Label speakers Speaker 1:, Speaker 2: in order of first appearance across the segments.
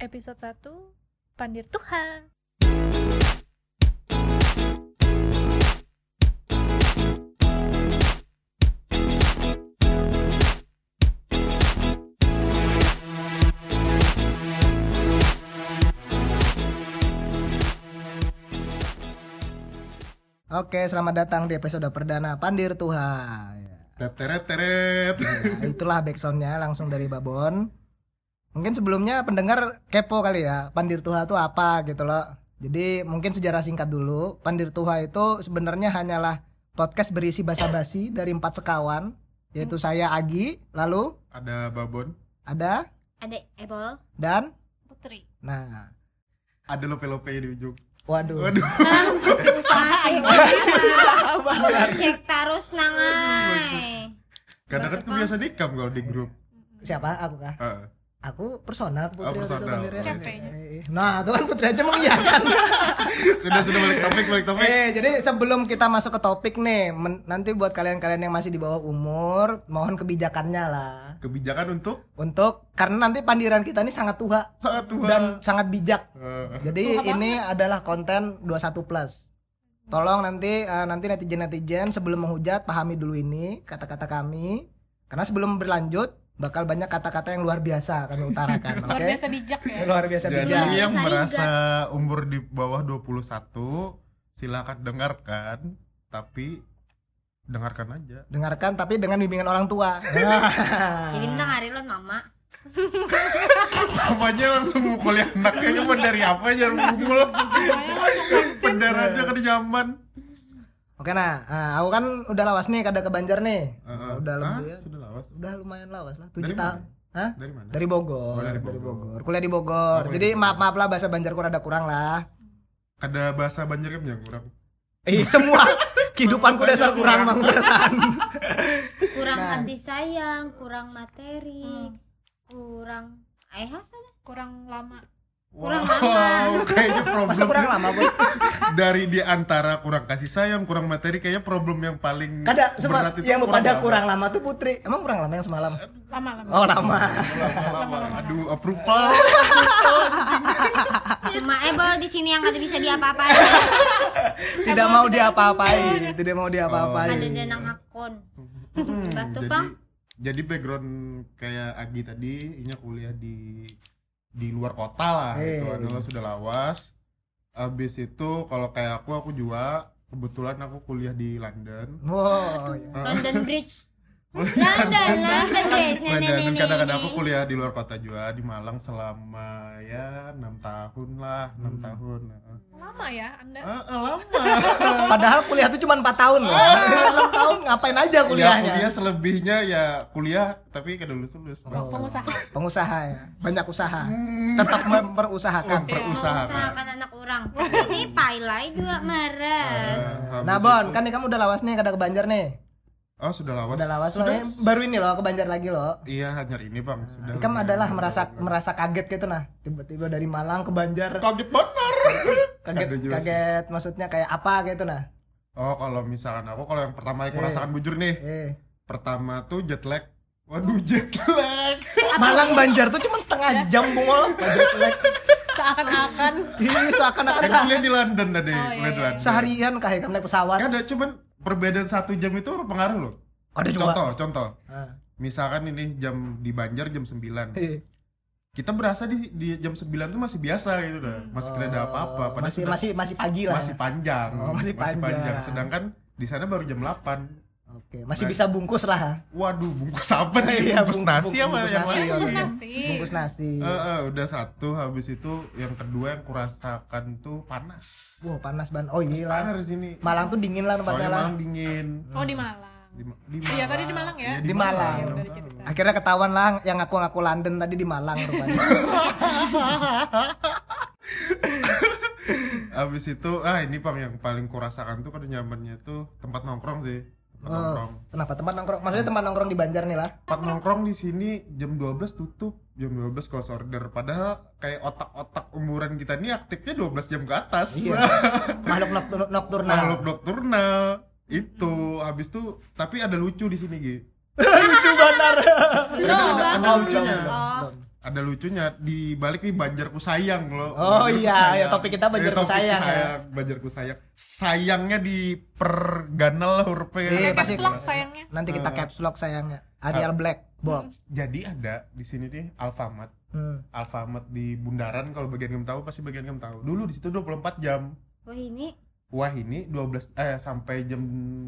Speaker 1: episode 1 Pandir Tuhan.
Speaker 2: Oke, selamat datang di episode perdana Pandir Tuhan. Ya,
Speaker 3: Teret teret teret.
Speaker 2: itulah backsoundnya langsung dari Babon. Mungkin sebelumnya pendengar kepo kali ya, Pandir Tuha itu apa gitu loh. Jadi mungkin sejarah singkat dulu. Pandir Tuha itu sebenarnya hanyalah podcast berisi basa-basi dari empat sekawan, yaitu saya Agi, lalu
Speaker 3: Ada babon,
Speaker 2: ada
Speaker 4: Ada Ebol.
Speaker 2: dan
Speaker 1: Putri.
Speaker 2: nah,
Speaker 3: ada lope lope di ujung.
Speaker 2: waduh.
Speaker 3: Waduh.
Speaker 4: Masih usaha sih.
Speaker 2: Sabar.
Speaker 4: Cek taruh nangai.
Speaker 3: Karena kan kebiasaan dikam kalau di grup.
Speaker 2: Siapa? Aku kah?
Speaker 3: Ah,
Speaker 2: Aku personal Putri waktu itu ya?
Speaker 3: personal.
Speaker 2: Pandirnya.
Speaker 1: Capeknya.
Speaker 2: Nah, tuh kan Putri aja mengiyakan.
Speaker 3: sudah sudah balik topik balik topik.
Speaker 2: Eh, jadi sebelum kita masuk ke topik nih, men- nanti buat kalian-kalian yang masih di bawah umur, mohon kebijakannya lah.
Speaker 3: Kebijakan untuk
Speaker 2: Untuk karena nanti pandiran kita ini sangat tua
Speaker 3: saat tua.
Speaker 2: dan sangat bijak.
Speaker 3: Ah,
Speaker 2: Jadi ini adalah konten 21 plus. Tolong nanti eh, nanti netizen-netizen sebelum menghujat pahami dulu ini kata-kata kami karena sebelum berlanjut bakal banyak kata-kata yang luar biasa kami utarakan, oke?
Speaker 1: Luar biasa bijak ya.
Speaker 2: Luar biasa
Speaker 3: Jadi
Speaker 2: bijak.
Speaker 3: yang
Speaker 4: Saling
Speaker 3: merasa umur di bawah 21 silakan dengarkan, tapi dengarkan aja.
Speaker 2: Dengarkan tapi dengan bimbingan orang tua. Nah.
Speaker 4: Jadi ntar hari lu mama.
Speaker 3: Apanya langsung mukul anaknya cuma dari apa aja mukul. Bener aja kan zaman.
Speaker 2: Oke nah, eh, aku kan udah lawas nih kada ke Banjar nih.
Speaker 3: Ah,
Speaker 2: udah
Speaker 3: ah,
Speaker 2: lebih ya.
Speaker 3: Sudah lawas.
Speaker 2: Udah lumayan lawas lah, 7
Speaker 3: Dari
Speaker 2: tahun.
Speaker 3: mana?
Speaker 2: Hah?
Speaker 3: Dari mana?
Speaker 2: Dari Bogor,
Speaker 3: Oh,
Speaker 2: dari
Speaker 3: dari
Speaker 2: Bogor.
Speaker 3: Bogor.
Speaker 2: Kuliah di Bogor.
Speaker 3: Oh, kuliah
Speaker 2: Jadi
Speaker 3: di Bogor.
Speaker 2: maaf-maaf lah bahasa Banjarku rada kurang lah.
Speaker 3: Ada bahasa Banjar kan yang kurang.
Speaker 2: Eh, semua kehidupanku
Speaker 3: Banjar
Speaker 2: dasar kurang
Speaker 3: kurang.
Speaker 2: mangkuran.
Speaker 4: Kurang
Speaker 2: Nah.
Speaker 4: kasih sayang, kurang materi, kurang eh hasil.
Speaker 1: Kurang lama.
Speaker 4: Kurang
Speaker 3: Wow, kayaknya
Speaker 2: Masa
Speaker 3: problem
Speaker 2: kurang lama, Boy?
Speaker 3: dari di antara kurang kasih sayang, kurang materi kayaknya problem yang paling
Speaker 2: Kada sema-
Speaker 3: berat itu
Speaker 2: yang pada
Speaker 3: lama.
Speaker 2: kurang lama tuh Putri. Emang kurang lama yang semalam?
Speaker 1: Lama lama.
Speaker 2: Oh, lama.
Speaker 3: Lama-lama. Aduh, approval.
Speaker 2: Iya.
Speaker 4: Cuma Ebol di sini yang kata bisa diapa-apain.
Speaker 2: Tidak mau diapa-apain, tidak mau
Speaker 3: Oh, iya,
Speaker 4: Ada
Speaker 2: diapa-apain.
Speaker 4: denang akun.
Speaker 3: Hmm,
Speaker 4: Batu,
Speaker 3: jadi,
Speaker 4: Bang.
Speaker 3: jadi background kayak Agi tadi, ini kuliah di di luar kota lah. Itu
Speaker 2: Hey.
Speaker 3: adalah sudah lawas. Abis itu kalau kayak aku, aku juga kebetulan aku kuliah di London.
Speaker 2: Wow. ya.
Speaker 4: London Bridge. London, London Bridge. Nih, nih, nih,
Speaker 3: Medan
Speaker 4: nih,
Speaker 3: kadang-kadang aku
Speaker 4: nih.
Speaker 3: kuliah di luar kota juga di Malang selama ya enam tahun lah enam
Speaker 2: Hmm.
Speaker 3: tahun Heeh.
Speaker 1: Lama ya Anda.
Speaker 3: Ah, ah, lama
Speaker 2: Padahal kuliah tuh cuma 4 tahun loh. 6 tahun ngapain aja
Speaker 3: kuliah
Speaker 2: kuliahnya?
Speaker 3: Iya, kuliah selebihnya ya kuliah tapi kayak lulus lulus
Speaker 2: Oh.
Speaker 1: Pengusaha.
Speaker 2: pengusaha ya banyak usaha tetap memperusahakan
Speaker 3: berusaha
Speaker 4: Usahakan anak orang. Tapi pailai juga meres.
Speaker 2: nah Bon kan nih kamu udah lawas nih kada ke Banjar nih
Speaker 3: oh sudah lawas
Speaker 2: udah lawas loh
Speaker 3: Sudah.
Speaker 2: eh, baru ini loh ke Banjar lagi loh
Speaker 3: iya hanya ini bang sudah
Speaker 2: Ikam
Speaker 3: lumayan.
Speaker 2: adalah merasa merasa kaget gitu nah tiba-tiba dari Malang ke Banjar
Speaker 3: kaget bener
Speaker 2: kaget
Speaker 3: Ada juga sih.
Speaker 2: kaget maksudnya kayak apa gitu nah
Speaker 3: oh kalau misalkan aku kalau yang pertama aku
Speaker 2: Eh.
Speaker 3: rasakan bujur nih
Speaker 2: eh
Speaker 3: pertama tuh jet lag waduh jet lag
Speaker 2: Malang Banjar tuh cuma setengah jam bungol Banjar jelek.
Speaker 1: Seakan-akan
Speaker 2: Ih, seakan-akan
Speaker 3: Kan
Speaker 2: se-
Speaker 3: kuliah di London
Speaker 1: Oh,
Speaker 3: tadi
Speaker 1: iya,
Speaker 3: kuliah di
Speaker 1: iya.
Speaker 3: London.
Speaker 2: seharian kah kamu naik pesawat
Speaker 3: Kan ada cuman perbedaan satu jam itu berpengaruh loh.
Speaker 2: ada juga
Speaker 3: Contoh, contoh.
Speaker 2: Ah,
Speaker 3: Misalkan ini jam di Banjar jam 9.
Speaker 2: eh.
Speaker 3: Kita berasa di, di jam 9 itu masih biasa gitu dah. Masih kena ada apa-apa.
Speaker 2: Hmm. Oh,
Speaker 3: Padahal
Speaker 2: masih
Speaker 3: sudah-
Speaker 2: masih masih pagi lah
Speaker 3: masih panjang.
Speaker 2: Oh, masih panjang.
Speaker 3: Sedangkan di sana baru jam 8.
Speaker 2: oke masih bisa bungkus lah
Speaker 3: Waduh, bungkus apa nih?
Speaker 2: Iya,
Speaker 3: bungkus
Speaker 2: bung- bung-
Speaker 3: nasi apa
Speaker 2: bungkus
Speaker 3: yang
Speaker 2: nasi,
Speaker 3: lain?
Speaker 2: iya.
Speaker 1: nasi.
Speaker 2: bungkus nasi
Speaker 3: Eh, eh, udah satu habis itu yang kedua yang kurasakan tuh panas.
Speaker 2: Wah panas ban. Oh iya lah.
Speaker 3: eh. Panas iya, di sini.
Speaker 2: Malang tuh dingin lah tempatnya
Speaker 3: Soalnya
Speaker 2: lah.
Speaker 3: Malang dingin.
Speaker 1: Oh di Malang.
Speaker 3: Di, Ma- di
Speaker 1: Iya, tadi di Malang ya?
Speaker 3: Iya,
Speaker 2: Di Malang.
Speaker 3: Malang.
Speaker 1: Dari cerita.
Speaker 2: Akhirnya ketahuan lah yang ngaku-ngaku London tadi di Malang rupanya.
Speaker 3: Abis itu, ah ini pang yang paling kurasakan tuh pada nyamannya tuh tempat nongkrong sih. Tempat
Speaker 2: Oh.
Speaker 3: nongkrong.
Speaker 2: Kenapa tempat nongkrong? Maksudnya tempat nongkrong di Banjar nih lah.
Speaker 3: Tempat nongkrong di sini jam 12 tutup, jam 12 close order. Padahal kayak otak-otak umuran kita ini aktifnya 12 jam ke atas.
Speaker 2: Iya. Makhluk noktur- nokturnal.
Speaker 3: Makhluk dokturnal itu
Speaker 2: Hmm.
Speaker 3: habis tuh tapi ada lucu di sini Gi.
Speaker 2: Lucu Bandar. iya.
Speaker 3: Ada, ada, ada
Speaker 2: Nah,
Speaker 4: Bang.
Speaker 3: lucunya.
Speaker 4: Oh.
Speaker 3: ada lucunya di balik nih banjarku sayang lo.
Speaker 2: Oh
Speaker 3: Banjarku
Speaker 2: iya,
Speaker 3: sayang.
Speaker 2: ya, topik kita Banjarku
Speaker 3: topik
Speaker 2: sayang, ya.
Speaker 3: Banjarku sayang. Sayangnya di perganal lah hurufnya.
Speaker 2: Iya,
Speaker 1: Kayak
Speaker 2: pasti.
Speaker 1: caps lock sayangnya.
Speaker 2: Nanti kita
Speaker 3: Eh.
Speaker 2: caps lock sayangnya. Arial Black, Bob.
Speaker 3: Jadi ada di sini nih Alfamart.
Speaker 2: Hmm.
Speaker 3: Alfamart di Bundaran kalau bagian kamu tahu pasti bagian kamu tahu. Dulu di situ 24 jam.
Speaker 4: Wah ini
Speaker 3: Wah ini 12 eh sampai jam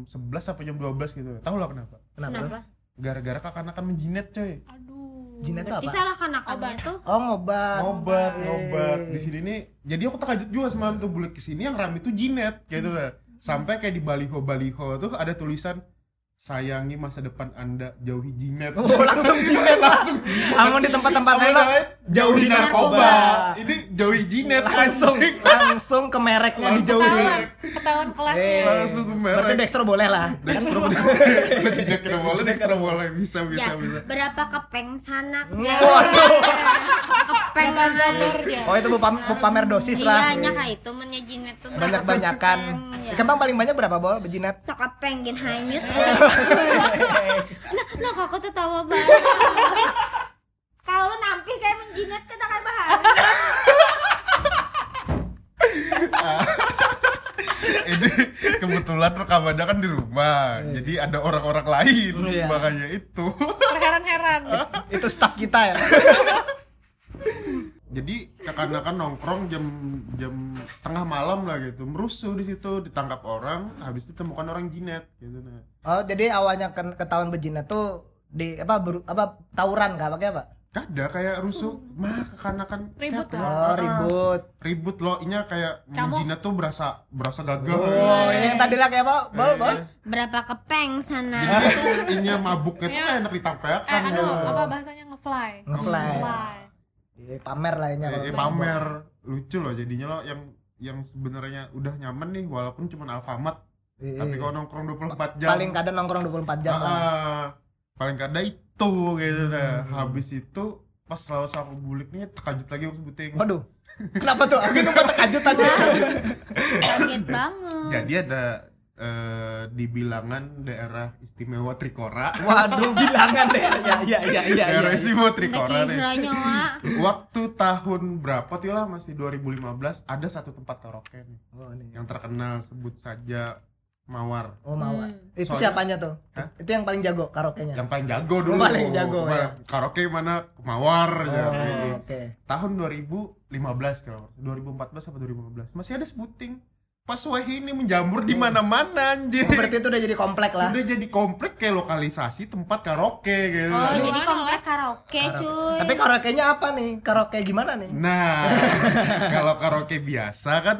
Speaker 3: 11 sampai jam 12 gitu. Tahu lah kenapa?
Speaker 2: Kenapa?
Speaker 4: kenapa?
Speaker 3: Gara-gara kanak-kanak menjinet coy.
Speaker 1: Aduh.
Speaker 2: Jinet tuh apa?
Speaker 4: Kisah kanak-kanaknya
Speaker 1: Obat.
Speaker 4: tuh
Speaker 2: Oh, ngobat.
Speaker 3: Ngobat,
Speaker 2: Yeay.
Speaker 3: ngobat. Di sini nih jadi aku terkejut juga semalam tuh bulik kesini yang rame tuh jinet kayak gitu lah. Sampai kayak di baliho-baliho tuh ada tulisan sayangi masa depan Anda jauhi jinet.
Speaker 2: Oh, langsung jinet.
Speaker 3: langsung jinet.
Speaker 2: Amun di tempat-tempat
Speaker 3: Apa
Speaker 2: lain lo,
Speaker 3: namanya? jauhi
Speaker 2: Jauhi
Speaker 3: narkoba.
Speaker 2: narkoba.
Speaker 3: Ini jauhi jinet
Speaker 2: langsung
Speaker 3: anjing.
Speaker 2: langsung ke mereknya
Speaker 3: Langsung.
Speaker 2: dijauhin.
Speaker 3: Ketahuan.
Speaker 1: Ketahuan, ketahuan kelasnya.
Speaker 2: Eh,
Speaker 3: Langsung ke merek.
Speaker 2: Berarti Dexter boleh lah.
Speaker 3: Dextro boleh, Udah jinet kena boleh, Dextro boleh, bisa, bisa,
Speaker 4: Ya,
Speaker 3: bisa
Speaker 4: berapa kepeng sanak ya?
Speaker 2: Waduh.
Speaker 4: Kepeng banget.
Speaker 2: Oh, itu mau pam- mau pamer dosis lah.
Speaker 4: Iya, nyaka itu menye jinet tuh berapa
Speaker 2: Banyak-banyakan.
Speaker 4: kepeng, ya.
Speaker 2: Kembang paling banyak berapa bol bejinet?
Speaker 4: sekepeng gin hanyut. Nah, nah kakak tuh tawa banget. Kalau lu nampi kayak menjinet kita kayak bahas.
Speaker 3: Ini kebetulan rekamannya kan di rumah Jadi ada orang-orang lain,
Speaker 2: Iya.
Speaker 3: makanya itu
Speaker 1: Terheran-heran.
Speaker 2: Itu staff kita ya.
Speaker 3: Jadi kekanak-kanakan nongkrong jam jam tengah malam lah gitu Merusuh di situ, ditangkap orang, habis itu temukan orang jinet gitu nah
Speaker 2: Oh, jadi awalnya ke ketahuan bejinet tuh di apa beru- apa tawuran kah pakai apa?
Speaker 3: Kada kayak rusuh, mah kekanakan
Speaker 1: Ribut
Speaker 3: kayak
Speaker 1: lah.
Speaker 2: Oh,
Speaker 3: pelor-
Speaker 2: ribut.
Speaker 3: Ribut lo, inya kayak
Speaker 1: Camuk.
Speaker 3: menjinet tuh berasa berasa gagah
Speaker 2: Oh, yang tadi lah kayak apa? Bol, bol.
Speaker 4: Berapa kepeng sana?
Speaker 3: Jadi itu inya mabuknya tuh kayak enak ditampilkan
Speaker 1: Nah. Iya. Eh, aduh,
Speaker 3: gitu.
Speaker 2: Iya,
Speaker 1: apa bahasanya nge-fly?
Speaker 2: Ngeplay.
Speaker 1: Nge-fly.
Speaker 2: Iya, pamer lah ini.
Speaker 3: Eh, eh, pamer lucu loh jadinya lo yang yang sebenarnya udah nyaman nih walaupun cuma Alfamart tapi kalau nongkrong 24 jam
Speaker 2: Iya. paling kadang nongkrong 24 jam.
Speaker 3: Ah,
Speaker 2: lah.
Speaker 3: ah. paling kada itu gitu dah
Speaker 2: Hmm.
Speaker 3: habis itu pas lalu sama bulik nih terkejut lagi aku sebutin
Speaker 2: Waduh. Kenapa tuh? Aku numpak terkejut tadi.
Speaker 4: Kaget banget.
Speaker 3: jadi ada eh, di bilangan daerah istimewa Trikora
Speaker 2: Waduh, bilangan deh. Ya, ya, ya, ya.
Speaker 3: daerah
Speaker 2: ya.
Speaker 3: istimewa
Speaker 4: Kita
Speaker 3: Trikora nih
Speaker 4: kira nyawa.
Speaker 3: waktu tahun berapa tuh lah masih 2015 ada satu tempat karaoke nih
Speaker 2: Oh, ini.
Speaker 3: yang terkenal sebut saja Mawar
Speaker 2: Oh, mawar.
Speaker 4: Hmm.
Speaker 2: Itu
Speaker 3: Soalnya-
Speaker 2: siapanya tuh?
Speaker 3: Hah?
Speaker 2: Itu yang paling jago karaoke-nya.
Speaker 3: yang paling jago dulu
Speaker 2: Ya. Paling jago,
Speaker 3: Kemana-
Speaker 2: ya.
Speaker 3: karaoke mana kemawar
Speaker 2: Oh,
Speaker 3: ya.
Speaker 2: oke.
Speaker 3: tahun 2015 kalau nggak salah. 2014 apa 2015 masih ada sebuting pas Wahi ini menjamur di mana-mana anjir
Speaker 2: Oh, Berarti itu udah jadi komplek Hmm. lah.
Speaker 3: sudah jadi komplek kayak lokalisasi tempat karaoke gitu
Speaker 4: Oh,
Speaker 1: Aduh.
Speaker 4: jadi komplek karaoke,
Speaker 2: Karaoke.
Speaker 4: cuy.
Speaker 2: Tapi karaoke-nya apa nih? Karaoke gimana nih?
Speaker 3: nah kalau karaoke biasa kan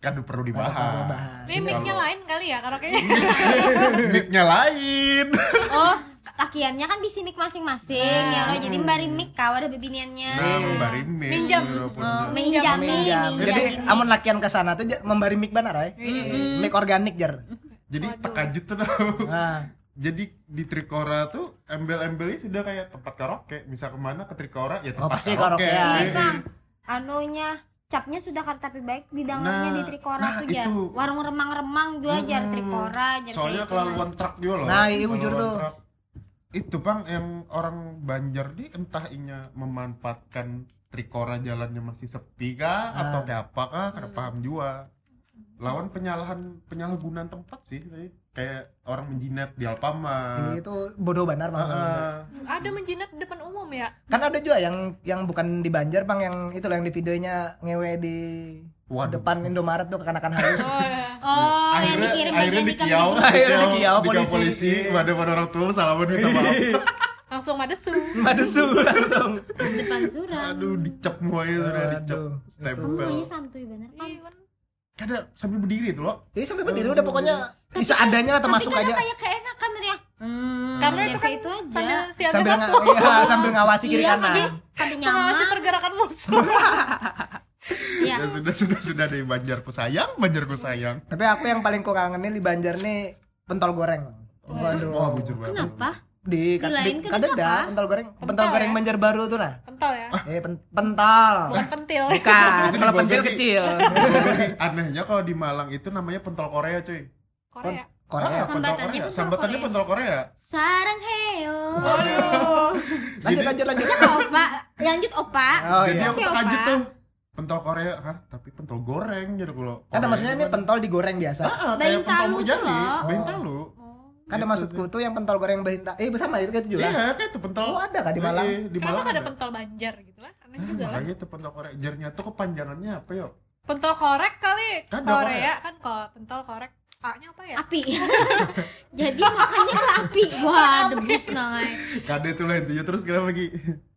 Speaker 3: kan perlu
Speaker 2: Perlu
Speaker 3: dibahas
Speaker 2: dibahas.
Speaker 1: Ini mic-nya
Speaker 3: Kalau-
Speaker 1: lain kali ya karaoke-nya.
Speaker 3: mic-nya lain
Speaker 4: Oh, lakiannya kan bisa mic masing-masing ya lo. Jadi mbari mic kau ada bebiniannya.
Speaker 3: Hmm. nah Iya, membari mic
Speaker 1: Minjam.
Speaker 3: walaupun-
Speaker 4: Iya. Oh, menjami,
Speaker 2: Meminjam. Jadi
Speaker 4: menjami.
Speaker 2: amun lakian ke sana tuh ja- membari mic banar ay.
Speaker 4: Mm-mm.
Speaker 2: Mic organik jar.
Speaker 3: jadi
Speaker 1: Waduh.
Speaker 3: terkejut tuh tau.
Speaker 2: Nah,
Speaker 3: jadi di Trikora tuh embel-embelnya sudah kayak tempat karaoke bisa kemana ke Trikora ya tempat
Speaker 2: Oh, pasti
Speaker 3: karaoke,
Speaker 2: karaokean.
Speaker 4: Iya, Bang. Anunya capnya sudah kar tapi baik di dangannya
Speaker 3: Nah,
Speaker 4: di Trikora
Speaker 3: nah,
Speaker 4: tuh jar.
Speaker 3: itu.
Speaker 4: Warung remang-remang juga jar
Speaker 3: Hmm.
Speaker 4: Trikora jar.
Speaker 3: soalnya
Speaker 4: kayak gitu,
Speaker 3: kelaluan truk juga loh
Speaker 2: Iya. Nah, iya,
Speaker 3: Kelaluan
Speaker 2: jujur tuh.
Speaker 3: truk. itu bang yang orang Banjar di entah inya memanfaatkan Trikora jalannya masih sepi kah
Speaker 2: Ah.
Speaker 3: atau kayak apa kah karena
Speaker 4: Hmm.
Speaker 3: paham juga lawan penyalahan penyalahgunaan tempat sih tadi. kayak orang menjinet di Alfamart
Speaker 2: itu bodoh banar
Speaker 3: Ah,
Speaker 2: bang.
Speaker 3: ah.
Speaker 1: Ada menjinet di depan umum ya?
Speaker 2: Kan ada juga yang yang bukan di Banjar bang yang itu loh yang di videonya ngewe di
Speaker 3: Waduh.
Speaker 2: depan Indomaret tuh kekanakan halus.
Speaker 1: Oh, ya.
Speaker 4: Bang. Oh, yang
Speaker 3: akhirnya
Speaker 4: dikirim aja
Speaker 3: akhirnya
Speaker 4: di
Speaker 3: di Kiau
Speaker 4: kambing.
Speaker 2: Akhirnya di Kiau,
Speaker 3: polisi,
Speaker 2: polisi. Iya.
Speaker 3: polisi pada pada orang tua salaman minta maaf
Speaker 1: Langsung madesu.
Speaker 2: Madusu langsung.
Speaker 4: Pas depan surang.
Speaker 3: aduh dicap semua ya, itu udah dicap
Speaker 2: Aduh,
Speaker 4: Kamu
Speaker 3: stempel
Speaker 4: maunya santuy bener
Speaker 3: Iya.
Speaker 4: kan?
Speaker 1: Iwan.
Speaker 3: kada sambil berdiri tuh lo
Speaker 2: Jadi sampai berdiri udah pokoknya bisa adanya lah termasuk
Speaker 4: tapi kadang
Speaker 2: aja.
Speaker 4: kayak keenakan gitu ya. Hmm,
Speaker 1: Karena itu
Speaker 4: jar
Speaker 1: kan
Speaker 4: kayak itu aja.
Speaker 1: sambil si ada
Speaker 2: Sambil nga-
Speaker 1: satu.
Speaker 2: iya, sambil ngawasi kiri
Speaker 4: iya,
Speaker 2: kanan.
Speaker 4: kadang- kadang
Speaker 1: Mengawasi
Speaker 4: nyaman.
Speaker 1: pergerakan musuh.
Speaker 4: Iya.
Speaker 3: ya sudah sudah sudah dari banjarku sayang banjarku sayang
Speaker 2: Tapi aku yang paling kurangannya di Banjar nih pentol goreng. Waduh.
Speaker 3: wah bujur banget
Speaker 4: Kenapa?
Speaker 2: Di, kad-
Speaker 4: Lain
Speaker 2: di
Speaker 4: kenapa?
Speaker 2: kadeda pentol goreng, pentol
Speaker 1: Pentol
Speaker 2: goreng
Speaker 1: ya?
Speaker 2: Banjar baru tuh nah.
Speaker 1: Kental ya?
Speaker 3: Ah,
Speaker 2: Eh pen- pentol.
Speaker 1: Bukan pentil.
Speaker 2: Bukan,
Speaker 3: Itu di
Speaker 2: kalau
Speaker 3: Bogor
Speaker 2: pentil
Speaker 3: di-
Speaker 2: kecil.
Speaker 3: Tapi anehnya kalau di Malang itu namanya pentol Korea cuy
Speaker 1: Korea.
Speaker 3: Ah,
Speaker 2: Korea.
Speaker 4: Hah?
Speaker 3: pentol
Speaker 4: Sambatannya
Speaker 3: Korea.
Speaker 4: pentol
Speaker 3: Sambatannya
Speaker 4: Korea.
Speaker 3: pentol Korea.
Speaker 4: Sarang heo.
Speaker 2: Lanjut
Speaker 3: Jadi-
Speaker 2: lanjut lanjut.
Speaker 4: Ya kak, opa, lanjut opa.
Speaker 2: Oh
Speaker 3: Jadi
Speaker 2: iya.
Speaker 3: aku
Speaker 4: Oke,
Speaker 3: terkajut
Speaker 4: Opa.
Speaker 3: tuh. Pentol Korea, hah? Tapi pentol goreng jadi kalau
Speaker 2: Kan maksudnya ini pentol digoreng biasa.
Speaker 3: Ah, kayak
Speaker 4: Bain
Speaker 3: pentol
Speaker 4: talu
Speaker 3: mujali.
Speaker 4: tuh loh.
Speaker 3: Bain talu.
Speaker 2: Kan ada
Speaker 3: Gitu
Speaker 2: maksudku tuh yang pentol goreng bahinta. Eh sama itu kayak tujuh lah.
Speaker 3: Iya, kayak itu pentol.
Speaker 2: Oh ada kan di Malang?
Speaker 3: Iya, di
Speaker 1: Kenapa
Speaker 3: Malang.
Speaker 1: nggak ada pentol Banjar gitu lah? Aneh
Speaker 3: Ah,
Speaker 1: juga lah.
Speaker 3: Makanya itu pentol Korea. Jernya tuh kepanjangannya apa yuk?
Speaker 1: Pentol korek kali.
Speaker 3: Kan ada
Speaker 1: Korea kan kok pentol korek. A-nya apa
Speaker 3: iya.
Speaker 1: ya?
Speaker 4: Api. Jadi makannya mah api. Wah, debus nah, eh. nangai.
Speaker 3: Kade tuh lah intinya terus kenapa lagi?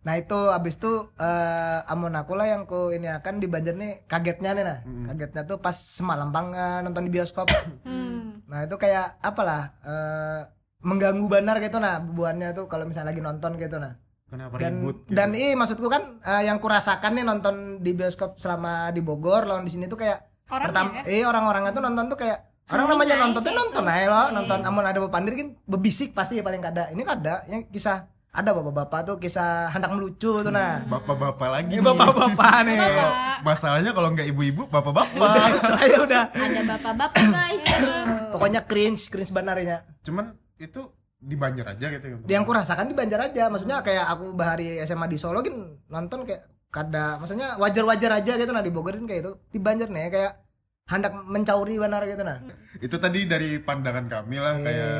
Speaker 2: Nah itu abis itu eh Amon aku lah yang ku ini akan di Banjar nih kagetnya nih nah
Speaker 3: Mm.
Speaker 2: kagetnya tuh pas semalam bang eh, nonton di bioskop
Speaker 1: Hmm.
Speaker 2: nah itu kayak apalah eh mengganggu banar gitu nah buannya tuh kalau misalnya lagi nonton gitu nah
Speaker 3: Kenapa
Speaker 2: dan
Speaker 3: ribut? gitu?
Speaker 2: dan i maksudku kan eh, yang kurasakan nih nonton di bioskop selama di Bogor lawan di sini tuh kayak
Speaker 1: Orang
Speaker 2: pertama
Speaker 1: ya.
Speaker 2: eh orang-orangnya tuh nonton tuh kayak orang
Speaker 4: Hai,
Speaker 2: namanya
Speaker 4: hai,
Speaker 2: nonton tuh
Speaker 4: kayak
Speaker 2: nonton
Speaker 4: itu.
Speaker 2: aja loh
Speaker 4: Iya.
Speaker 2: nonton amun ada bepandir kan bebisik pasti ya paling kada ini kada yang kisah ada bapak-bapak tuh kisah handak melucu tuh nah
Speaker 3: bapak-bapak lagi.
Speaker 2: ini
Speaker 3: nih.
Speaker 2: bapak-bapak
Speaker 3: Eh,
Speaker 2: nih
Speaker 1: Bapak.
Speaker 3: Masalahnya kalau nggak ibu-ibu,
Speaker 2: udah
Speaker 3: bapak-bapak.
Speaker 2: itu aja udah
Speaker 4: Ada bapak-bapak guys.
Speaker 2: pokoknya cringe cringe ya. banarnya
Speaker 3: Cuman itu di Banjar aja gitu ya.
Speaker 2: yang aku rasakan di Banjar aja maksudnya kayak aku bahari SMA di Solo kan nonton kayak kada maksudnya wajar-wajar aja gitu nah di Bogor kan kayak itu di Banjar nih kayak handak mencauri banar gitu nah
Speaker 3: Itu tadi dari pandangan kami lah Nah, kayak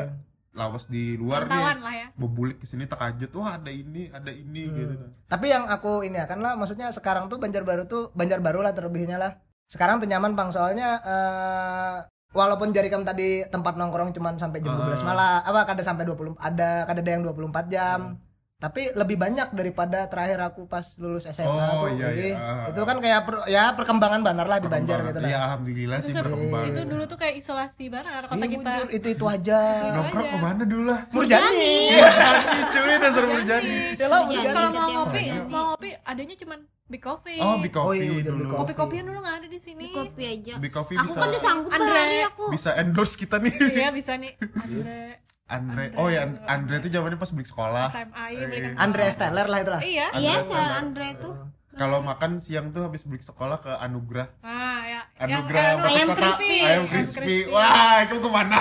Speaker 2: Eh,
Speaker 3: lawas di luar
Speaker 1: Wartawan
Speaker 3: nih.
Speaker 1: lah ya.
Speaker 3: Bebulik kesini terkajut, wah ada ini, ada ini
Speaker 2: Hmm.
Speaker 3: gitu.
Speaker 2: Tapi yang aku ini akan lah, maksudnya sekarang tuh Banjarbaru tuh Banjarbaru lah terlebihnya lah. Sekarang tuh nyaman bang, soalnya eh, walaupun Jarikam tadi tempat nongkrong cuman sampai jam
Speaker 3: Ah.
Speaker 2: 12 malah, apa kada sampai 20 ada kada ada yang 24 jam.
Speaker 3: Hmm.
Speaker 2: Tapi lebih banyak daripada terakhir aku pas lulus SMA
Speaker 3: Oh,
Speaker 2: tuh.
Speaker 3: iya,
Speaker 2: Jadi,
Speaker 3: iya. Ah,
Speaker 2: Itu kan kayak per- ya perkembangan banar lah di Banjar
Speaker 3: Perkembangan.
Speaker 2: gitu lah.
Speaker 3: Iya, alhamdulillah sih
Speaker 1: Terus
Speaker 3: berkembang.
Speaker 1: Itu dulu tuh kayak isolasi banget kota
Speaker 2: Ih,
Speaker 1: kita.
Speaker 2: bujur, itu-itu aja.
Speaker 3: Nongkrong
Speaker 1: aja.
Speaker 3: kemana dulu lah? Iya,
Speaker 2: Murjani.
Speaker 3: Murjani cuy, dasar Murjani.
Speaker 1: Murjani.
Speaker 2: Ya lah,
Speaker 1: Iya Terus
Speaker 2: Murjani.
Speaker 1: kalau mau
Speaker 4: Murjani.
Speaker 1: ngopi,
Speaker 4: Murjani.
Speaker 1: mau ngopi adanya cuman Big Coffee.
Speaker 3: Oh, Big
Speaker 2: Oh,
Speaker 3: Coffee
Speaker 2: iya, udah
Speaker 3: dulu.
Speaker 2: Big
Speaker 1: Kopi kopian dulu nggak ada di sini.
Speaker 4: Di kopi
Speaker 1: Iya.
Speaker 4: aja.
Speaker 3: Big Coffee
Speaker 4: Aku
Speaker 3: bisa
Speaker 4: kan disanggup
Speaker 1: Andre.
Speaker 4: hari aku.
Speaker 3: bisa endorse kita nih.
Speaker 1: Iya bisa nih. Andre
Speaker 3: Andre.
Speaker 1: Andre.
Speaker 3: Oh ya, Andre itu zamannya pas beli sekolah.
Speaker 1: SMA iya,
Speaker 3: Eh,
Speaker 1: belikan
Speaker 2: Andre Esteller lah itu lah.
Speaker 1: Iya.
Speaker 4: Iya,
Speaker 3: Andre
Speaker 4: Sarang
Speaker 3: Standar.
Speaker 4: Andre tuh.
Speaker 3: Kalau makan siang tuh habis beli sekolah ke Anugrah.
Speaker 1: Ah ya.
Speaker 3: Anugrah
Speaker 1: anu,
Speaker 3: Bakas
Speaker 4: ayam
Speaker 3: Kota.
Speaker 4: crispy.
Speaker 3: Ayam crispy. Wah, itu kemana?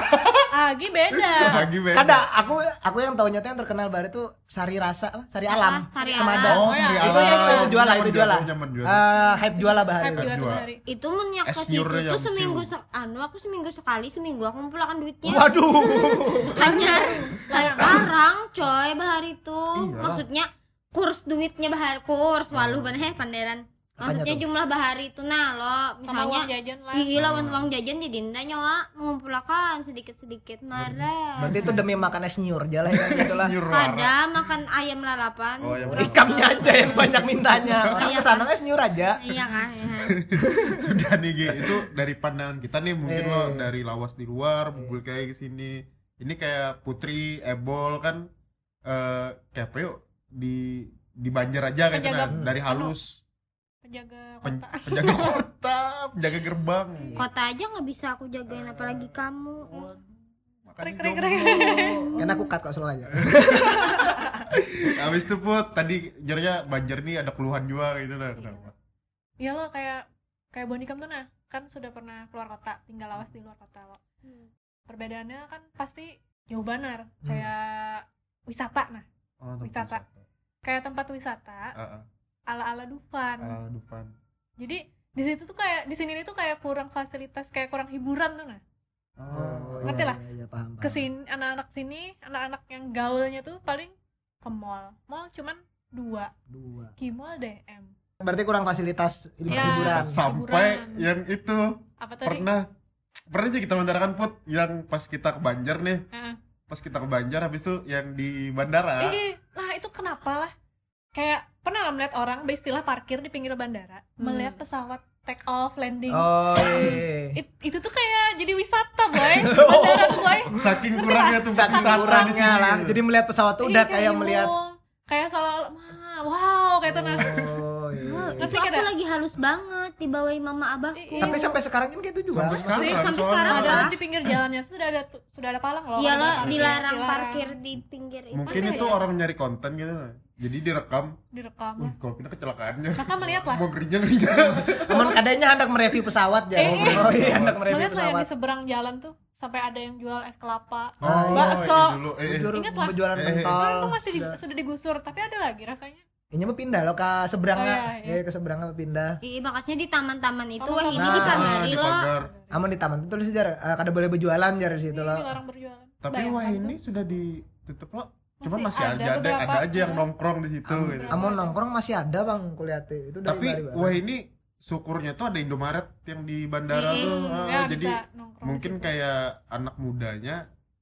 Speaker 1: Ah, Agi beda.
Speaker 3: Lagi beda.
Speaker 2: Kada, aku aku yang tahunya tuh yang terkenal baru tuh Sari Rasa, apa? Sari Alam,
Speaker 4: Ah, Sari
Speaker 2: Semada.
Speaker 4: Alam.
Speaker 3: Oh,
Speaker 1: Oh, ya.
Speaker 3: sendiri
Speaker 2: Itu ya, itu jual lah, itu jual lah.
Speaker 3: Nyaman jual.
Speaker 2: Eh, hype jual lah
Speaker 1: Hype
Speaker 2: bahari.
Speaker 1: juga tuh
Speaker 3: Dua.
Speaker 1: hari.
Speaker 4: Itu menyak
Speaker 3: Es
Speaker 4: ke situ
Speaker 3: nyurnya yang
Speaker 4: tuh seminggu
Speaker 3: siu.
Speaker 4: se anu aku seminggu sekali seminggu aku mengumpulkan duitnya.
Speaker 2: Waduh.
Speaker 4: hanya kayak larang coy bahar itu
Speaker 3: Iyalah.
Speaker 4: maksudnya kurs duitnya bahar kurs walu ban heh panderan maksudnya
Speaker 2: tuh?
Speaker 4: jumlah bahar itu nah lo
Speaker 1: Sama uang
Speaker 4: misalnya
Speaker 1: jajan lah.
Speaker 4: iya lawan
Speaker 3: Hmm.
Speaker 4: uang jajan di dinda nyawa mengumpulkan sedikit sedikit marah
Speaker 2: Berarti itu demi makan es nyur aja lah ya, gitu lah.
Speaker 3: Senior warna.
Speaker 4: ada makan ayam lalapan
Speaker 2: Iya,
Speaker 3: Oh, ayam
Speaker 4: Kurang
Speaker 2: Ikamnya
Speaker 4: suka.
Speaker 2: aja yang banyak mintanya. Orang
Speaker 4: Iya,
Speaker 2: kesana es nyur aja.
Speaker 4: iya kan iya.
Speaker 3: Sudah nih, Gi. Itu dari pandangan kita nih mungkin
Speaker 2: Eh. Hmm.
Speaker 3: lo dari lawas di luar, bubul kayak kesini. Ini kayak Putri, Ebol kan eh kayak apa yuk di di Banjar aja gitu
Speaker 1: Penjaga-
Speaker 3: kan dari halus
Speaker 1: Penjaga
Speaker 3: pen-
Speaker 1: kota.
Speaker 3: penjaga kota, penjaga gerbang.
Speaker 4: kota aja nggak bisa aku jagain apalagi
Speaker 2: Eh,
Speaker 4: kamu
Speaker 3: Makanya
Speaker 1: Krik, krik,
Speaker 3: jomblo.
Speaker 2: Kan aku cut kok slow aja.
Speaker 3: Habis itu put tadi jarnya Banjar nih ada keluhan juga gitu lah kenapa?
Speaker 1: Iya lo kayak kayak Bonikam tuh nah kan sudah pernah keluar kota tinggal lawas di luar kota lo. Perbedaannya kan pasti jauh banar
Speaker 2: Hmm.
Speaker 1: kayak wisata nah
Speaker 3: Oh, tempat
Speaker 1: Wisata. kayak tempat wisata
Speaker 3: Ah, ah.
Speaker 1: ala ala Dufan.
Speaker 3: Ala Dufan.
Speaker 1: Jadi di situ tuh kayak di sini tuh kayak kurang fasilitas kayak kurang hiburan tuh nah.
Speaker 3: Oh,
Speaker 1: Ngerti
Speaker 2: iya,
Speaker 1: lah.
Speaker 2: iya, iya, paham,
Speaker 3: Nah.
Speaker 2: paham.
Speaker 1: Kesini anak-anak sini anak-anak yang gaulnya tuh paling ke mall. Mall cuman dua.
Speaker 2: Dua.
Speaker 1: Kimol DM.
Speaker 2: Berarti kurang fasilitas
Speaker 1: Iya.
Speaker 2: hiburan.
Speaker 3: sampai
Speaker 1: Hiburan.
Speaker 3: yang itu
Speaker 1: Apa tadi?
Speaker 3: pernah pernah aja kita bentarakan put yang pas kita ke Banjar nih
Speaker 1: Heeh. Iya.
Speaker 3: pas kita ke Banjar habis itu yang di bandara
Speaker 1: Ih, lah itu kenapa lah? Kayak pernah lah melihat orang beristilah parkir di pinggir bandara,
Speaker 4: Hmm.
Speaker 1: melihat pesawat take off landing.
Speaker 2: Oh, iya.
Speaker 1: It- itu tuh kayak jadi wisata, boy. Bandara tuh, boy.
Speaker 3: saking kurangnya tuh
Speaker 2: Saking
Speaker 3: wisata
Speaker 2: kurangnya
Speaker 3: sini.
Speaker 2: lah. Jadi melihat pesawat tuh
Speaker 1: Ih,
Speaker 2: udah kayak
Speaker 1: bingung.
Speaker 2: melihat
Speaker 1: Iya, kayak seolah wah, wow, kayak tuh nah.
Speaker 2: Oh,
Speaker 4: Hmm,
Speaker 2: iya.
Speaker 1: Ngerti
Speaker 4: itu aku
Speaker 1: kada?
Speaker 4: lagi halus banget dibawain mama abahku
Speaker 1: Iya.
Speaker 2: Tapi sampai sekarang kan gitu juga.
Speaker 3: sampai sekarang
Speaker 1: Sih,
Speaker 4: sampai
Speaker 3: soalnya.
Speaker 4: sekarang
Speaker 1: Ada
Speaker 4: apa?
Speaker 1: di pinggir jalannya sudah ada tu- sudah ada palang loh.
Speaker 4: Iya
Speaker 1: kalau
Speaker 4: lo
Speaker 1: parkir.
Speaker 4: dilarang
Speaker 1: Dilarang.
Speaker 4: parkir di pinggir itu.
Speaker 3: mungkin
Speaker 1: Masih
Speaker 3: itu
Speaker 1: ada ya? Iya.
Speaker 3: orang nyari konten gitu lah jadi direkam
Speaker 1: direkam.
Speaker 3: wah kalau kita kecelakaannya
Speaker 1: Maka melihat lah.
Speaker 3: mau ngerinya ngerinya
Speaker 2: Namun adanya hendak mereview pesawat ya.
Speaker 1: Eh,
Speaker 2: Oh, iya,
Speaker 3: eh.
Speaker 2: hendak mereview
Speaker 1: Melihat lah ya, yang di
Speaker 2: pesawat.
Speaker 1: seberang jalan tuh sampai ada yang jual es kelapa
Speaker 2: Ah, iya.
Speaker 1: Bakso.
Speaker 3: ini dulu. Eh, eh.
Speaker 2: Bujur- Iya.
Speaker 1: Ingat lah.
Speaker 2: Bujuran
Speaker 3: Eh, eh, eh.
Speaker 2: pentol.
Speaker 1: Kemarin tuh masih di-
Speaker 2: Udah.
Speaker 1: sudah digusur tapi ada lagi rasanya
Speaker 2: Ini mah pindah loh ke
Speaker 1: Oh,
Speaker 2: seberang ya.
Speaker 1: iya, iya.
Speaker 2: ke seberang apa pindah.
Speaker 4: Ih, makasnya di taman-taman itu wah ini
Speaker 2: Nah,
Speaker 4: dipagari
Speaker 3: di
Speaker 4: loh.
Speaker 3: pagar.
Speaker 2: Aman di taman itu terus jar, eh, kada boleh berjualan jar di situ
Speaker 1: Ini
Speaker 2: loh.
Speaker 1: dilarang berjualan
Speaker 3: Tapi
Speaker 1: Bayangkan
Speaker 3: wah
Speaker 1: tuh.
Speaker 3: ini sudah ditutup loh. Cuma masih, ada, ada,
Speaker 1: beberapa.
Speaker 3: ada aja yang nongkrong di situ.
Speaker 2: Am-
Speaker 3: gitu.
Speaker 1: Beberapa.
Speaker 2: Amun nongkrong masih ada bang kuliati itu dari
Speaker 3: Tapi
Speaker 2: Bali, Bang.
Speaker 3: wah ini syukurnya tuh ada Indomaret yang di bandara
Speaker 4: Mm-mm.
Speaker 3: tuh.
Speaker 1: Hmm,
Speaker 3: Ah,
Speaker 1: ya,
Speaker 3: jadi
Speaker 1: bisa nongkrong di
Speaker 3: mungkin
Speaker 1: situ.
Speaker 3: kayak anak mudanya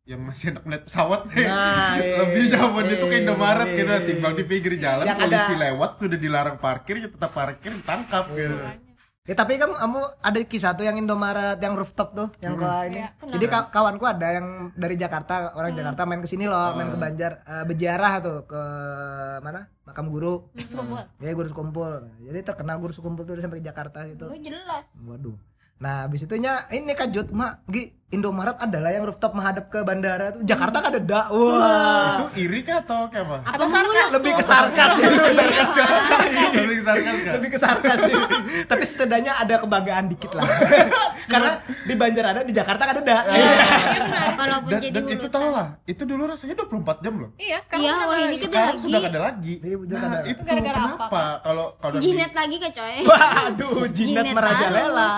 Speaker 3: yang masih anak melihat pesawat nih.
Speaker 2: Nah, eh,
Speaker 3: lebih nyaman
Speaker 2: eh,
Speaker 3: itu ke Indomaret
Speaker 2: eh,
Speaker 3: gitu timbang di pinggir jalan
Speaker 2: Yang
Speaker 3: polisi
Speaker 2: ada-
Speaker 3: lewat sudah dilarang parkir ya tetap parkir ditangkap gitu
Speaker 1: Makanya.
Speaker 2: Ya tapi kamu kamu ada kisah tuh yang Indomaret yang rooftop tuh yang
Speaker 3: Hmm.
Speaker 2: ke ini.
Speaker 1: Iya, Hmm.
Speaker 4: kenapa?
Speaker 2: Jadi ka- kawanku ada yang dari Jakarta, orang Jakarta main ke sini loh, main ke
Speaker 3: Ah.
Speaker 2: Banjar eh, berziarah tuh ke mana? Makam guru.
Speaker 1: Semua.
Speaker 2: Ya guru Sukumpul. Jadi terkenal guru Sukumpul tuh sampai di Jakarta
Speaker 1: Oh,
Speaker 2: gitu.
Speaker 4: Lu jelas.
Speaker 2: Waduh. Nah, habis itunya ini kajut, Mak. Gi, Indomaret adalah yang rooftop menghadap ke bandara tuh. Jakarta kan ada. Wah.
Speaker 3: itu iri kah atau kayak apa
Speaker 4: Apa
Speaker 1: Atau sarkas?
Speaker 4: mulus
Speaker 2: Lebih
Speaker 4: tuh? Iya, kan?
Speaker 2: ke sarkas ya.
Speaker 3: sarkas kah lebih sarkas kah
Speaker 2: Lebih ke sarkas sih. Tapi setidaknya ada kebanggaan dikit lah. Karena di Banjar ada, di Jakarta kan ada.
Speaker 4: Walaupun
Speaker 3: dan,
Speaker 4: jadi
Speaker 3: dan itu
Speaker 4: mulutan.
Speaker 3: tau lah itu dulu rasanya 24 jam loh
Speaker 1: iya sekarang
Speaker 4: Iya,
Speaker 1: udah
Speaker 4: wah,
Speaker 1: nggak
Speaker 4: ini
Speaker 1: lagi.
Speaker 4: Ada
Speaker 3: sekarang
Speaker 4: lagi.
Speaker 3: sudah nggak ada lagi
Speaker 2: Iya, udah nggak
Speaker 3: nah
Speaker 2: ada.
Speaker 3: itu
Speaker 1: Gara-gara apa,
Speaker 3: kenapa
Speaker 1: Kak?
Speaker 3: kalau kalau di-
Speaker 4: Jinet lagi ke coy.
Speaker 2: Waduh, jinet
Speaker 4: Jinet
Speaker 2: merajalela.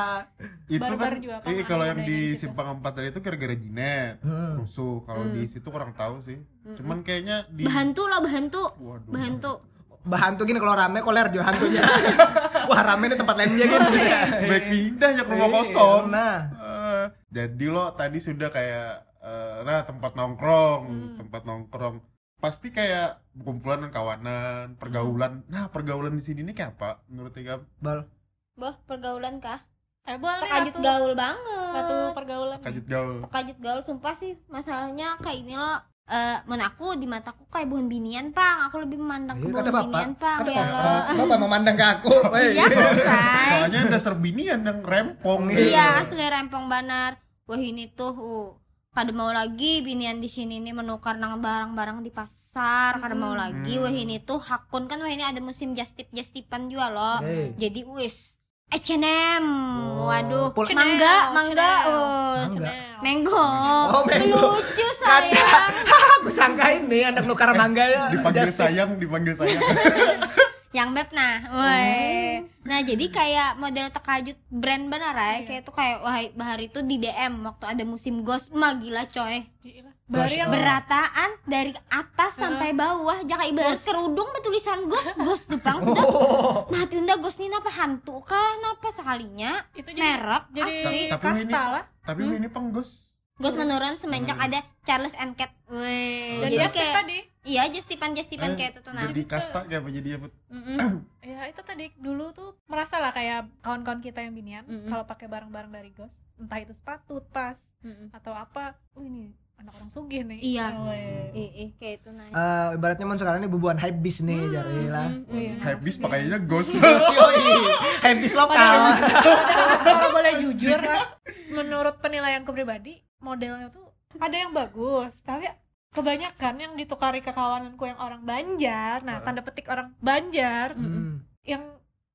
Speaker 3: itu kan
Speaker 1: Barbar juga apa
Speaker 3: eh,
Speaker 1: anak
Speaker 3: kalau yang
Speaker 1: mudanya di
Speaker 3: di
Speaker 1: situ.
Speaker 3: simpang empat tadi itu gara-gara jinet
Speaker 2: Hmm.
Speaker 3: rusuh kalau
Speaker 4: Hmm.
Speaker 3: di situ kurang tahu sih
Speaker 1: Hmm.
Speaker 3: cuman kayaknya di
Speaker 4: Bahantu loh, bahantu.
Speaker 3: Waduh.
Speaker 4: Bahantu.
Speaker 2: Bahan tuh gini kalau rame koler juga hantunya. Wah, rame nih tempat lainnya gitu. Iya,
Speaker 3: baik pindah ya ke rumah kosong
Speaker 2: Nah,
Speaker 3: Eh, jadi lo tadi sudah kayak eh, nah tempat nongkrong,
Speaker 1: Hmm.
Speaker 3: tempat nongkrong pasti kayak kumpulan dan kawanan,
Speaker 1: Hmm.
Speaker 3: pergaulan. Nah, pergaulan di sini ini kayak apa menurut Ika?
Speaker 2: Bal.
Speaker 4: Boh, pergaulan kah?
Speaker 1: Eh, boleh
Speaker 4: Terkajut
Speaker 1: ratu-
Speaker 4: gaul banget.
Speaker 1: ratu pergaulan
Speaker 3: Kajut gaul.
Speaker 4: Terkajut gaul sumpah sih. Masalahnya kayak ini loh. Eh, men aku di mataku kayak bukan binian, Pang. Aku lebih memandang ke
Speaker 2: Iya,
Speaker 4: bukan
Speaker 2: kada bapak.
Speaker 4: binian, Pang.
Speaker 2: Kada
Speaker 4: Ya
Speaker 2: bapak. Oh,
Speaker 4: Allah.
Speaker 2: Eh, Bapak memandang ke aku. Woi.
Speaker 4: Iya, selesai.
Speaker 3: Soalnya ada serbinian yang rempong. gitu.
Speaker 4: Iya, asli rempong banar. Wah ini tuh, uh, kada mau lagi binian di sini nih menukar nang barang-barang di pasar, kada mau lagi.
Speaker 3: Hmm.
Speaker 4: Wah ini tuh hakun kan, wah ini ada musim jastip jastipan juga loh.
Speaker 2: Hey.
Speaker 4: Jadi wis H&M,
Speaker 2: Oh.
Speaker 4: waduh,
Speaker 2: Pul-
Speaker 1: Chanel,
Speaker 4: mangga, mangga,
Speaker 1: Chanel.
Speaker 2: Mangga.
Speaker 4: us.
Speaker 1: Chanel.
Speaker 4: Menggo,
Speaker 2: Oh, menggo.
Speaker 4: lucu sayang.
Speaker 2: Aku sangkain nih anak nukar mangga ya.
Speaker 3: Dipanggil
Speaker 2: Justin.
Speaker 3: sayang, dipanggil sayang.
Speaker 4: yang map nah, woi.
Speaker 2: Hmm.
Speaker 4: Nah jadi kayak model terkajut brand benar ya,
Speaker 1: Iya.
Speaker 4: kayak tuh kayak wah bahar itu di DM waktu ada musim ghost, mah gila coy.
Speaker 1: Gila. Bari yang
Speaker 2: Ber-
Speaker 4: berataan dari atas
Speaker 1: Heeh.
Speaker 4: sampai bawah jaka ibarat
Speaker 1: Gos.
Speaker 4: kerudung bertulisan gos gos Jepang sudah
Speaker 2: Oh.
Speaker 4: mati unda gos ini apa hantu kah napa sekalinya
Speaker 1: itu jadi
Speaker 4: merek
Speaker 1: jadi
Speaker 4: asli
Speaker 3: Tapi ini-
Speaker 1: kasta lah
Speaker 3: Tapi
Speaker 4: Hmm?
Speaker 3: ini penggus.
Speaker 4: gos menurun semenjak
Speaker 3: Hmm.
Speaker 4: ada Charles and Cat Weh,
Speaker 1: dan
Speaker 4: jadi
Speaker 1: dia
Speaker 4: kayak
Speaker 1: tadi
Speaker 4: iya justipan justipan
Speaker 3: Eh,
Speaker 4: kayak itu tuh nah
Speaker 3: Jadi kasta kayak apa jadi apa?
Speaker 4: Mm-mm.
Speaker 1: ya itu tadi dulu tuh merasa lah kayak kawan-kawan kita yang binian
Speaker 4: Mm-mm.
Speaker 1: kalau pakai barang-barang dari gos entah itu sepatu tas
Speaker 4: Mm-mm.
Speaker 1: atau apa oh ini anak orang sugih nih
Speaker 4: Iya.
Speaker 1: Weh.
Speaker 4: Ih, ih, kayak itu nah
Speaker 2: Eh, ibaratnya mon sekarang ini bubuan hype bis nih jari lah.
Speaker 4: Mm-mm, mm-mm.
Speaker 1: Iya.
Speaker 3: Habis pakainya ghost.
Speaker 2: Hmm. Hype bis lokal.
Speaker 1: kalau boleh jujur Ra, menurut penilaianku pribadi modelnya tuh ada yang bagus tapi kebanyakan yang ditukari ke kawananku yang orang Banjar nah
Speaker 3: Heeh.
Speaker 1: tanda petik orang Banjar
Speaker 2: Hmm.
Speaker 1: yang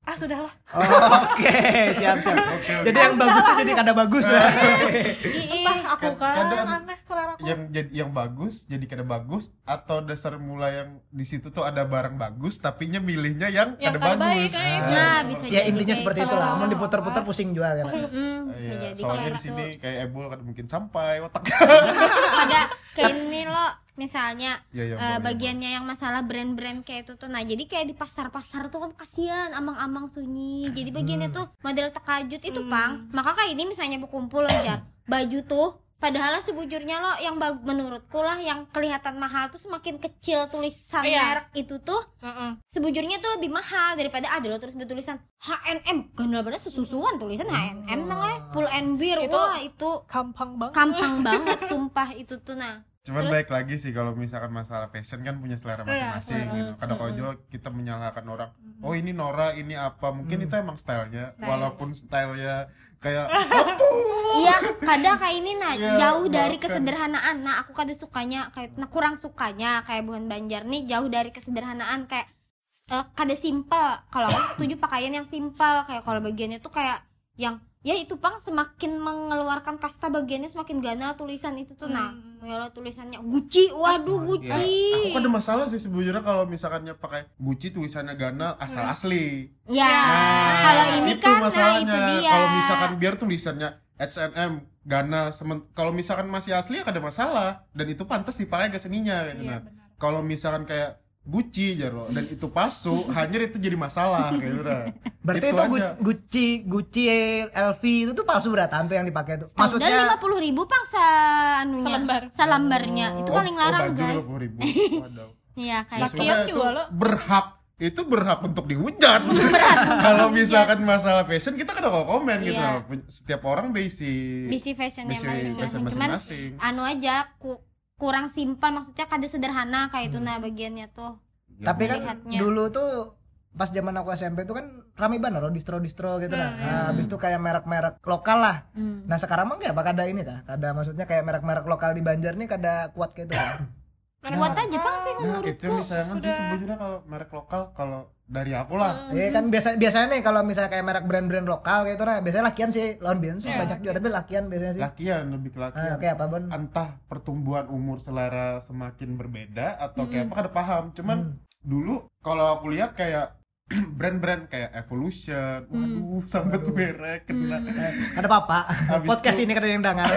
Speaker 1: ah sudahlah
Speaker 2: Oke, siap siap.
Speaker 3: Oke, oke.
Speaker 2: Jadi yang bagus tuh jadi kada bagus ya.
Speaker 4: Ih, ih.
Speaker 1: entah aku kan
Speaker 3: Kadang-
Speaker 1: aneh seleraku
Speaker 3: yang jadi yang bagus jadi kada bagus atau dasar mula yang di situ tuh ada barang bagus tapinya milihnya yang,
Speaker 1: Yang
Speaker 3: kada
Speaker 1: kada baik,
Speaker 3: bagus.
Speaker 1: kayak
Speaker 3: Nah,
Speaker 4: gitu. Nah, bisa
Speaker 2: Ya
Speaker 4: jadi
Speaker 2: intinya
Speaker 4: kayak
Speaker 2: seperti itulah.
Speaker 1: salah.
Speaker 2: Mau diputer-puter pusing juga kan.
Speaker 4: Mm-mm, bisa
Speaker 3: Iya,
Speaker 4: jadi
Speaker 3: soalnya
Speaker 4: kayak
Speaker 3: di sini
Speaker 4: tuh.
Speaker 3: kayak ebol kada mungkin sampai otak. Iya,
Speaker 4: pada kayak ini loh misalnya
Speaker 3: ya, ya,
Speaker 4: Eh,
Speaker 3: Mbak, ya,
Speaker 4: bagiannya yang masalah brand-brand kayak itu tuh nah jadi kayak di pasar-pasar tuh kan kasihan amang-amang sunyi jadi bagiannya
Speaker 2: Hmm.
Speaker 4: tuh model terkajut itu
Speaker 1: Hmm.
Speaker 4: pang maka kayak ini misalnya berkumpul loh jar baju tuh padahal lah sebujurnya lo yang bag- menurutku lah yang kelihatan mahal tuh semakin kecil tulisan
Speaker 1: Iya.
Speaker 4: merek itu tuh
Speaker 1: Heeh.
Speaker 4: sebujurnya tuh lebih mahal daripada ada lo terus bertulisan H&M kan bener sesusuan tulisan H&M nang eh. full and beer
Speaker 1: Itu-
Speaker 4: wah itu
Speaker 1: gampang banget
Speaker 4: kampang banget sumpah itu tuh nah
Speaker 3: Mbak. Cuman
Speaker 4: terus-
Speaker 3: baik lagi sih kalau misalkan masalah fashion kan punya selera
Speaker 1: Iya,
Speaker 3: masing-masing
Speaker 1: selera.
Speaker 3: gitu. Kadang
Speaker 4: Mm-mm.
Speaker 3: juga kita menyalahkan orang, "Oh, ini Nora, ini apa?" Mungkin
Speaker 2: Hmm.
Speaker 3: itu emang stylenya
Speaker 4: Mm. Style.
Speaker 3: walaupun stylenya kayak
Speaker 4: Iya, kadang kayak ini nah
Speaker 3: Iya,
Speaker 4: jauh dari
Speaker 3: maafkan.
Speaker 4: kesederhanaan. Nah, aku kadang sukanya kayak nah kurang sukanya kayak bukan Banjar nih jauh dari kesederhanaan kayak eh, kada simpel. Kalau aku setuju pakaian yang simpel kayak kalau bagiannya tuh kayak yang ya itu pang semakin mengeluarkan kasta bagiannya semakin ganal tulisan itu tuh nah
Speaker 1: Hmm.
Speaker 4: ya lo tulisannya Gucci
Speaker 3: Ya,
Speaker 4: waduh Gucci
Speaker 3: aku ada masalah sih sebenarnya kalau misalkannya pakai Gucci tulisannya ganal asal asli.
Speaker 4: ya
Speaker 1: Nah,
Speaker 4: Mm. kalau ini
Speaker 3: itu
Speaker 4: kan nah
Speaker 3: masalahnya.
Speaker 4: itu dia
Speaker 3: Kalau misalkan biar tulisannya H&M ganal, semen- kalau misalkan masih asli ya ada masalah dan itu pantas dipakai ke seninya gitu.
Speaker 1: Iya,
Speaker 3: Nah,
Speaker 1: benar.
Speaker 3: kalau misalkan kayak Gucci jaro dan itu palsu, hanya itu jadi masalah gitu. Nah.
Speaker 2: Berarti
Speaker 3: Itu
Speaker 2: itu,
Speaker 3: aja.
Speaker 2: Gu- Gucci, Gucci, LV itu tuh palsu beratan tuh yang dipakai tuh.
Speaker 4: dan
Speaker 2: Maksudnya
Speaker 4: lima puluh ribu pang sanunya
Speaker 1: Selembar.
Speaker 4: salambarnya itu
Speaker 3: Oh,
Speaker 4: paling larang
Speaker 3: oh, baju
Speaker 4: guys
Speaker 3: 20.000. Waduh.
Speaker 4: iya
Speaker 3: Ya,
Speaker 4: kayak
Speaker 1: Laki-
Speaker 3: sebenarnya
Speaker 1: Lakian
Speaker 3: itu
Speaker 1: juga lo.
Speaker 3: berhak itu berhak untuk dihujat.
Speaker 4: Iya.
Speaker 3: Kalau misalkan masalah fashion kita kan kalau komen gitu.
Speaker 4: Iya.
Speaker 3: Setiap orang basic
Speaker 4: busy fashionnya
Speaker 3: basic fashion
Speaker 4: masing-masing cuman
Speaker 3: masing-masing.
Speaker 4: anu aja ku- kurang simpel maksudnya kada sederhana kayak itu
Speaker 3: Hmm.
Speaker 4: nah bagiannya tuh
Speaker 2: tapi kan
Speaker 4: Melihatnya.
Speaker 2: dulu tuh pas zaman aku SMP tuh kan rame banget loh distro-distro gitu
Speaker 1: Nah,
Speaker 2: nah.
Speaker 1: iya.
Speaker 2: Nah, habis itu kayak merek-merek lokal lah.
Speaker 4: Hmm.
Speaker 2: Nah, sekarang mah kayak apa kada ini kah? Kada maksudnya kayak merek-merek lokal di Banjar nih kada kuat kayak itu kah?
Speaker 1: Karena
Speaker 4: buat
Speaker 1: kan-
Speaker 4: aja pang sih
Speaker 3: Nah,
Speaker 4: menurutku
Speaker 3: itu yang disayangkan sih
Speaker 1: sudah-
Speaker 3: sebenarnya kalau merek lokal kalau dari aku lah.
Speaker 2: Iya kan biasa biasanya nih kalau misalnya kayak merek brand-brand lokal kayak itu nah, biasanya lakian sih, lawan bion sih
Speaker 1: Iya,
Speaker 2: banyak juga tapi lakian
Speaker 4: Iya.
Speaker 2: biasanya sih.
Speaker 3: Lakian lebih ke
Speaker 2: Ah,
Speaker 3: lakian.
Speaker 2: Oke apa Bon?
Speaker 3: Entah pertumbuhan umur selera semakin berbeda atau kayak
Speaker 4: Mm.
Speaker 3: apa kada paham. Cuman
Speaker 2: Hmm.
Speaker 3: dulu kalau aku lihat kayak brand-brand kayak Evolution, waduh sampai tuh
Speaker 2: Hmm. Waduh.
Speaker 4: Hmm.
Speaker 3: merek kena.
Speaker 2: Eh, Kada apa-apa.
Speaker 3: Habis
Speaker 2: Podcast
Speaker 3: itu-
Speaker 2: ini kada yang dengar.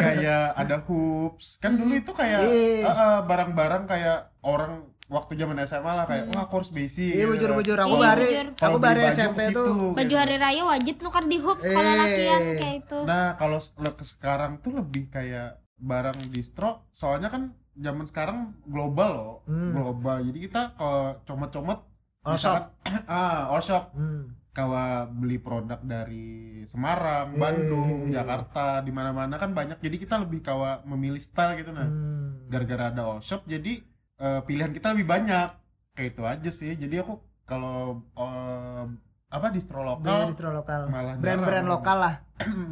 Speaker 3: kayak ada hoops kan dulu itu kayak
Speaker 2: Iya.
Speaker 3: ah, ah, barang-barang kayak orang waktu zaman SMA lah kayak wah aku harus basic
Speaker 2: Iya
Speaker 3: gitu
Speaker 2: bujur-bujur
Speaker 3: kan.
Speaker 2: aku
Speaker 4: Iya,
Speaker 2: bari
Speaker 4: bujur.
Speaker 3: Kalau
Speaker 2: aku
Speaker 3: beli
Speaker 2: bari
Speaker 3: baju
Speaker 2: SMP
Speaker 3: ke situ,
Speaker 2: tuh
Speaker 4: baju
Speaker 3: gitu.
Speaker 4: hari raya wajib nukar di hoops kalau
Speaker 2: Eh.
Speaker 4: lakian kayak itu
Speaker 3: nah kalau s- le- ke sekarang tuh lebih kayak barang distro soalnya kan zaman sekarang global loh
Speaker 2: Hmm.
Speaker 3: global jadi kita kalau comot-comot
Speaker 2: All
Speaker 3: misalkan- ah all shop
Speaker 2: Hmm.
Speaker 3: kawa beli produk dari Semarang,
Speaker 2: Iya.
Speaker 3: Bandung, Jakarta, di mana-mana kan banyak. Jadi kita lebih kawa memilih style gitu nah.
Speaker 2: Hmm.
Speaker 3: gara-gara ada all shop jadi eh, pilihan kita lebih banyak kayak itu aja sih jadi aku kalau eh, apa distro
Speaker 2: Beli
Speaker 3: lokal
Speaker 2: Iya, distro lokal.
Speaker 3: malah
Speaker 2: Brand-brand
Speaker 3: jarang. Hmm.
Speaker 2: lokal lah.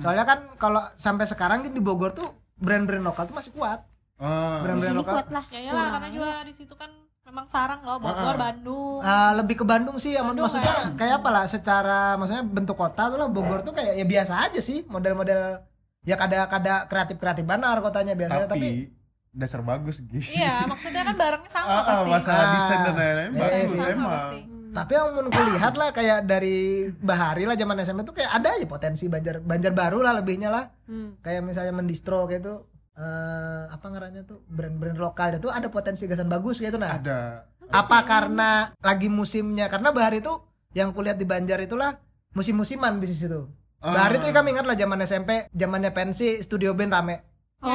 Speaker 2: Soalnya kan kalau sampai sekarang di Bogor tuh brand-brand lokal tuh masih kuat.
Speaker 3: Ah,
Speaker 4: di
Speaker 2: brand-brand
Speaker 4: sini
Speaker 2: lokal.
Speaker 4: kuat lah
Speaker 1: Ya iyalah,
Speaker 4: Kurang.
Speaker 1: karena juga di situ kan memang sarang loh, Bogor,
Speaker 3: Ah, ah.
Speaker 1: Bandung.
Speaker 2: Ah, lebih ke Bandung sih, amun
Speaker 1: Bandung,
Speaker 2: maksudnya
Speaker 1: Bandung.
Speaker 2: kayak apa lah? Secara maksudnya bentuk kota tuh lah Bogor tuh kayak ya biasa aja sih model-model ya kada kada kreatif kreatif banar kotanya biasanya tapi,
Speaker 3: tapi dasar bagus gitu
Speaker 1: Iya, maksudnya kan barangnya sama
Speaker 3: Ah, ah,
Speaker 1: pasti.
Speaker 3: masalah
Speaker 2: Ah,
Speaker 3: desain dan lain-lain
Speaker 2: iya,
Speaker 3: bagus
Speaker 2: iya.
Speaker 1: Sama
Speaker 3: emang
Speaker 1: pasti.
Speaker 2: tapi yang kulihat lah kayak dari Bahari lah zaman SMA tuh kayak ada aja potensi Banjar Banjar baru lah lebihnya lah
Speaker 4: Hmm.
Speaker 2: kayak misalnya mendistro kayak itu eh apa ngaranya tuh brand-brand lokal itu ada potensi gasan bagus kayak itu nah
Speaker 3: ada
Speaker 2: apa karena lagi musimnya karena bahari itu yang kulihat di Banjar itulah musim-musiman bisnis itu
Speaker 3: Ah,
Speaker 2: bahari itu kami ingat lah zaman SMP zamannya pensi studio band rame
Speaker 3: Ya.
Speaker 4: oh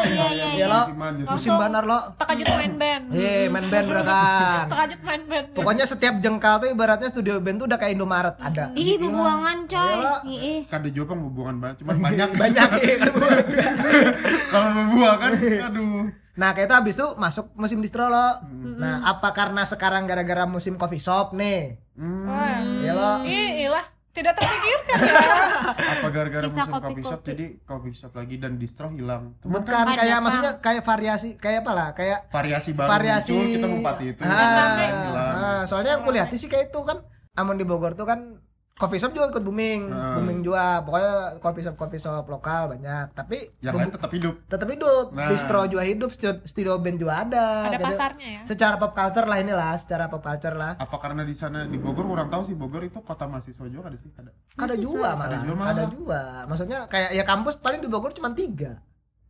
Speaker 3: Ah,
Speaker 4: iya iya
Speaker 2: iya,
Speaker 4: iya
Speaker 2: lah.
Speaker 3: musiman gitu.
Speaker 1: Langsung.
Speaker 2: musim banar lo
Speaker 1: Tekajut main band.
Speaker 2: eh main band beratan
Speaker 1: Tekajut main band.
Speaker 2: pokoknya setiap jengkal tuh ibaratnya studio band tuh udah kayak Indomaret ada
Speaker 3: Ya
Speaker 4: iya. ih bebuangan coy
Speaker 2: Iya.
Speaker 4: ih ih.
Speaker 3: kada jopang hubungan banget cuman banyak
Speaker 2: banyak eh.
Speaker 3: kalau membuang kan aduh
Speaker 2: nah kayak itu habis tuh masuk musim distro lo
Speaker 3: Hmm.
Speaker 2: nah apa karena sekarang gara-gara musim coffee shop nih
Speaker 3: Hmm,
Speaker 4: Oh,
Speaker 1: Wah.
Speaker 2: ya
Speaker 4: iya.
Speaker 2: lo
Speaker 4: Mm.
Speaker 1: Ih, ilah, tidak terpikirkan ya.
Speaker 3: apa gara-gara
Speaker 4: Kisah
Speaker 3: musim coffee shop
Speaker 4: kopi-kopi.
Speaker 3: jadi coffee shop lagi dan distro hilang cuman
Speaker 2: bukan
Speaker 3: kan
Speaker 4: Ada,
Speaker 2: kayak
Speaker 4: Bang.
Speaker 2: maksudnya kayak variasi kayak apa lah kayak
Speaker 3: variasi baru
Speaker 2: variasi
Speaker 3: muncul kita ngumpati itu
Speaker 2: Ah,
Speaker 3: Lain-lain hilang.
Speaker 2: ah, soalnya yang kulihat sih kayak itu kan amun di Bogor tuh kan coffee shop juga ikut booming
Speaker 3: Ah.
Speaker 2: booming juga pokoknya coffee shop coffee shop lokal banyak tapi
Speaker 3: yang lain
Speaker 2: boom-
Speaker 3: tetap hidup
Speaker 2: tetap hidup
Speaker 3: Nah.
Speaker 2: distro juga hidup studio, studio band juga ada
Speaker 1: Ada
Speaker 2: Ah, Jadi,
Speaker 1: pasarnya ya.
Speaker 2: secara pop culture lah inilah secara pop culture lah
Speaker 3: apa karena di sana di Bogor kurang tahu sih Bogor itu kota mahasiswa juga ada sih ada
Speaker 2: ada juga malah
Speaker 3: juga malah.
Speaker 2: ada juga maksudnya kayak ya kampus paling di Bogor cuma tiga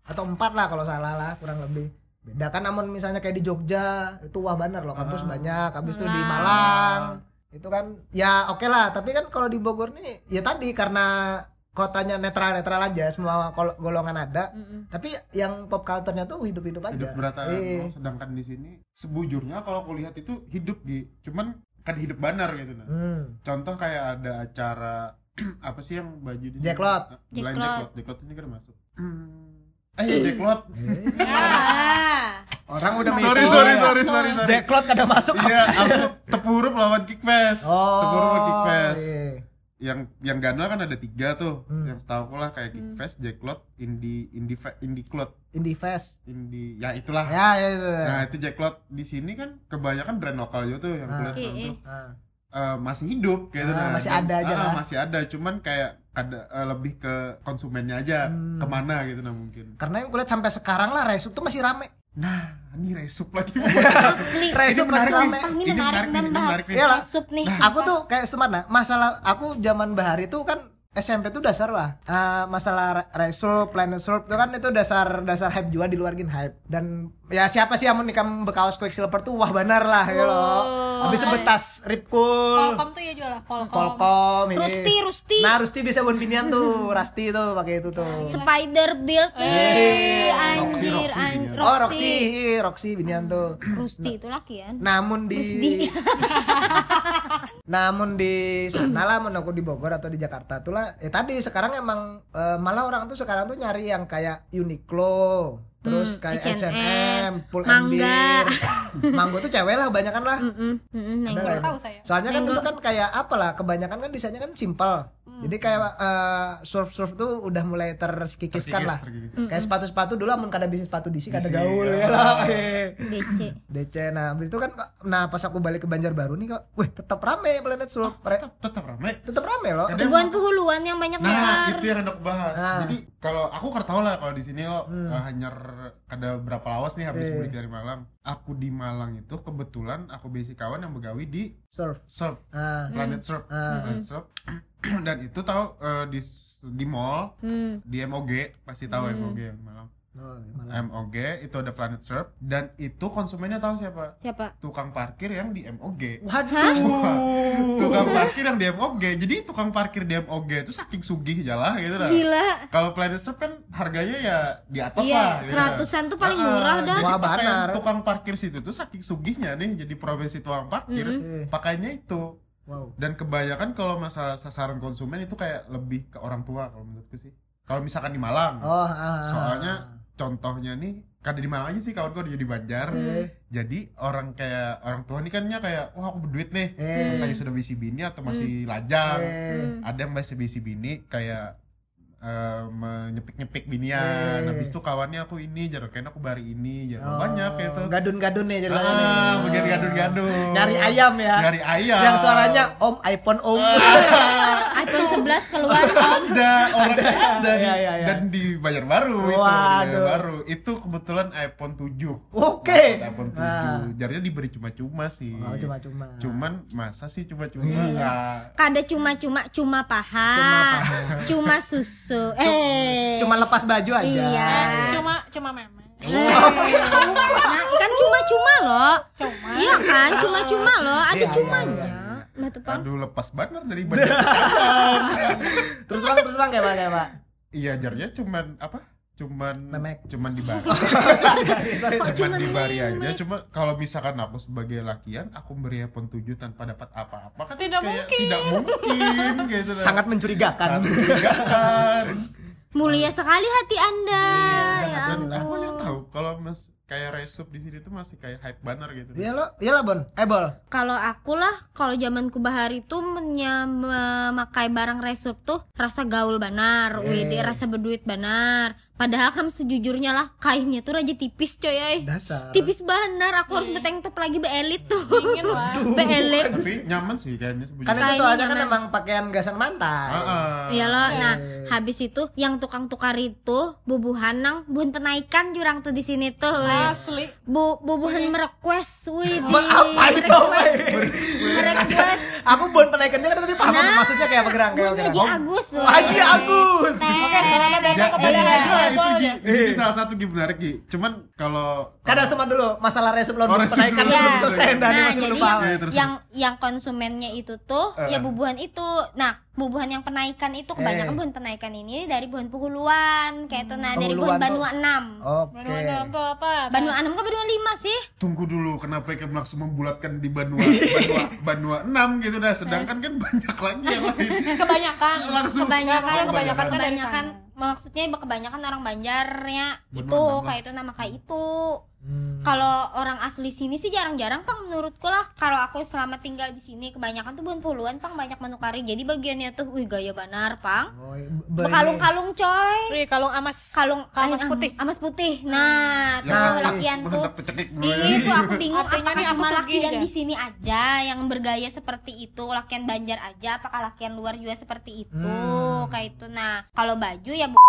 Speaker 2: atau empat lah kalau salah lah kurang lebih beda kan namun misalnya kayak di Jogja itu wah bener loh kampus
Speaker 3: Ah.
Speaker 2: banyak habis itu di
Speaker 4: Malang.
Speaker 2: Malang itu kan ya oke lah tapi kan kalau di Bogor nih ya tadi karena kotanya netral netral aja semua kol- golongan ada
Speaker 4: Mm-mm.
Speaker 2: tapi yang pop culture-nya tuh hidup hidup aja
Speaker 3: hidup beratan
Speaker 2: Iya.
Speaker 3: Oh, sedangkan di sini sebujurnya kalau aku lihat itu hidup di cuman kan hidup banar gitu nah
Speaker 2: hmm.
Speaker 3: contoh kayak ada acara apa sih yang baju di
Speaker 2: Jacklot.
Speaker 3: Jack
Speaker 4: Jacklot.
Speaker 3: Jacklot Jacklot ini kan masuk hmm. eh iya, Jacklot
Speaker 2: Eh,
Speaker 4: Ah.
Speaker 2: orang udah ya.
Speaker 3: sorry
Speaker 2: mikir.
Speaker 3: sorry sorry sorry sorry
Speaker 2: Jacklot Iya. kada masuk
Speaker 3: iya aku tepurup lawan kickfest tepurup lawan kickfest
Speaker 2: Oh, iya.
Speaker 3: yang yang ganal kan ada tiga tuh
Speaker 2: Hmm.
Speaker 3: yang setahu aku lah kayak
Speaker 4: Hmm.
Speaker 3: Kickfest, Jacklot, Indie Indie Fe- Indie Clot,
Speaker 2: Indie Fest.
Speaker 3: Indie ya itulah.
Speaker 2: Ya, ya, ya.
Speaker 3: Nah itu Jacklot di sini kan kebanyakan brand lokal juga tuh yang
Speaker 2: Ah.
Speaker 3: kulihat
Speaker 4: Iya,
Speaker 3: sama
Speaker 4: iya.
Speaker 3: tuh.
Speaker 2: Ah.
Speaker 3: eh, masih hidup gitu
Speaker 2: Ah,
Speaker 3: nah.
Speaker 2: masih
Speaker 3: Dan-
Speaker 2: ada aja
Speaker 3: ah,
Speaker 2: lah.
Speaker 3: masih ada cuman kayak ada eh, lebih ke konsumennya aja
Speaker 2: Hmm.
Speaker 3: kemana gitu nah mungkin
Speaker 2: Karena yang kulihat sampai sekarang lah Resup tuh masih rame.
Speaker 3: nah ini resup lagi Buat-
Speaker 4: Asli.
Speaker 2: Resup
Speaker 3: nah, Ini
Speaker 2: masih
Speaker 3: menarik
Speaker 2: rame.
Speaker 3: nih.
Speaker 4: Ah, ini
Speaker 3: Ini
Speaker 4: menarik
Speaker 3: menarik
Speaker 4: dan
Speaker 3: nih, ini
Speaker 4: bahas
Speaker 3: menarik nih. Ya,
Speaker 2: Iyalah.
Speaker 4: masuk nih.
Speaker 2: Aku tuh kayak setemana masalah aku zaman bahari tuh kan SMP tuh dasar lah Ah, masalah re- resup, planet surp tuh kan itu dasar dasar hype juga di luar gin hype dan ya siapa sih yang mau nikam bekaos Quicksilver tuh wah benar lah gitu loh
Speaker 4: Wow.
Speaker 2: habis sebetas Rip Cool,
Speaker 1: Polkom tuh ya jual lah Polkom.
Speaker 2: Polkom ini
Speaker 4: Rusti, Rusti.
Speaker 2: nah Rusti bisa buat binian tuh Rasti tuh pakai itu tuh
Speaker 4: Spider build
Speaker 2: Eh.
Speaker 4: nih,
Speaker 3: Roxy, Roxy
Speaker 4: anjir, an-
Speaker 3: jadinya.
Speaker 2: oh Roxy iya, Roxy binian tuh
Speaker 4: Rusti itu laki ya.
Speaker 2: namun di
Speaker 4: Rusdi.
Speaker 2: namun di sana lah menurut aku di Bogor atau di Jakarta tuh lah ya tadi sekarang emang eh, malah orang tuh sekarang tuh nyari yang kayak Uniqlo terus
Speaker 4: Hmm,
Speaker 2: kayak
Speaker 4: H&M,
Speaker 2: H&M, Pull and
Speaker 4: Mangga.
Speaker 2: Bear. Manggo tuh cewek lah kebanyakan lah
Speaker 4: Mm-mm, mm-mm,
Speaker 2: Ada
Speaker 4: nengok.
Speaker 2: lah ya?
Speaker 1: Tahu saya.
Speaker 2: soalnya kan
Speaker 4: Mangga.
Speaker 2: itu kan kayak apa lah kebanyakan kan desainnya kan simpel
Speaker 1: Hmm.
Speaker 2: jadi kayak eh, surf-surf tuh udah mulai terkikiskan lah
Speaker 3: Terkikis.
Speaker 2: kayak sepatu-sepatu dulu amun kada bisnis sepatu DC kada
Speaker 3: Bisi,
Speaker 2: gaul
Speaker 3: ya.
Speaker 2: ya lah eh.
Speaker 4: DC.
Speaker 2: DC nah habis itu kan nah pas aku balik ke Banjarbaru nih kok wih tetap rame Planet Surf Re- Oh,
Speaker 3: tetap tetap ramai
Speaker 2: tetap rame loh
Speaker 3: Kadang-
Speaker 4: Ribuan penghuluan yang banyak
Speaker 3: Nah,
Speaker 4: melar.
Speaker 3: itu yang hendak bahas.
Speaker 2: Iya. Nah.
Speaker 3: Jadi kalau aku kertau lah kalau di sini lo
Speaker 2: Hmm.
Speaker 3: eh, hanya r- ada berapa lawas nih habis
Speaker 2: Eh.
Speaker 3: mudik dari Malang. Aku di Malang itu kebetulan aku basic kawan yang begawi di
Speaker 2: surf
Speaker 3: surf,
Speaker 2: ah
Speaker 3: planet surf,
Speaker 2: ah
Speaker 3: Planet surf. Dan itu tahu eh, di s- di mall
Speaker 4: Hmm.
Speaker 3: di MOG pasti tahu
Speaker 4: Hmm.
Speaker 3: MOG yang Malang.
Speaker 2: oh, malah.
Speaker 3: MOG itu ada planet surf dan itu konsumennya tahu siapa?
Speaker 4: Siapa?
Speaker 3: Tukang parkir yang di MOG.
Speaker 2: waduh
Speaker 3: Tukang parkir yang di MOG. Jadi tukang parkir di MOG itu saking sugih jalan gitu
Speaker 2: Iya,
Speaker 3: lah.
Speaker 4: Gila.
Speaker 3: Kalau Planet Surf kan harganya ya di atas lah.
Speaker 4: Iya,
Speaker 3: gitu.
Speaker 4: seratusan tuh paling
Speaker 3: Ah,
Speaker 4: murah dah.
Speaker 3: jadi
Speaker 2: Wah,
Speaker 3: pakaian
Speaker 2: banar.
Speaker 3: Tukang parkir situ tuh saking sugihnya nih jadi profesi tukang parkir.
Speaker 4: Mm-mm.
Speaker 2: Eh,
Speaker 3: Pakainya itu
Speaker 2: wow
Speaker 3: dan kebanyakan kalau masalah sasaran konsumen itu kayak lebih ke orang tua kalau menurutku sih. Kalau misalkan di Malang,
Speaker 2: oh ah,
Speaker 3: Soalnya- contohnya nih kada di Malang aja sih kawan gue jadi Banjar.
Speaker 2: eh
Speaker 3: Jadi orang kayak orang tua nih kannya kayak wah aku berduit nih.
Speaker 2: eh
Speaker 3: Entah sudah bisi bini atau
Speaker 2: Mm.
Speaker 3: masih lajang.
Speaker 2: eh.
Speaker 4: Hmm.
Speaker 3: ada yang masih bisi bini kayak eh, menyepik-nyepik binian
Speaker 2: Eh.
Speaker 3: habis itu kawannya aku ini jaraknya aku bari ini jarak
Speaker 2: Oh,
Speaker 3: Gitu, banyak kayak itu
Speaker 2: gadun-gadun nih jadi
Speaker 3: ah bagian gaduh-gaduh
Speaker 2: nyari ayam ya
Speaker 3: nyari ayam
Speaker 2: yang suaranya om iPhone om
Speaker 4: iPhone 11 keluar om.
Speaker 3: ada orang ada, di,
Speaker 2: Iya, iya, iya.
Speaker 3: dan di Banjarbaru itu
Speaker 2: Waduh.
Speaker 3: Banjarbaru itu kebetulan iPhone 7
Speaker 2: oke
Speaker 3: iPhone 7
Speaker 2: Ah.
Speaker 3: jarinya diberi cuma-cuma sih
Speaker 2: Oh, cuma-cuma
Speaker 3: cuman masa sih cuma-cuma
Speaker 2: Iya.
Speaker 3: Nah,
Speaker 4: Kada cuma-cuma cuma paha.
Speaker 2: Cuma
Speaker 4: Cuma,
Speaker 2: apa?
Speaker 4: susu. Eh.
Speaker 2: cuma lepas baju aja
Speaker 4: Iya.
Speaker 1: Cuma cuma meme.
Speaker 4: Eh. Nah, kan cuma-cuma loh.
Speaker 1: Cuma.
Speaker 4: Iya kan, cuma-cuma loh. Ada
Speaker 2: Iya, iya,
Speaker 4: cumanya.
Speaker 2: iya,
Speaker 4: Batu pang.
Speaker 3: aduh lepas banget dari Banjar
Speaker 2: terus bang terus bang kayak mana pak
Speaker 3: Iya jarnya cuman apa? Cuman
Speaker 2: Memek.
Speaker 3: cuman di bari. Iya,
Speaker 2: sorry
Speaker 3: cuman
Speaker 4: Kok cuman
Speaker 3: di bari aja.
Speaker 4: memek?
Speaker 3: Cuma kalau misalkan aku sebagai lakian aku beri iPhone 7 tanpa dapat apa-apa kan
Speaker 1: Tidak
Speaker 3: kayak
Speaker 1: mungkin.
Speaker 3: tidak mungkin gitu lah.
Speaker 2: sangat kan. mencurigakan
Speaker 3: Sangat mencurigakan.
Speaker 4: Mulia sekali hati Anda.
Speaker 2: Iya,
Speaker 4: Ya
Speaker 2: sangat
Speaker 3: Dan
Speaker 2: Aduh.
Speaker 3: aku yang
Speaker 4: ampun.
Speaker 3: tahu kalau Mas kayak resup di sini tuh masih kayak hype banner gitu.
Speaker 2: Iya lo, iya lah Bon. Eh Bol.
Speaker 4: Kalau aku lah, kalau zaman kubahar itu menyam- memakai barang resup tuh rasa gaul banar,
Speaker 2: Yeay.
Speaker 4: wede rasa berduit banar. Padahal kamu sejujurnya lah, kainnya tuh raja tipis coy. ay.
Speaker 2: Dasar.
Speaker 4: Eh, Tipis banar, aku harus
Speaker 1: Yeay.
Speaker 4: beteng top lagi beelit tuh.
Speaker 1: Dingin lah.
Speaker 4: beelit.
Speaker 3: Tapi nyaman sih kayaknya sebujurnya.
Speaker 2: Karena itu
Speaker 4: Kayaknya
Speaker 2: soalnya kan
Speaker 4: nyaman.
Speaker 2: emang pakaian gasan mantai. Eh.
Speaker 3: Ah, ah.
Speaker 4: Iya loh, nah
Speaker 2: Yeay.
Speaker 4: habis itu yang tukang tukar itu bubuhan nang buhan penaikan jurang tuh di sini tuh.
Speaker 1: Ah,
Speaker 4: ya weh.
Speaker 1: Asli.
Speaker 4: Bu, bubuhan merequest, wih di
Speaker 2: apa itu,
Speaker 4: merequest, merequest.
Speaker 2: Aku Bon penaikannya kan tadi paham
Speaker 4: Nah.
Speaker 2: maksudnya kayak apa gerak kayak apa
Speaker 4: Bun
Speaker 2: gerak.
Speaker 4: Haji Agus. weh.
Speaker 2: Haji Agus.
Speaker 4: Nah.
Speaker 1: Oke, silakan
Speaker 4: Teret,
Speaker 1: Anda
Speaker 3: Ja-
Speaker 1: kembali
Speaker 3: jadi-
Speaker 4: iya.
Speaker 1: lagi.
Speaker 3: nah, itu
Speaker 1: Bol,
Speaker 3: di,
Speaker 1: ya?
Speaker 3: di sini salah satu Gi menarik Gi. Cuman kalau
Speaker 2: Kadang cuma Kan dulu masalah resep lo
Speaker 3: Oh,
Speaker 2: Bon
Speaker 3: resep
Speaker 2: penaikan
Speaker 3: dulu.
Speaker 2: belum
Speaker 4: Iya.
Speaker 2: selesai dari
Speaker 4: Nah,
Speaker 2: masih
Speaker 4: jadi
Speaker 2: belum paham.
Speaker 3: Iya, terus-
Speaker 4: yang yang konsumennya itu tuh
Speaker 3: Eh.
Speaker 4: ya bubuhan itu. Nah, bubuhan yang penaikan itu kebanyakan
Speaker 2: Eh.
Speaker 4: bubuhan penaikan ini dari bubuhan Puhuluan kayak itu nah dari bubuhan
Speaker 2: Puhuluan
Speaker 4: Banua 6.
Speaker 2: Oke.
Speaker 1: Manual dalam tuh apa? Nah,
Speaker 4: Banua 6 ke Banua 5 sih?
Speaker 3: tunggu dulu kenapa Ike Melaksu membulatkan di Banua Banua Banua 6 gitu dah sedangkan kan banyak lagi yang lain
Speaker 1: Kebanyakan.
Speaker 3: langsung
Speaker 4: Kan, kebanyakan
Speaker 1: Kebanyakan, kebanyakan kan dari
Speaker 4: kebanyakan
Speaker 1: sana.
Speaker 4: maksudnya kebanyakan orang Banjarnya
Speaker 3: Benuan
Speaker 4: itu
Speaker 3: enam lah.
Speaker 4: kayak itu nama kayak itu
Speaker 2: Hmm.
Speaker 4: Kalau orang asli sini sih jarang-jarang pang menurutku lah. Kalau aku selama tinggal di sini kebanyakan tuh Bengkuluan pang banyak menukari. Jadi bagiannya tuh wih gaya benar pang.
Speaker 2: Oh, i- be-
Speaker 4: Kalung-kalung coy.
Speaker 1: Wih, kalung amas.
Speaker 4: Kalung
Speaker 1: Kalung
Speaker 4: eh, am-
Speaker 1: putih.
Speaker 4: Amas putih. Nah,
Speaker 3: Ya,
Speaker 4: tahu
Speaker 3: kan,
Speaker 4: lakian tuh.
Speaker 3: hendak tercekik dulu ya.
Speaker 4: Iya itu aku bingung
Speaker 1: Artinya nih
Speaker 4: apakah
Speaker 1: aku
Speaker 4: cuma
Speaker 1: sugih
Speaker 4: lakian
Speaker 1: ya?
Speaker 4: di sini aja yang bergaya seperti itu, lakian Banjar aja, apakah lakian luar juga seperti itu,
Speaker 2: Hmm.
Speaker 4: kayak itu. Nah, kalau baju ya bu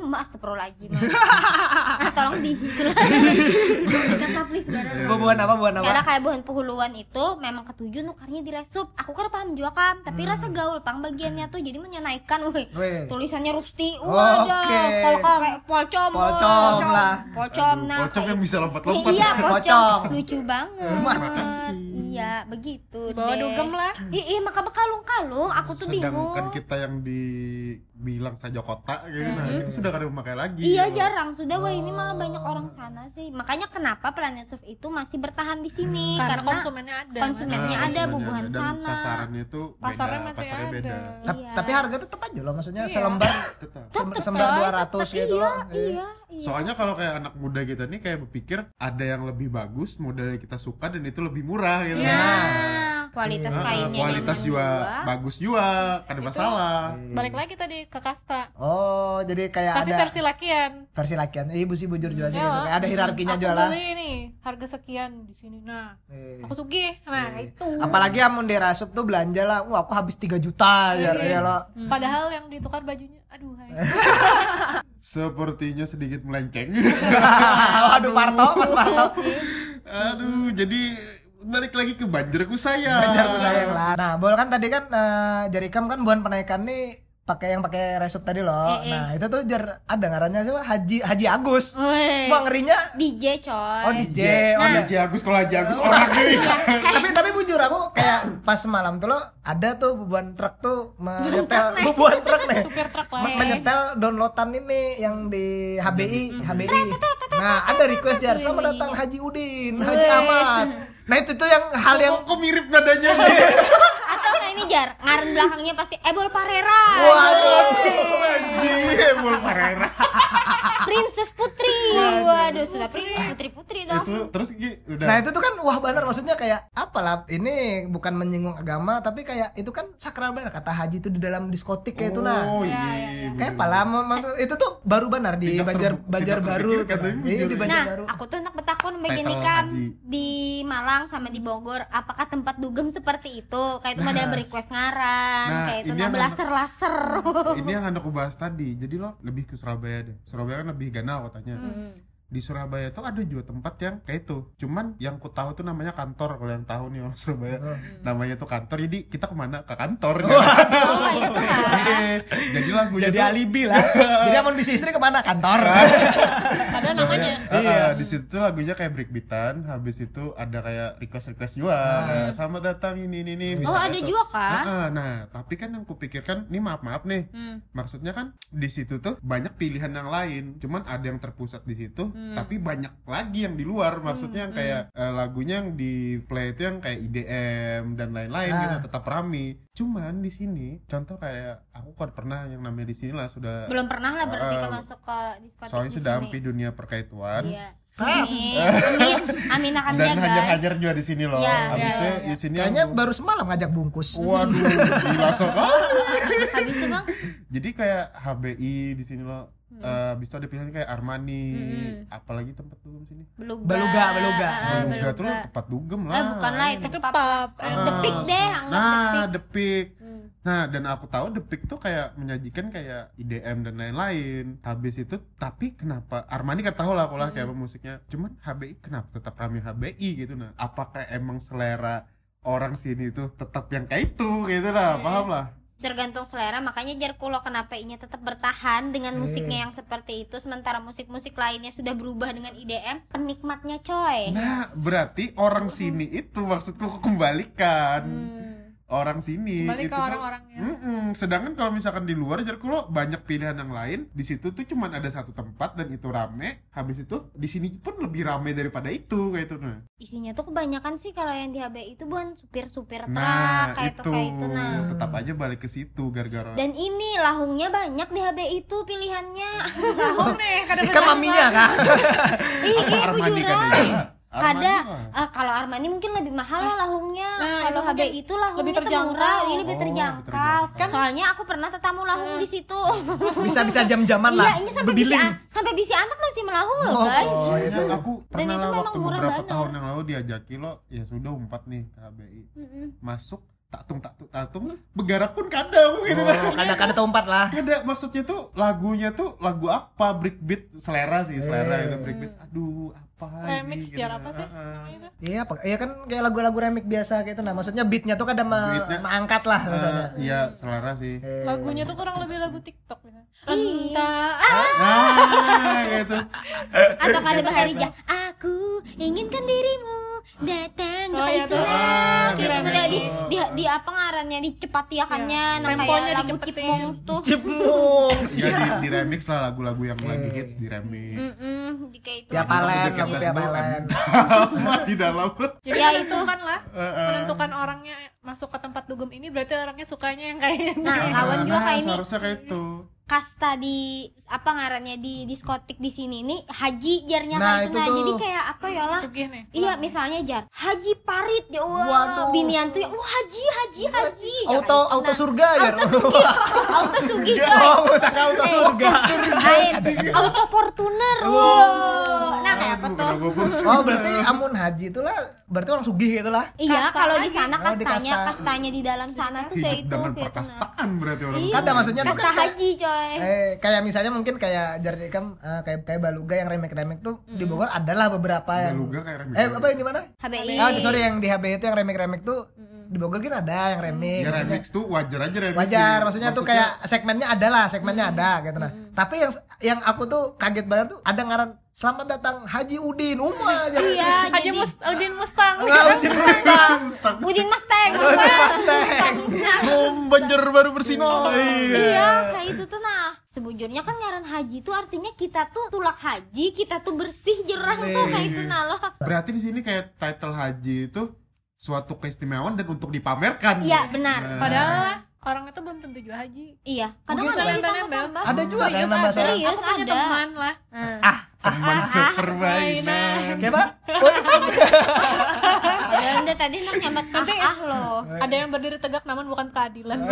Speaker 4: Mas astagfirullahaladzim nah, Tolong di Kata please gak ada.
Speaker 2: Bu- buan apa buan
Speaker 4: Karena
Speaker 2: apa?
Speaker 4: kayak buhan puhuluan itu memang ketujuh nukarnya di resup. Aku kan paham juga kan, tapi
Speaker 2: Hmm.
Speaker 4: rasa gaul pang bagiannya tuh jadi menyenaikan wih.
Speaker 2: Weh.
Speaker 4: Tulisannya Rusti.
Speaker 2: Oh,
Speaker 4: Waduh,
Speaker 2: oke.
Speaker 4: Polkom, polcom.
Speaker 2: Polcom lah.
Speaker 4: Polcom
Speaker 3: Aduh,
Speaker 4: nah.
Speaker 3: pocong
Speaker 4: kayak-
Speaker 3: yang bisa
Speaker 4: Eh,
Speaker 3: lompat-lompat.
Speaker 4: iya,
Speaker 2: Pocong.
Speaker 4: pocong. Lucu banget.
Speaker 2: Terima
Speaker 3: kasih.
Speaker 4: Iya, begitu
Speaker 1: Bawa
Speaker 4: deh.
Speaker 1: dugem lah.
Speaker 4: Ih, ih, maka bekalung-kalung aku tuh bingung.
Speaker 3: Sedangkan kan kita yang dibilang saja kota gitu nah
Speaker 2: Mhm.
Speaker 3: itu sudah kada memakai lagi.
Speaker 4: Iya
Speaker 3: gitu.
Speaker 4: jarang sudah wah ini malah banyak
Speaker 2: Oh.
Speaker 4: orang sana sih makanya kenapa Planet Surf itu masih bertahan di
Speaker 1: Iya,
Speaker 4: sini
Speaker 1: Karena
Speaker 4: karena
Speaker 1: konsumennya ada. Mas.
Speaker 3: Nah,
Speaker 4: konsumennya ada,
Speaker 3: konsumennya
Speaker 4: bubuhan
Speaker 3: ada. Dan
Speaker 4: sana.
Speaker 3: Sasarannya itu
Speaker 1: Pasarnya
Speaker 3: beda,
Speaker 1: masih
Speaker 3: pasarnya
Speaker 1: ada.
Speaker 3: beda.
Speaker 2: Ta-
Speaker 4: Iya.
Speaker 2: Tapi harga tetap aja loh, maksudnya
Speaker 1: Iya.
Speaker 2: selembar
Speaker 3: Tetap.
Speaker 2: sem-
Speaker 4: Tetep,
Speaker 2: selembar
Speaker 4: coy,
Speaker 2: 200
Speaker 4: tetep,
Speaker 2: gitu
Speaker 4: iya,
Speaker 2: loh. Eh.
Speaker 4: iya, iya.
Speaker 3: Soalnya kalau kayak anak muda kita nih kayak berpikir ada yang lebih bagus, modelnya kita suka dan itu lebih murah gitu.
Speaker 4: nah, kualitas
Speaker 3: Nah,
Speaker 4: kainnya
Speaker 3: kualitas
Speaker 4: nyaman
Speaker 3: juga bagus juga, kada
Speaker 1: Itu-
Speaker 3: masalah.
Speaker 1: Balik lagi tadi ke kasta.
Speaker 2: Oh, jadi kayak
Speaker 1: Tapi
Speaker 2: ada versi,
Speaker 1: versi lakian.
Speaker 2: lakian. Eh, ibu sih bujur jual sih
Speaker 1: Iya.
Speaker 2: gitu. Kayak ada hierarkinya
Speaker 1: aku
Speaker 2: jual lah.
Speaker 1: beli ini harga sekian di sini. Nah,
Speaker 2: Eh.
Speaker 1: aku sugih. Nah,
Speaker 2: Iya.
Speaker 1: itu.
Speaker 2: Apalagi amun di rasup tuh belanja lah. Wah, aku habis 3 juta ya,
Speaker 1: Iya.
Speaker 2: ya loh.
Speaker 4: Hmm.
Speaker 1: Padahal yang ditukar bajunya, aduh hai.
Speaker 3: Sepertinya sedikit melenceng.
Speaker 2: Waduh, Parto, Mas Parto.
Speaker 3: Aduh, jadi balik lagi ke banjarku
Speaker 1: Iya.
Speaker 3: sayang.
Speaker 2: Banjarku sayang lah. Nah, Bol kan tadi kan eh, Jerikam kan buan penaikan nih pakai yang pakai resup tadi loh.
Speaker 1: Iya,
Speaker 4: Eh, eh.
Speaker 2: Nah, itu tuh jar ada ngarannya siapa? Haji Haji Agus.
Speaker 1: Iya.
Speaker 4: Wih,
Speaker 2: Wah, ngerinya
Speaker 4: DJ coy.
Speaker 2: oh DJ. Oh,
Speaker 3: Nah.
Speaker 2: iya.
Speaker 3: Haji Agus kalau Haji Agus orang nih.
Speaker 2: Eh, tapi tapi bujur aku kayak pas semalam tuh lo ada tuh beban truk tuh menyetel
Speaker 4: truk,
Speaker 2: beban truk nih
Speaker 1: Supir truk lah.
Speaker 2: Me- menyetel downloadan ini yang di HBI HBI nah ada request jar selamat datang Haji Udin Haji
Speaker 4: Wih.
Speaker 2: Ahmad nah itu tuh yang hal yang
Speaker 3: Kok, kok mirip nadanya?
Speaker 2: Iya.
Speaker 4: Atau kayak ini jar, ngaran belakangnya pasti Ebol Parera.
Speaker 2: waduh
Speaker 3: Haji Mul Parera.
Speaker 4: Princess Putri. Waduh, sudah Princess Putri-putri dong.
Speaker 3: Iya, Itu terus Ki, udah.
Speaker 2: nah itu tuh kan wah benar maksudnya kayak apalah ini bukan menyinggung agama tapi kayak itu kan sakral benar kata Haji itu di dalam diskotik kayak itulah
Speaker 3: Oh
Speaker 1: Ya,
Speaker 3: iya.
Speaker 1: ya, ya.
Speaker 3: bener.
Speaker 2: Kayak pala mau- mau- itu tuh baru benar di
Speaker 3: Tidak ter-
Speaker 2: Banjar
Speaker 3: tidak
Speaker 2: Banjar Baru.
Speaker 3: terpikirkan, tapi
Speaker 2: Iya, di
Speaker 3: bener.
Speaker 2: Banjar
Speaker 4: Nah,
Speaker 2: Baru.
Speaker 4: aku tuh anak betakon bagian
Speaker 3: Title
Speaker 4: nikam
Speaker 3: Haji.
Speaker 4: di Malang sama di Bogor. Apakah tempat dugem seperti itu? Kayak itu model berrequest ngaran,
Speaker 3: Nah,
Speaker 4: kayak itu
Speaker 3: ini
Speaker 4: nah
Speaker 3: yang-
Speaker 4: laser-laser.
Speaker 3: Ini ya. yang hendak aku bahas tadi. Jadi lo lebih ke Surabaya deh. Surabaya kan lebih ganal kotanya.
Speaker 2: Hmm.
Speaker 4: Hmm.
Speaker 3: Di Surabaya tuh ada juga tempat yang kayak itu. Cuman yang ku tahu tuh namanya kantor kalau yang tahu nih orang Surabaya.
Speaker 4: Hmm.
Speaker 2: Oh.
Speaker 3: Namanya tuh kantor. Jadi kita kemana? Ke kantor.
Speaker 4: Oh, itu kan.
Speaker 3: Iya. Jadi lagunya
Speaker 2: Jadi
Speaker 3: tuh-
Speaker 2: alibi lah. Jadi amun bisa istri kemana kantor?
Speaker 1: Ada namanya.
Speaker 3: Ah,
Speaker 2: Iya.
Speaker 3: ah, di situ lagunya kayak breakbeatan, habis itu ada kayak request-request juga. kayak, Selamat datang ini ini ini
Speaker 4: Oh, ada
Speaker 3: tuh.
Speaker 4: juga
Speaker 3: Ah,
Speaker 4: kah?
Speaker 3: ah, nah, tapi kan yang kupikirkan, ini maaf-maaf nih.
Speaker 4: Hmm.
Speaker 3: Maksudnya kan di situ tuh banyak pilihan yang lain, cuman ada yang terpusat di situ,
Speaker 4: Hmm.
Speaker 3: tapi banyak lagi yang di luar. Maksudnya yang kayak eh, lagunya yang di play itu yang kayak IDM dan lain-lain
Speaker 2: Ah.
Speaker 3: gitu, tetap rame. Cuman di sini, contoh kayak aku kan pernah yang namanya di sini lah sudah
Speaker 4: Belum pernah lah berarti
Speaker 3: Ah,
Speaker 4: ke masuk ke diskotik
Speaker 3: soalnya
Speaker 4: di
Speaker 3: sudah
Speaker 4: sini.
Speaker 3: ampi dunia perkaituan.
Speaker 4: Iya. Amin. Amin. Amin akan dia,
Speaker 3: dan
Speaker 4: guys.
Speaker 3: hajar-hajar juga di sini loh.
Speaker 4: Iya,
Speaker 3: Habisnya
Speaker 1: iya, iya.
Speaker 3: di sini
Speaker 2: Kayaknya
Speaker 3: aku-
Speaker 2: baru semalam ngajak bungkus.
Speaker 3: Waduh, gila sekali.
Speaker 4: Habis itu,
Speaker 3: Eh,
Speaker 4: Bang.
Speaker 3: Jadi kayak HBI di sini loh.
Speaker 4: Hmm.
Speaker 3: Eh, habis itu ada pilihan kayak Armani,
Speaker 4: Mm-mm.
Speaker 3: apalagi tempat dugem sini.
Speaker 4: Beluga.
Speaker 2: Beluga, beluga.
Speaker 4: Ah,
Speaker 2: Ah,
Speaker 3: Beluga tuh lo
Speaker 4: beluga.
Speaker 3: tempat dugem lah.
Speaker 4: Eh, bukan lah itu
Speaker 1: Itu
Speaker 4: pub.
Speaker 1: pub. Eh,
Speaker 3: Ah,
Speaker 4: The Pick deh, anggap
Speaker 3: Nah,
Speaker 4: The
Speaker 3: The Pick.
Speaker 4: Hmm.
Speaker 3: Nah, dan aku tahu The Pick tuh kayak menyajikan kayak IDM dan lain-lain. Habis itu, tapi kenapa Armani kan tahu lah kalau kayak apa musiknya. Cuman HBI kenapa tetap rame HBI gitu nah. Apakah emang selera orang sini tuh tetap yang kayak itu gitu lah,
Speaker 1: Oke.
Speaker 3: paham lah.
Speaker 4: tergantung selera makanya jarkulo kenapa inya tetap bertahan
Speaker 3: Eh.
Speaker 4: dengan
Speaker 2: Hmm.
Speaker 4: musiknya yang seperti itu sementara musik-musik lainnya sudah berubah dengan IDM penikmatnya coy
Speaker 3: Nah, berarti orang sini itu maksudku kembalikan.
Speaker 4: Hmm.
Speaker 3: orang sini
Speaker 1: Kembali ke
Speaker 3: itu Gitu tuh- Hmm?
Speaker 1: orang-orangnya.
Speaker 4: Iya.
Speaker 3: Mm-mm. sedangkan kalau misalkan di luar jadi lo banyak pilihan yang lain di situ tuh cuman ada satu tempat dan itu rame habis itu di sini pun lebih rame daripada itu kayak itu nah
Speaker 4: isinya tuh kebanyakan sih kalau yang di HBI itu bukan supir-supir truk
Speaker 3: nah
Speaker 4: kayak itu
Speaker 3: itu
Speaker 4: kayak itu nah
Speaker 3: tetap aja balik ke situ gara-gara
Speaker 4: dan ini lahungnya banyak di HBI itu pilihannya
Speaker 1: Lahung nih kadang-kadang
Speaker 2: Ikan maminya kan.
Speaker 4: ih
Speaker 3: apa
Speaker 4: ibu
Speaker 3: Armani
Speaker 4: Jura.
Speaker 3: kan ya Armani
Speaker 4: Ada.
Speaker 3: lah.
Speaker 4: Eh, kalau Armani mungkin lebih mahal lah lahungnya
Speaker 1: Nah, itu
Speaker 4: kalau
Speaker 1: mungkin
Speaker 4: HBI itu lahungnya
Speaker 1: lebih
Speaker 4: tuh
Speaker 1: terjangkau.
Speaker 4: murah ini lebih
Speaker 3: Oh,
Speaker 4: terjangkau
Speaker 3: terjangkau.
Speaker 4: soalnya aku pernah tetamu lahung
Speaker 1: Hmm.
Speaker 4: di situ
Speaker 2: Bisa-bisa jam-jaman lah.
Speaker 4: iya ini sampai bisa
Speaker 2: berbiling.
Speaker 4: sampai bisa antek masih melahung loh
Speaker 2: Oh,
Speaker 4: guys
Speaker 2: oh, iya.
Speaker 3: Soalnya aku pernah
Speaker 4: itu
Speaker 3: lah
Speaker 4: memang
Speaker 3: waktu
Speaker 4: murah
Speaker 3: beberapa
Speaker 4: banget.
Speaker 3: tahun yang lalu diajaki lo ya sudah umpat nih ke HBI
Speaker 4: Mm-mm.
Speaker 3: masuk taktung taktung taktung bergerak pun kadang gitu lah.
Speaker 2: Oh, kadang-kadang tempat lah.
Speaker 3: Kada maksudnya tuh lagunya tuh lagu apa breakbeat selera sih selera
Speaker 2: Eh.
Speaker 3: itu breakbeat aduh apa
Speaker 1: Remix
Speaker 3: ini,
Speaker 1: sejarah
Speaker 3: gitu.
Speaker 1: apa sih
Speaker 3: Ah, ah.
Speaker 1: namanya itu?
Speaker 2: Iya, apa? Iya kan kayak lagu-lagu remix biasa gitu nah. Maksudnya beatnya Eh. tuh kadang me-
Speaker 3: Beatnya.
Speaker 2: mengangkat lah
Speaker 3: Ah,
Speaker 2: misalnya.
Speaker 3: iya selera sih
Speaker 2: Eh,
Speaker 1: Lagunya tuh kurang lebih lagu TikTok gitu.
Speaker 4: Ih.
Speaker 3: Ah,
Speaker 1: Entah
Speaker 2: Ah.
Speaker 3: nah gitu
Speaker 4: atau kata Baharija aku inginkan dirimu datang ke
Speaker 1: Oh, iya,
Speaker 4: itu
Speaker 1: tuh.
Speaker 4: lah
Speaker 3: Ah,
Speaker 4: gitu
Speaker 1: keren,
Speaker 4: Maksudnya di,
Speaker 3: keren.
Speaker 4: di di apa ngarannya dicepatiakannya
Speaker 1: Iya.
Speaker 4: nah
Speaker 1: Temponya
Speaker 4: kayak lagu
Speaker 1: dicepetin.
Speaker 4: Chipmunks tuh
Speaker 2: Cipmung.
Speaker 3: jadi Iya, di remix lah lagu-lagu yang lagi
Speaker 2: Eh.
Speaker 3: hits di remix
Speaker 4: Mm-mm, di kayak gitu. itu
Speaker 2: Ya palen,
Speaker 3: Jakarta
Speaker 2: lagu ya
Speaker 3: itu
Speaker 2: palen.
Speaker 3: apa di dalam
Speaker 1: Jadi
Speaker 4: Ya, itu.
Speaker 1: menentukan lah
Speaker 3: Ah, ah.
Speaker 1: menentukan orangnya masuk ke tempat dugem ini berarti orangnya sukanya yang kayak
Speaker 4: nah lawan juga
Speaker 3: Nah,
Speaker 4: kayak ini
Speaker 3: seharusnya kayak itu
Speaker 4: kasta di apa ngarannya di diskotik di sini nih haji jarnya
Speaker 2: Nah,
Speaker 4: kayak itu,
Speaker 2: itu
Speaker 4: nah
Speaker 2: tuh.
Speaker 4: jadi kayak apa ya lah
Speaker 1: sugih nih.
Speaker 4: Iya, misalnya jar Haji Parit ya wah,
Speaker 2: Waduh. Iya.
Speaker 4: binian tuh ya, wah Haji Haji Haji. Ya,
Speaker 2: Auto
Speaker 4: kayak
Speaker 2: auto
Speaker 4: gitu.
Speaker 2: surga ya.
Speaker 4: Auto Sugi, Auto Sugi coy.
Speaker 2: Oh, gua sangka auto surga.
Speaker 4: Lain, Auto Fortuner.
Speaker 2: Wow.
Speaker 4: Wow. Nah, kayak apa
Speaker 3: Aduh,
Speaker 4: tuh?
Speaker 3: kenapa gua bosan?
Speaker 2: Oh, berarti amun haji itulah berarti orang sugih gitu lah.
Speaker 4: Iya,
Speaker 1: Kasta
Speaker 4: kalau di
Speaker 1: lagi.
Speaker 4: sana
Speaker 2: Oh, di
Speaker 4: kastanya,
Speaker 2: kasta.
Speaker 4: kastanya di dalam sana tuh
Speaker 3: hidup
Speaker 4: kayak itu,
Speaker 3: dengan
Speaker 4: kayak itu. nah.
Speaker 3: perkastaan berarti orang
Speaker 4: Iya.
Speaker 2: Kada maksudnya tuh
Speaker 4: Kasta
Speaker 2: kayak-
Speaker 4: Haji coy.
Speaker 2: Eh, kayak misalnya mungkin kayak Jardi Kam eh, kayak kayak Baluga yang remake-remake tuh di Bogor adalah beberapa yang
Speaker 3: Beluga kayak remix
Speaker 2: Eh, apa yang di mana?
Speaker 4: HBI.
Speaker 2: Ah, di- sorry yang di HB itu yang remake-remake tuh
Speaker 4: Mm-mm.
Speaker 2: di Bogor kan ada yang remake.
Speaker 3: ya
Speaker 2: maksudnya.
Speaker 3: remix tuh wajar aja remix
Speaker 2: Wajar,
Speaker 3: sih.
Speaker 2: maksudnya, tuh kayak segmennya ada lah, segmennya ada gitu nah. Tapi yang yang aku tuh kaget banget tuh ada ngaran Selamat datang Haji Udin, Uma aja.
Speaker 4: Iya,
Speaker 1: Haji
Speaker 4: jadi
Speaker 1: Mus Udin Mustang. Gitu.
Speaker 2: Nggak, Udin Mustang.
Speaker 4: Udin Mustang.
Speaker 2: Udin Mustang.
Speaker 3: Bom banjir baru bersinar.
Speaker 4: Iya, kayak itu tuh nah. Sebujurnya kan ngaran haji tuh artinya kita tuh tulak haji, kita tuh bersih jerang tuh kayak itu nah loh.
Speaker 3: Berarti di sini kayak title haji itu suatu keistimewaan dan untuk dipamerkan.
Speaker 4: Iya, benar.
Speaker 3: Nah,
Speaker 1: Padahal orang itu belum tentu juga haji.
Speaker 4: Iya, kadang
Speaker 2: Mungkin
Speaker 4: ada
Speaker 1: saya
Speaker 4: ditambah-tambah.
Speaker 2: Ada juga kan
Speaker 1: Serius
Speaker 2: nambah
Speaker 1: ada.
Speaker 2: seorang.
Speaker 4: Serius
Speaker 1: Aku punya
Speaker 4: ada.
Speaker 1: teman lah.
Speaker 4: Hmm.
Speaker 3: teman
Speaker 4: Ah, ah,
Speaker 3: sepermainan.
Speaker 2: Kayak apa?
Speaker 4: Ya udah tadi nang nyambat ah, ah
Speaker 1: ya.
Speaker 4: loh.
Speaker 1: Ada yang berdiri tegak namun bukan keadilan.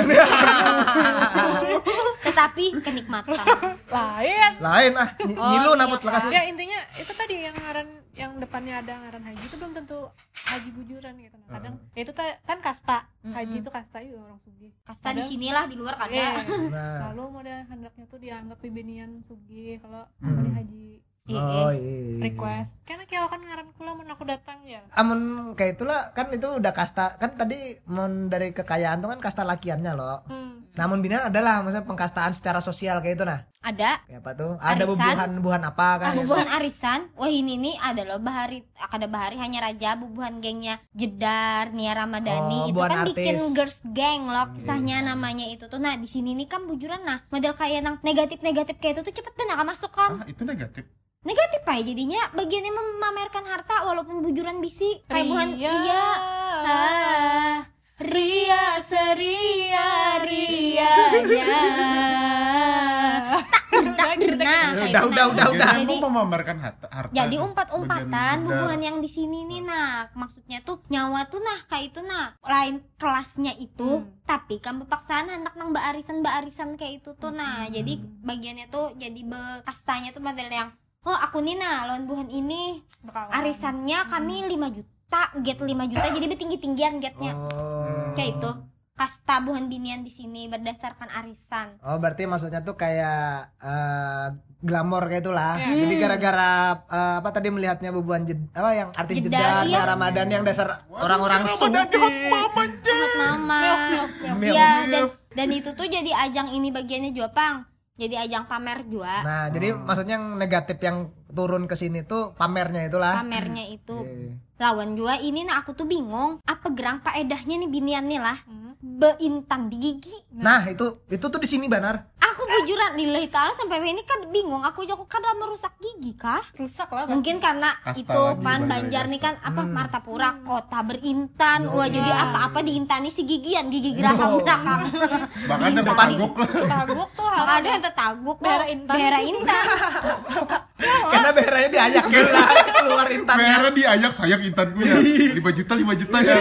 Speaker 4: Tetapi kenikmatan.
Speaker 1: Lain.
Speaker 2: Lain ah, ny-
Speaker 4: Oh,
Speaker 2: nyilu
Speaker 4: iya,
Speaker 2: naput makasih.
Speaker 1: Ya intinya itu tadi yang ngaran yang depannya ada ngaran haji itu belum tentu haji bujuran gitu. Nah, kadang ya itu ta- kan kasta. Haji
Speaker 4: Mm-mm.
Speaker 1: itu kasta juga orang sugih.
Speaker 4: Kasta di Hmm. sinilah di luar
Speaker 1: Iya.
Speaker 4: kada.
Speaker 2: Nah.
Speaker 1: Lalu model hendaknya tuh dianggap bibinian sugih kalau
Speaker 3: Mm.
Speaker 1: mau haji
Speaker 2: Oh, iya.
Speaker 1: request. Karena kiau kan ngaran kula mun aku datang ya.
Speaker 2: Amun kayak itulah kan itu udah kasta kan tadi mun dari kekayaan tuh kan kasta lakiannya loh. Nah,
Speaker 1: Hmm.
Speaker 2: Namun binaan adalah maksudnya pengkastaan secara sosial kayak itu nah.
Speaker 4: Ada
Speaker 2: Kayak apa tuh? Ada
Speaker 4: Arisan.
Speaker 2: bubuhan-bubuhan apa kan?
Speaker 4: bubuhan arisan. Wah, ini nih ada loh bahari ada bahari hanya raja bubuhan gengnya Jedar,
Speaker 2: Oh,
Speaker 4: Nia Ramadhani itu
Speaker 2: bubuhan
Speaker 4: kan
Speaker 2: artis.
Speaker 4: bikin girls gang loh kisahnya namanya itu tuh. Nah, di sini nih kan bujuran nah model kayak yang negatif-negatif kayak itu tuh cepet benar masuk kan.
Speaker 3: Ah, itu negatif.
Speaker 4: negatif aja jadinya bagiannya memamerkan harta walaupun bujuran bisi kayak buhan
Speaker 1: Ria.
Speaker 4: iya ah, ria seria rianya tak derna kayak
Speaker 2: Udah,
Speaker 4: gitu.
Speaker 2: udah, udah, udah.
Speaker 3: Jadi,
Speaker 4: jadi
Speaker 3: memamerkan harta. harta
Speaker 4: jadi
Speaker 3: dan
Speaker 4: umpat-umpatan
Speaker 3: bagian
Speaker 4: bubuhan
Speaker 3: dendam.
Speaker 4: yang di sini nih nah maksudnya tuh nyawa tuh nah kayak itu nah lain kelasnya itu
Speaker 1: Hmm.
Speaker 4: tapi kan paksaan hendak nang mbak arisan mbak arisan kayak itu tuh nah jadi bagiannya tuh jadi bekastanya tuh model yang oh aku nih nah lawan buhan ini
Speaker 1: Bekawan.
Speaker 4: arisannya kami 5 juta get 5 juta jadi betinggi tinggian getnya
Speaker 2: Oh.
Speaker 4: kayak itu
Speaker 3: Hmm.
Speaker 4: kasta buhan binian di sini berdasarkan arisan
Speaker 2: Oh, berarti maksudnya tuh kayak eh, glamor kayak itulah.
Speaker 1: Iya.
Speaker 2: Jadi
Speaker 4: Hmm.
Speaker 2: gara-gara eh, apa tadi melihatnya bubuhan jed, apa yang artis
Speaker 4: Jeddah,
Speaker 2: jeddah
Speaker 4: iya.
Speaker 2: Ramadan yang dasar
Speaker 3: Waduh,
Speaker 2: orang-orang
Speaker 3: Ramadan
Speaker 2: sufi.
Speaker 4: Ahmad mama
Speaker 1: Milf, milf, milf.
Speaker 2: Milf.
Speaker 4: Iya, dan dan itu tuh jadi ajang ini bagiannya juga Pang. Jadi ajang pamer juga
Speaker 2: Nah, jadi maksudnya yang negatif yang turun ke sini tuh pamernya itulah.
Speaker 4: pamernya itu.
Speaker 2: Iya.
Speaker 4: Lawan juga ini nah aku tuh bingung apa gerang paedahnya nih binian nih lah.
Speaker 1: Hmm.
Speaker 4: beintan di gigi
Speaker 2: Nah, itu itu tuh di sini Banar.
Speaker 4: aku
Speaker 2: Eh.
Speaker 4: bujuran nilai taala sampai ini kan bingung aku aku kadang merusak gigi kah
Speaker 1: rusak lah
Speaker 4: mungkin karena
Speaker 3: Kasta
Speaker 4: itu
Speaker 3: lagi,
Speaker 4: pan
Speaker 3: Banjar
Speaker 4: Banjar nih kan apa
Speaker 2: Hmm.
Speaker 4: Martapura kota berintan
Speaker 2: Yo,
Speaker 4: wah
Speaker 2: iya.
Speaker 4: jadi apa-apa diintani si gigian gigi gerakang gerakang
Speaker 3: bahkan ada
Speaker 4: Bintang.
Speaker 3: tagok lah
Speaker 1: tabuk tuh
Speaker 4: Maka
Speaker 1: haram.
Speaker 4: ada yang tetaguk
Speaker 1: Daerah
Speaker 4: kok,
Speaker 1: Intan.
Speaker 4: daerah intan
Speaker 2: Karena beranya diayak gitu. gila keluar intannya.
Speaker 3: merah diayak sayap intan gue ya 5 juta 5 juta ya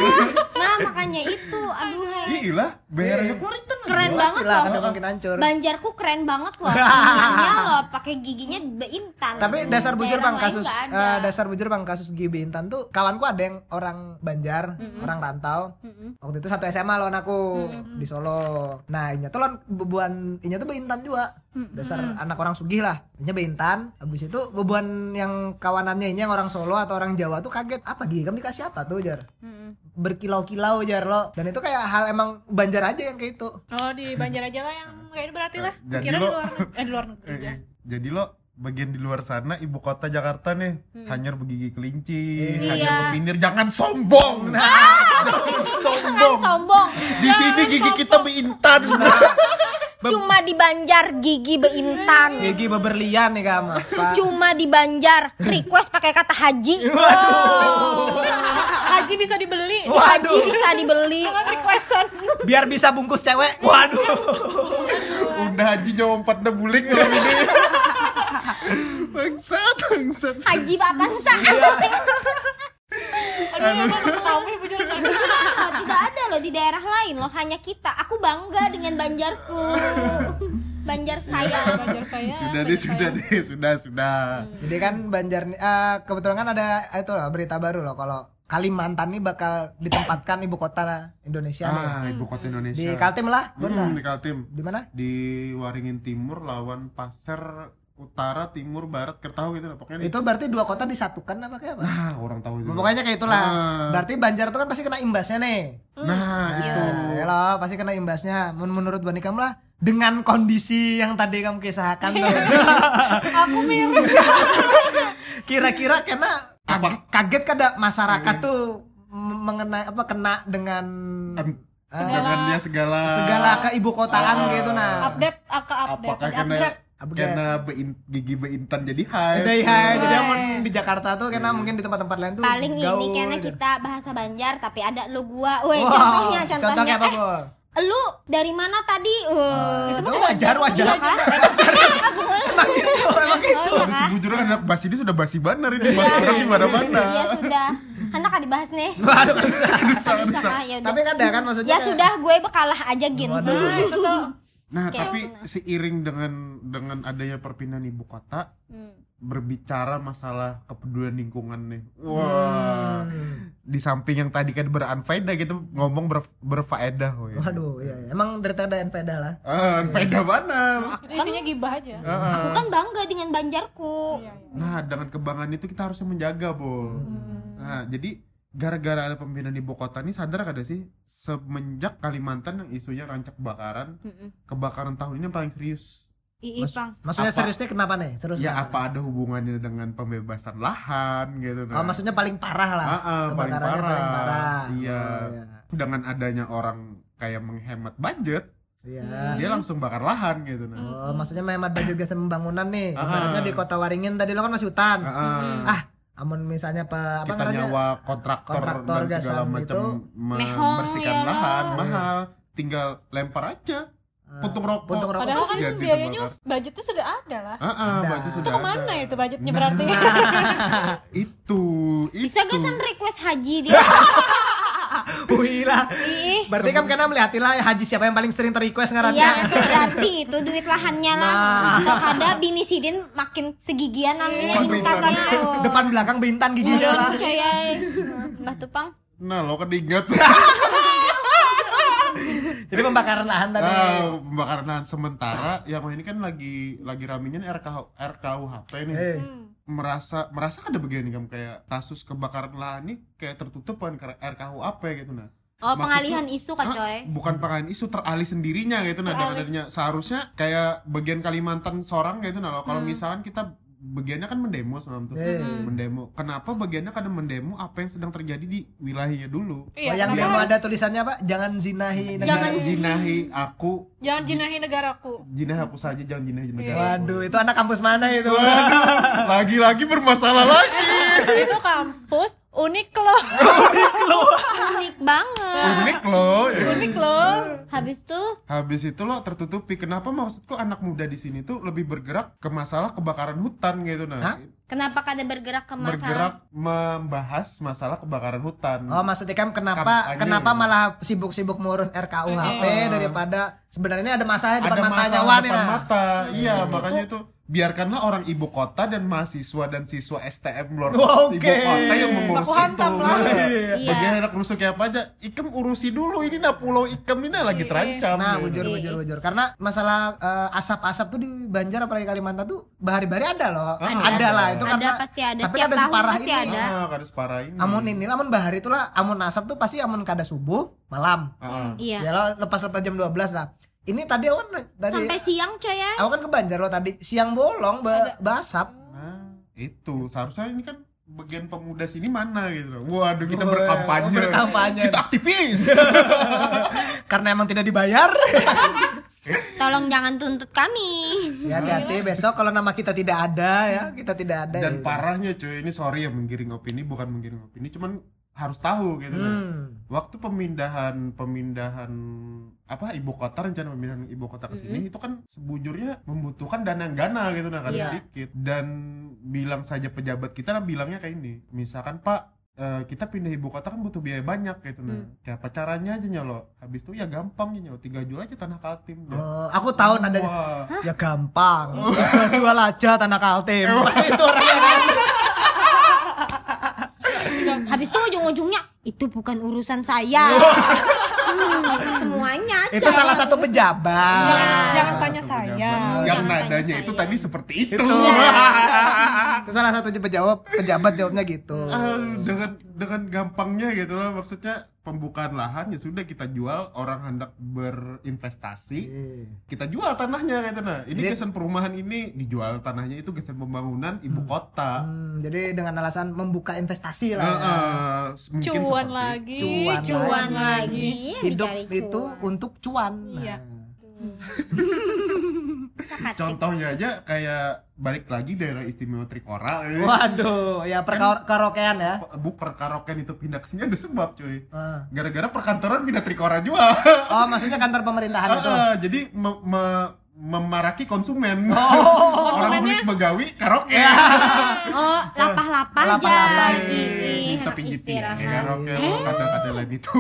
Speaker 4: nah makanya itu aduh hai.
Speaker 3: iya lah merahnya keluar intan
Speaker 4: keren
Speaker 2: Jelas
Speaker 4: banget
Speaker 2: lah,
Speaker 4: loh
Speaker 2: nggak mungkin hancur.
Speaker 4: Banjarku keren banget loh Tangannya loh pakai giginya beintan
Speaker 2: Tapi dasar bujur
Speaker 4: Daerah
Speaker 2: bang
Speaker 4: lain
Speaker 2: kasus
Speaker 4: nggak ada.
Speaker 2: eh, dasar bujur bang kasus GB Intan tuh kawanku ada yang orang Banjar,
Speaker 4: Mm-mm.
Speaker 2: orang rantau.
Speaker 4: Mm-mm.
Speaker 2: Waktu itu satu SMA lawan aku
Speaker 4: Mm-mm.
Speaker 2: di Solo. Nah, inya tuh lawan bebuan inya tuh beintan juga.
Speaker 4: Mm-mm.
Speaker 2: Dasar anak orang sugih lah. Inya beintan, habis itu bebuan yang kawanannya ini yang orang Solo atau orang Jawa tuh kaget. Apa dia? Kamu dikasih apa tuh, Jar?
Speaker 4: Mm-mm.
Speaker 2: Berkilau-kilau, Jar lo. Dan itu kayak hal emang Banjar aja yang kayak itu.
Speaker 1: oh di Banjar aja lah yang kayak ini berarti lah
Speaker 3: Jadi
Speaker 1: kira di
Speaker 3: lo-
Speaker 1: luar negeri eh, di luar
Speaker 2: Iya.
Speaker 1: negeri
Speaker 3: Eh,
Speaker 1: ya.
Speaker 3: eh, jadi lo bagian di luar sana ibu kota Jakarta nih
Speaker 2: Hmm.
Speaker 3: hanyar begigi kelinci
Speaker 4: Iya.
Speaker 3: hanyar berpinir jangan sombong nah jangan
Speaker 4: kan
Speaker 3: sombong
Speaker 4: sombong
Speaker 3: di sini gigi kita beintan Nah,
Speaker 4: cuma di Banjar gigi beintan
Speaker 2: Gigi beberlian nih kamu. Pak.
Speaker 4: cuma di Banjar request pakai kata haji
Speaker 2: Waduh.
Speaker 1: haji bisa dibeli
Speaker 4: haji
Speaker 2: Waduh.
Speaker 4: bisa dibeli
Speaker 1: Cuma requestan
Speaker 2: Biar bisa bungkus cewek. Waduh.
Speaker 3: udah haji jauh empat enam bulik dalam ini bangsat bangsat
Speaker 4: haji apa sih
Speaker 2: Iya.
Speaker 1: aduh ya gue ketahui bujur
Speaker 4: Oh, tidak ada loh di daerah lain loh hanya kita aku bangga dengan Banjarku Banjar saya
Speaker 1: Banjar saya
Speaker 3: sudah deh
Speaker 1: Banjar
Speaker 3: sudah
Speaker 1: saya.
Speaker 3: deh sudah sudah
Speaker 2: Jadi kan Banjar nih, eh, kebetulan kan ada itu loh berita baru loh kalau Kalimantan nih bakal ditempatkan ibu kota Indonesia nih.
Speaker 3: ah ibu kota Indonesia
Speaker 2: Di Kaltim lah, benar.
Speaker 3: Hmm, di Kaltim
Speaker 2: Di mana?
Speaker 3: di Waringin Timur lawan Pasir Utara Timur Barat Kertahu gitu lah pokoknya nih.
Speaker 2: Itu berarti dua kota disatukan apa kayak apa?
Speaker 3: nah orang tahu juga
Speaker 2: Pokoknya kayak itulah.
Speaker 3: Ah.
Speaker 2: Berarti Banjar tuh kan pasti kena imbasnya nih.
Speaker 3: nah itu
Speaker 2: Nah, ya loh, pasti kena imbasnya. Men- Menurut Bani kamu lah dengan kondisi yang tadi kamu kisahkan tuh.
Speaker 1: aku
Speaker 3: Iya.
Speaker 1: miris
Speaker 2: Kira-kira kena kaget, kaget kada masyarakat
Speaker 3: Iya.
Speaker 2: tuh m- mengenai apa kena dengan
Speaker 3: Em-
Speaker 2: eh,
Speaker 3: Tangannya segala
Speaker 2: segala ke ibu kotaan
Speaker 3: Ah.
Speaker 2: gitu nah
Speaker 1: update aku update
Speaker 3: apakah
Speaker 1: Jadi
Speaker 3: karena
Speaker 1: upgrade.
Speaker 2: Upgrade.
Speaker 3: karena bein- gigi beintan jadi Iya. high
Speaker 2: Udah hai,
Speaker 4: Wah.
Speaker 2: jadi amun di Jakarta tuh kena
Speaker 3: Iya.
Speaker 2: mungkin di tempat-tempat lain tuh
Speaker 4: paling ini
Speaker 2: gaul,
Speaker 4: karena
Speaker 2: gitu.
Speaker 4: kita bahasa Banjar tapi ada lu gua weh
Speaker 2: Wow,
Speaker 4: contohnya contohnya,
Speaker 2: apa,
Speaker 4: eh
Speaker 2: Bol?
Speaker 4: lu dari mana tadi Wah.
Speaker 2: itu wajar, wajar.
Speaker 4: Iya kan?
Speaker 2: Emang gitu, emang gitu.
Speaker 4: Oh, iya
Speaker 3: Tapi
Speaker 4: kan?
Speaker 3: sejujurnya anak Bas ini sudah basi banar ini Bas orang di mana-mana
Speaker 4: Iya sudah. Hendak kan dibahas nih.
Speaker 2: Waduh, nggak usah.
Speaker 3: Bisa,
Speaker 4: Bisa
Speaker 3: bisa.
Speaker 4: kah? Ya udah.
Speaker 2: Tapi kan ada kan maksudnya.
Speaker 4: Ya
Speaker 2: kayak-
Speaker 4: sudah gue bekalah aja gin.
Speaker 2: Waduh.
Speaker 1: Nah, itu tuh
Speaker 3: Nah,
Speaker 4: Kayak
Speaker 3: tapi
Speaker 4: pernah.
Speaker 3: seiring dengan dengan adanya perpindahan ibu kota
Speaker 4: Hmm.
Speaker 3: berbicara masalah kepedulian lingkungan nih.
Speaker 2: Hmm.
Speaker 3: Wah. Di samping yang tadi kan beranfaedah gitu ngomong ber, berfaedah woy.
Speaker 2: Waduh, iya, iya. Emang dari tadi ada NPD lah.
Speaker 3: Ah, anfaedah banget.
Speaker 1: itu isinya gibah aja
Speaker 3: Ah, ah.
Speaker 4: Aku kan bangga dengan Banjarku.
Speaker 1: Iya, iya.
Speaker 3: Nah, dengan kebanggaan itu kita harusnya menjaga, Bol. Nah, jadi gara-gara ada pemindahan ibu kota ini sadar kada sih semenjak Kalimantan yang isunya rancak kebakaran,
Speaker 2: Hmm.
Speaker 4: Mm-mm.
Speaker 3: kebakaran tahun ini yang paling serius.
Speaker 4: Ii,
Speaker 2: Mas-
Speaker 4: Pang.
Speaker 2: Maksudnya
Speaker 3: Apa?
Speaker 2: seriusnya kenapa nih? Serius
Speaker 3: Ya
Speaker 2: kenapa nih?
Speaker 3: apa ada hubungannya dengan pembebasan lahan gitu
Speaker 2: Oh, maksudnya paling parah lah.
Speaker 3: Ah, ah, paling
Speaker 2: Kebakarannya
Speaker 3: parah.
Speaker 2: paling parah.
Speaker 3: Iya.
Speaker 2: Oh,
Speaker 3: Dengan adanya orang kayak menghemat budget,
Speaker 2: Iya.
Speaker 4: Hmm.
Speaker 2: Iya.
Speaker 3: dia langsung bakar lahan gitu nah.
Speaker 2: Oh, maksudnya menghemat budget gas pembangunan nih.
Speaker 3: Ah, ah.
Speaker 2: Ibaratnya di Kota Waringin tadi lo kan masih hutan.
Speaker 3: Ah, ah.
Speaker 2: Ah, amun misalnya apa apa
Speaker 3: kita
Speaker 2: namanya?
Speaker 3: nyawa kontraktor,
Speaker 2: kontraktor
Speaker 3: dan segala
Speaker 2: gasan
Speaker 3: macam
Speaker 2: gitu.
Speaker 3: membersihkan
Speaker 4: Mehong, ya
Speaker 3: lahan
Speaker 4: lah.
Speaker 3: mahal, tinggal lempar aja.
Speaker 2: Eh,
Speaker 3: Puntung rokok.
Speaker 2: puntung rokok.
Speaker 1: padahal kan
Speaker 3: Ganti
Speaker 1: itu biayanya
Speaker 3: terbakar.
Speaker 1: budgetnya sudah ada lah
Speaker 3: Ah, ah,
Speaker 2: Ada. Itu
Speaker 3: berarti
Speaker 1: itu
Speaker 3: sudah
Speaker 1: kemana
Speaker 3: ada. Nah.
Speaker 1: itu budgetnya berarti
Speaker 3: Itu, itu.
Speaker 4: Bisa gak sen request haji dia?
Speaker 2: Wih lah.
Speaker 4: Ii.
Speaker 2: Berarti kan karena melihatin lah haji siapa yang paling sering ter-request ngarang
Speaker 4: Iya, berarti itu duit lahannya lah.
Speaker 2: Nah. Iya,
Speaker 4: Kalau ada bini sidin makin segigian namanya di
Speaker 3: Waduh,
Speaker 4: katanya.
Speaker 1: Iya,
Speaker 3: Bang.
Speaker 4: oh. Iya,
Speaker 2: Depan belakang bintan giginya
Speaker 4: Ayo,
Speaker 2: lah.
Speaker 4: coyai. Mbah Tupang.
Speaker 3: Nah, lo keinget.
Speaker 2: Jadi pembakaran lahan tadi.
Speaker 3: Ah, pembakaran lahan sementara yang ini kan lagi lagi raminya nih RKH RKUHP nih.
Speaker 2: Eh,
Speaker 1: Hmm.
Speaker 3: merasa merasa ada bagian nih kamu kayak kasus kebakaran lahan nih kayak tertutup kan karena RKUAP gitu nah
Speaker 4: Oh,
Speaker 3: Maksud
Speaker 4: pengalihan isu
Speaker 3: ah,
Speaker 4: kan,
Speaker 2: Eh.
Speaker 4: coy.
Speaker 3: bukan pengen isu teralih sendirinya gitu nah dengan
Speaker 1: Teralih.
Speaker 3: adanya seharusnya kayak bagian Kalimantan seorang gitu nah kalau
Speaker 4: Hmm. Iya.
Speaker 3: misalkan kita bagiannya kan mendemo semalam tuh.
Speaker 2: Eh.
Speaker 4: Mm-mm.
Speaker 3: Mendemo. Kenapa bagiannya kadang mendemo apa yang sedang terjadi di wilayahnya dulu?
Speaker 1: Iya,
Speaker 2: oh, yang
Speaker 1: kenapa
Speaker 2: demo
Speaker 1: harus-
Speaker 2: ada tulisannya pak jangan zinahi negara
Speaker 4: Jangan-
Speaker 3: jinahi aku.
Speaker 1: Jangan jinahi negaraku.
Speaker 3: Jinah aku saja jangan jinahi negara.
Speaker 2: waduh itu anak kampus mana itu
Speaker 3: Lagi-lagi bermasalah lagi.
Speaker 1: itu kampus unik loh.
Speaker 4: Ah, unik banget
Speaker 3: Unik loh. ya.
Speaker 1: unik loh.
Speaker 4: habis tuh
Speaker 3: Habis itu lo tertutupi. Kenapa maksudku anak muda di sini tuh lebih bergerak ke masalah kebakaran hutan gitu nah.
Speaker 2: Hah?
Speaker 4: kenapa kada bergerak ke
Speaker 3: Bergerak
Speaker 4: masalah
Speaker 3: membahas masalah kebakaran hutan.
Speaker 2: Oh maksudnya kan kenapa
Speaker 3: Kampanye.
Speaker 2: kenapa malah sibuk-sibuk ngurus RKUHP
Speaker 3: Iya.
Speaker 2: daripada sebenarnya ada masalah di depan
Speaker 3: Ada
Speaker 2: matanya
Speaker 3: masalah
Speaker 2: Wan
Speaker 3: depan
Speaker 2: ya.
Speaker 3: mata. Iya, makanya itu biarkanlah orang ibu kota dan mahasiswa dan siswa STM luar
Speaker 2: Oke.
Speaker 3: ibu kota yang mengurus
Speaker 1: Aku
Speaker 3: itu.
Speaker 1: hantam lah.
Speaker 2: Iya.
Speaker 4: Iya.
Speaker 3: Bagian anak rusuk kayak apa aja, Ikem urusi dulu ini nah pulau Ikem ini nah lagi
Speaker 1: Iya.
Speaker 3: terancam.
Speaker 2: Nah,
Speaker 3: gitu.
Speaker 2: bujur
Speaker 4: Iya.
Speaker 2: bujur bujur karena masalah eh, asap-asap tuh di Banjar apalagi Kalimantan tuh bahari-bahari ada loh. ada,
Speaker 3: Ah, ada.
Speaker 2: lah itu
Speaker 4: Iya ada
Speaker 2: karena
Speaker 4: pasti ada
Speaker 2: tapi
Speaker 4: setiap
Speaker 2: ada
Speaker 4: tahun
Speaker 2: separah
Speaker 4: pasti
Speaker 2: ini.
Speaker 4: ada
Speaker 3: Ah, kada separah ini.
Speaker 2: amun ini amun bahari itulah amun asap tuh pasti amun kada subuh malam.
Speaker 3: Ah, ah.
Speaker 4: iya
Speaker 2: Ya lo lepas-lepas jam 12 lah. Ini tadi awan tadi
Speaker 4: sampai siang coy ya
Speaker 2: aku kan ke Banjar lo tadi siang bolong ba basap.
Speaker 3: Nah, itu seharusnya ini kan bagian pemuda sini mana gitu loh. Waduh, kita
Speaker 2: Wah,
Speaker 3: berkampanye.
Speaker 2: berkampanye.
Speaker 3: Kita aktivis.
Speaker 2: karena emang tidak dibayar.
Speaker 4: tolong jangan tuntut kami
Speaker 2: ya hati-hati besok kalau nama kita tidak ada ya, kita tidak ada.
Speaker 3: Dan
Speaker 2: ya.
Speaker 3: parahnya cuy, ini sorry ya menggiring opini, bukan menggiring opini, cuman harus tahu gitu loh.
Speaker 2: Hmm.
Speaker 3: Waktu pemindahan pemindahan apa ibu kota rencana pemindahan ibu kota ke
Speaker 2: Hmm.
Speaker 3: sini itu kan sebujurnya membutuhkan dana yang gana gitu nah kan
Speaker 4: Iya.
Speaker 3: sedikit dan bilang saja pejabat kita nah, bilangnya kayak ini misalkan Pak eh, kita pindah ibu kota kan butuh biaya banyak gitu nah
Speaker 2: Hmm.
Speaker 3: kayak apa caranya aja nyolo habis itu ya gampang ya nyolo tiga jual aja tanah kaltim ya.
Speaker 2: Oh, aku tahu ada
Speaker 3: Wah.
Speaker 2: ya gampang. Jual- Jual aja tanah Kaltim. Pasti itu orangnya kan.
Speaker 4: habis itu ujung-ujungnya itu bukan urusan saya Hmm, semuanya
Speaker 2: Itu
Speaker 4: coy.
Speaker 2: salah satu pejabat.
Speaker 1: Jangan- Jangan tanya
Speaker 3: Satu
Speaker 1: saya.
Speaker 3: pejabat. yang
Speaker 4: Iya. Jangan tanya
Speaker 3: nadanya itu
Speaker 4: saya. Iya.
Speaker 3: tadi seperti itu,
Speaker 2: Itu.
Speaker 3: Ah,
Speaker 2: Itu salah satu pejabat pejabat jawabnya gitu.
Speaker 3: dengan dengan gampangnya gitu loh maksudnya pembukaan lahan ya sudah kita jual orang hendak berinvestasi kita jual tanahnya gitu nah ini
Speaker 2: Jadi-
Speaker 3: kesan perumahan ini dijual tanahnya itu kesan pembangunan ibu
Speaker 2: Hmm.
Speaker 3: kota
Speaker 2: Hmm, jadi dengan alasan membuka investasi lah.
Speaker 3: Nah,
Speaker 2: ya.
Speaker 3: eh, mungkin
Speaker 1: Cuan
Speaker 3: seperti
Speaker 1: lagi.
Speaker 2: Cuan
Speaker 4: cuan lagi
Speaker 2: Hidup
Speaker 4: dicari
Speaker 2: itu
Speaker 4: cuan.
Speaker 2: untuk cuan.
Speaker 1: Iya.
Speaker 2: Nah.
Speaker 3: contohnya aja kayak balik lagi daerah istimewa Trikora eh.
Speaker 2: Waduh, ya perkarokean ya.
Speaker 3: bu perkaroken itu pindah ke sini ada sebab cuy
Speaker 2: Ah.
Speaker 3: gara-gara perkantoran pindah Trikora juga
Speaker 2: Oh, maksudnya kantor pemerintahan itu.
Speaker 3: Ah, ah, jadi me- me- memaraki
Speaker 2: Oh,
Speaker 3: konsumen. Orang
Speaker 1: Konsumennya?
Speaker 3: kulit begawi karaoke. Iya,
Speaker 4: oh lapah-lapah aja
Speaker 2: Lapah-lapah. Iya,
Speaker 4: Ih,
Speaker 3: Di
Speaker 4: enak
Speaker 3: tepi gitu ya.
Speaker 2: kan?
Speaker 4: istirahat
Speaker 3: Karaoke kata-kata lain itu.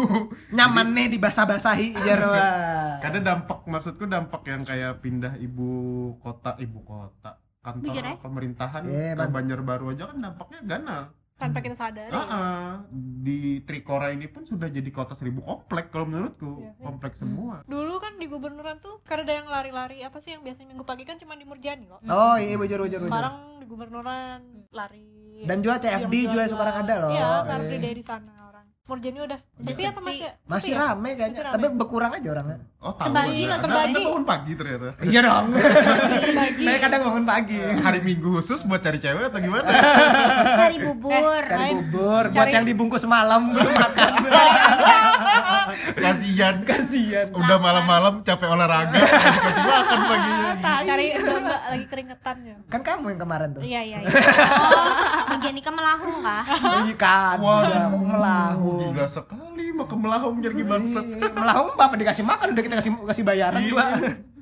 Speaker 2: Nyaman nih dibasah-basahi jarwa. Iya.
Speaker 3: Karena dampak maksudku dampak yang kayak pindah ibu kota ibu kota kantor
Speaker 4: Bujur ya?
Speaker 3: pemerintahan
Speaker 2: Iya,
Speaker 3: ke
Speaker 2: Bang.
Speaker 3: Banjarbaru aja kan dampaknya ganal.
Speaker 1: Tanpa kita sadari.
Speaker 3: Ah, ah. di Trikora ini pun sudah jadi kota seribu komplek kalau menurutku
Speaker 1: Iya sih.
Speaker 3: komplek semua.
Speaker 1: Dulu kan di gubernuran tuh karena ada yang lari-lari apa sih yang biasanya minggu pagi kan cuma di Murjani loh.
Speaker 2: Oh, iya bujur bujur bujur.
Speaker 1: Sekarang di gubernuran
Speaker 4: Hmm.
Speaker 1: lari.
Speaker 2: Dan juga CFD juga sekarang ada loh.
Speaker 1: Iya, car
Speaker 2: Eh.
Speaker 1: free day di sana orang. Murjani udah sepi apa
Speaker 4: sepi.
Speaker 1: masih? sepi
Speaker 2: Masih
Speaker 1: ya?
Speaker 2: rame kayaknya,
Speaker 1: Masih rame.
Speaker 2: tapi berkurang aja orangnya.
Speaker 3: Oh tahu. ya.
Speaker 4: Terbagi loh,
Speaker 3: Anda-
Speaker 1: terbagi.
Speaker 3: Anda bangun pagi ternyata.
Speaker 2: Iya dong. Iya. Saya kadang bangun pagi.
Speaker 3: Hari Minggu khusus buat cari cewek atau gimana?
Speaker 4: cari bubur
Speaker 2: Cari
Speaker 1: Main.
Speaker 2: bubur buat
Speaker 1: Cari- Iya.
Speaker 2: yang dibungkus malam belum makan.
Speaker 3: Kasihan.
Speaker 2: Kasihan.
Speaker 3: udah malam-malam capek olahraga dikasih makan pagi
Speaker 1: Cari mbak lagi keringetan ya.
Speaker 2: Kan kamu yang kemarin tuh.
Speaker 1: Iya iya. iya.
Speaker 4: bagian nikah melahung kah
Speaker 2: Iya kan. Waduh, melahung.
Speaker 3: gila sekali maka melahung jadi bangsa
Speaker 2: Iya, melahung bapak dikasih makan udah kita kasih kasih bayaran
Speaker 3: Iya.
Speaker 2: juga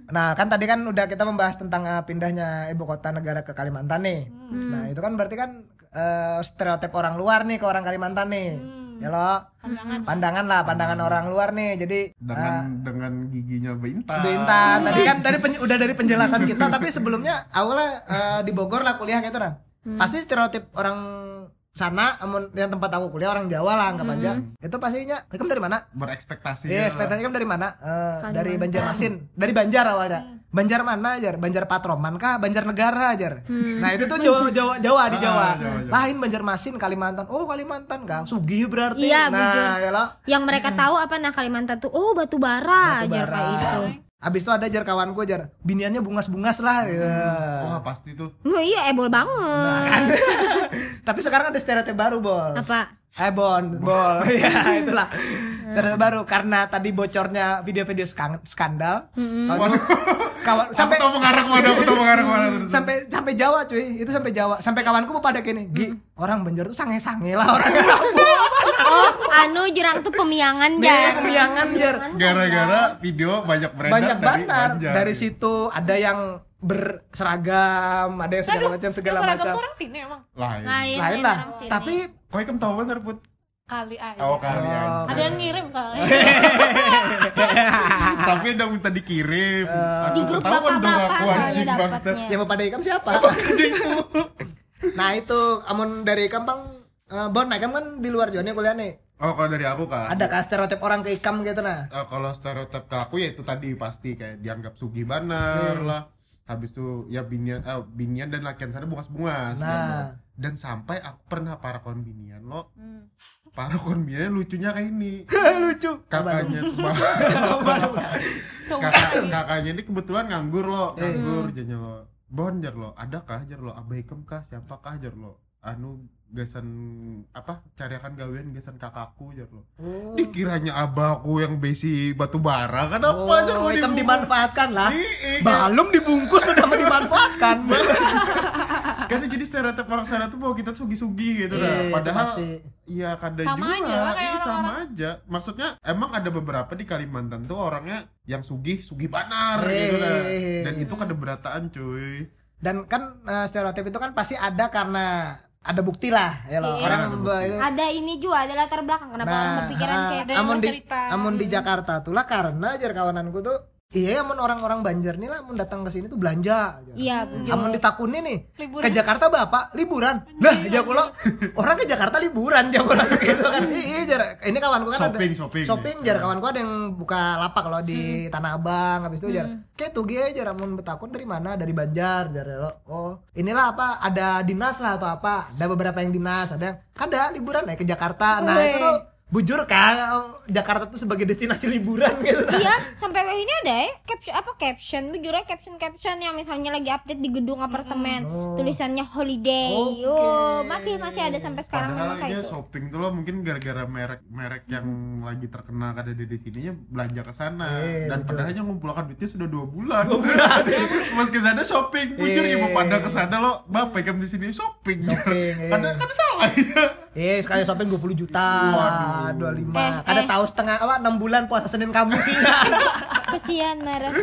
Speaker 2: nah kan tadi kan udah kita membahas tentang eh, pindahnya ibu kota negara ke Kalimantan nih nah itu kan berarti kan eh, stereotip orang luar nih ke orang Kalimantan nih
Speaker 1: Hmm.
Speaker 2: ya lo
Speaker 1: Pandangan.
Speaker 2: pandangan lah pandangan orang luar nih jadi
Speaker 3: Hmm. dengan
Speaker 2: eh,
Speaker 3: dengan giginya bintang
Speaker 2: Bintan tadi kan tadi pen- udah dari penjelasan kita tapi sebelumnya awalnya eh, di Bogor lah kuliah gitu nah pasti stereotip orang sana amun- yang tempat aku kuliah orang Jawa lah anggap aja itu pastinya kamu dari mana
Speaker 3: berekspektasi
Speaker 2: Iya, ekspektasi kamu dari mana? Eh, dari Banjarmasin. Dari Banjar awalnya.
Speaker 4: Iya.
Speaker 2: Banjar mana, Jar? Banjar Patroman kah? Banjar Negara, Jar?
Speaker 4: Hmm.
Speaker 2: Nah, itu tuh Jawa, Jawa, Jawa di
Speaker 3: Ah,
Speaker 2: Jawa.
Speaker 3: Jawa, Jawa.
Speaker 2: Lain Banjarmasin, Kalimantan. Oh, Kalimantan kah? Sugih berarti.
Speaker 4: Iya,
Speaker 2: nah,
Speaker 4: bujur.
Speaker 2: ya lo.
Speaker 4: yang mereka tahu apa nah Kalimantan tuh oh batu bara
Speaker 2: Batu
Speaker 4: aja
Speaker 2: bara.
Speaker 4: kayak itu
Speaker 2: Abis itu ada jar kawan gue jar biniannya bungas-bungas lah. ya.
Speaker 3: Wah pasti tuh
Speaker 4: Oh iya ebol
Speaker 2: Nah, kan.
Speaker 4: banget.
Speaker 2: Tapi sekarang ada stereotip baru bol.
Speaker 4: Apa?
Speaker 2: Eh bon, bol. ya itulah. Stereotip baru karena tadi bocornya video-video skang- skandal.
Speaker 4: Mm-mm.
Speaker 2: Tahun- kawan
Speaker 3: sampai
Speaker 2: sampai
Speaker 3: tahu mengarah kemana aku tahu mengarah kemana terus
Speaker 2: sampai sampai Jawa cuy itu sampai Jawa sampai kawanku pada gini Gi orang Banjar tuh sange sange lah orang
Speaker 4: Oh, anu jurang tuh pemiangan
Speaker 2: Nih,
Speaker 4: jar. Nah,
Speaker 2: kemiangan jar
Speaker 3: gara-gara video banyak Iya. beredar
Speaker 2: banyak
Speaker 3: dari
Speaker 2: benar
Speaker 3: Banjar.
Speaker 2: dari situ ada yang berseragam ada yang segala
Speaker 1: Aduh,
Speaker 2: macam segala
Speaker 1: Yang seragam
Speaker 2: macam
Speaker 1: tuh orang sini emang
Speaker 3: lain
Speaker 4: Lain,
Speaker 2: lain lah
Speaker 4: iya, orang sini.
Speaker 2: tapi
Speaker 3: kok ikem tahu bener put
Speaker 1: kali aja.
Speaker 3: oh kali
Speaker 2: Oh.
Speaker 3: aja.
Speaker 1: Ada yang ngirim soalnya.
Speaker 3: tapi udah minta dikirim
Speaker 2: Oh.
Speaker 4: Di
Speaker 3: Aduh,
Speaker 4: grup
Speaker 3: ketahuan
Speaker 2: kan
Speaker 3: dong
Speaker 4: bapak-bapak
Speaker 3: aku
Speaker 4: soalnya
Speaker 3: anjing bangset
Speaker 4: dapatnya.
Speaker 2: yang ya, mau pada ikam siapa nah itu amun dari ikam bang eh, bon nah ikam kan di luar Joni kuliah nih
Speaker 3: oh kalau dari aku kak
Speaker 2: ada kah stereotip orang ke ikam gitu nah
Speaker 3: Eh, kalau stereotip ke aku ya itu tadi pasti kayak dianggap sugi banar
Speaker 2: Hmm.
Speaker 3: lah habis itu ya binian eh, binian dan lakian sana bungas-bungas ya,
Speaker 2: Nah.
Speaker 3: Bang. dan sampai aku pernah para konbinian lo para konbinian lucunya kayak ini
Speaker 2: lucu
Speaker 3: kakaknya
Speaker 1: Sumpah.
Speaker 3: kakak kakaknya ini kebetulan nganggur lo
Speaker 2: Eh.
Speaker 3: nganggur jadinya lo bon jar lo ada kah jar lo abaikem kah siapa kah jar lo anu gesan apa cariakan gawean gesan kakakku jar lo
Speaker 2: Oh.
Speaker 3: dikiranya abahku yang besi batu bara kenapa
Speaker 2: Oh,
Speaker 3: jar lo
Speaker 2: ikam
Speaker 3: dibungkus?
Speaker 2: dimanfaatkan lah
Speaker 3: Iya, kayak-
Speaker 2: Belum dibungkus sudah mau dimanfaatkan.
Speaker 3: karena jadi stereotip orang sana tuh bahwa kita tuh sugi-sugi
Speaker 2: Iya,
Speaker 3: gitu nah
Speaker 2: itu
Speaker 3: padahal
Speaker 2: pasti.
Speaker 3: iya kada
Speaker 1: Sama
Speaker 3: juga
Speaker 1: aja lah kayak
Speaker 3: Iya, sama
Speaker 1: orang-orang.
Speaker 3: aja maksudnya emang ada beberapa di Kalimantan tuh orangnya yang sugih sugih banar
Speaker 2: Iya,
Speaker 3: gitu nah
Speaker 2: iya, iya.
Speaker 3: dan itu kada berataan cuy
Speaker 2: Dan kan eh, stereotip itu kan pasti ada karena ada bukti lah ya loh.
Speaker 4: Iya.
Speaker 2: Orang
Speaker 3: Ada
Speaker 2: be-
Speaker 3: bukti.
Speaker 4: Ada ini juga ada latar belakang kenapa
Speaker 2: Nah,
Speaker 4: orang berpikiran
Speaker 2: ah,
Speaker 4: kayak
Speaker 1: Ada yang
Speaker 2: amun
Speaker 1: mau
Speaker 2: di
Speaker 1: cerita.
Speaker 2: amun di Jakarta tuh lah karena jar kawananku tuh iya amun orang-orang Banjar nih lah amun datang ke sini tuh belanja. jar.
Speaker 4: Iya,
Speaker 2: Amun ditakuni nih
Speaker 1: Liburan.
Speaker 2: ke Jakarta bapak liburan. Lah
Speaker 1: Anjing,
Speaker 2: jago lo orang ke Jakarta liburan jago lo gitu kan. Iya jar ini kawanku kan ada
Speaker 3: shopping shopping
Speaker 2: shopping jar kawan gua ada yang buka lapak loh
Speaker 4: Hmm.
Speaker 2: di Tanah Abang habis itu jar kayak tuh gue jar amun betakun dari mana dari Banjar jar lo oh inilah apa ada dinas lah atau apa ada beberapa yang dinas ada yang kada liburan naik ke Jakarta nah itu
Speaker 4: Weh.
Speaker 2: tuh bujur kan Jakarta tuh sebagai destinasi liburan gitu nah.
Speaker 4: Iya, sampai weh ini ada ya caption apa caption, bujurnya caption caption yang misalnya lagi update di gedung apartemen,
Speaker 2: Oh.
Speaker 4: tulisannya holiday.
Speaker 2: Oke.
Speaker 4: Oh, masih masih ada sampai sekarang
Speaker 3: Padahal
Speaker 4: memang kayak gitu.
Speaker 3: dia
Speaker 4: itu.
Speaker 3: shopping tuh lo mungkin gara-gara merek-merek yang lagi terkenal kada ada di sininya belanja ke sana
Speaker 2: Iya,
Speaker 3: dan
Speaker 2: betul.
Speaker 3: padahal yang mengumpulkan duitnya sudah dua bulan. Mas ke sana shopping, jujur
Speaker 2: Iya.
Speaker 3: ibu pada ke sana lo bapak ikam di sini shopping.
Speaker 2: Shopping, iya.
Speaker 3: Karena kan salah ya.
Speaker 2: Eh sekali shopping 20 juta,
Speaker 3: Waduh.
Speaker 2: 25.
Speaker 4: Eh,
Speaker 2: Kada
Speaker 4: eh. Nah,
Speaker 2: tahu setengah apa 6 bulan puasa Senin Kamis sih.
Speaker 4: Kesian Maras.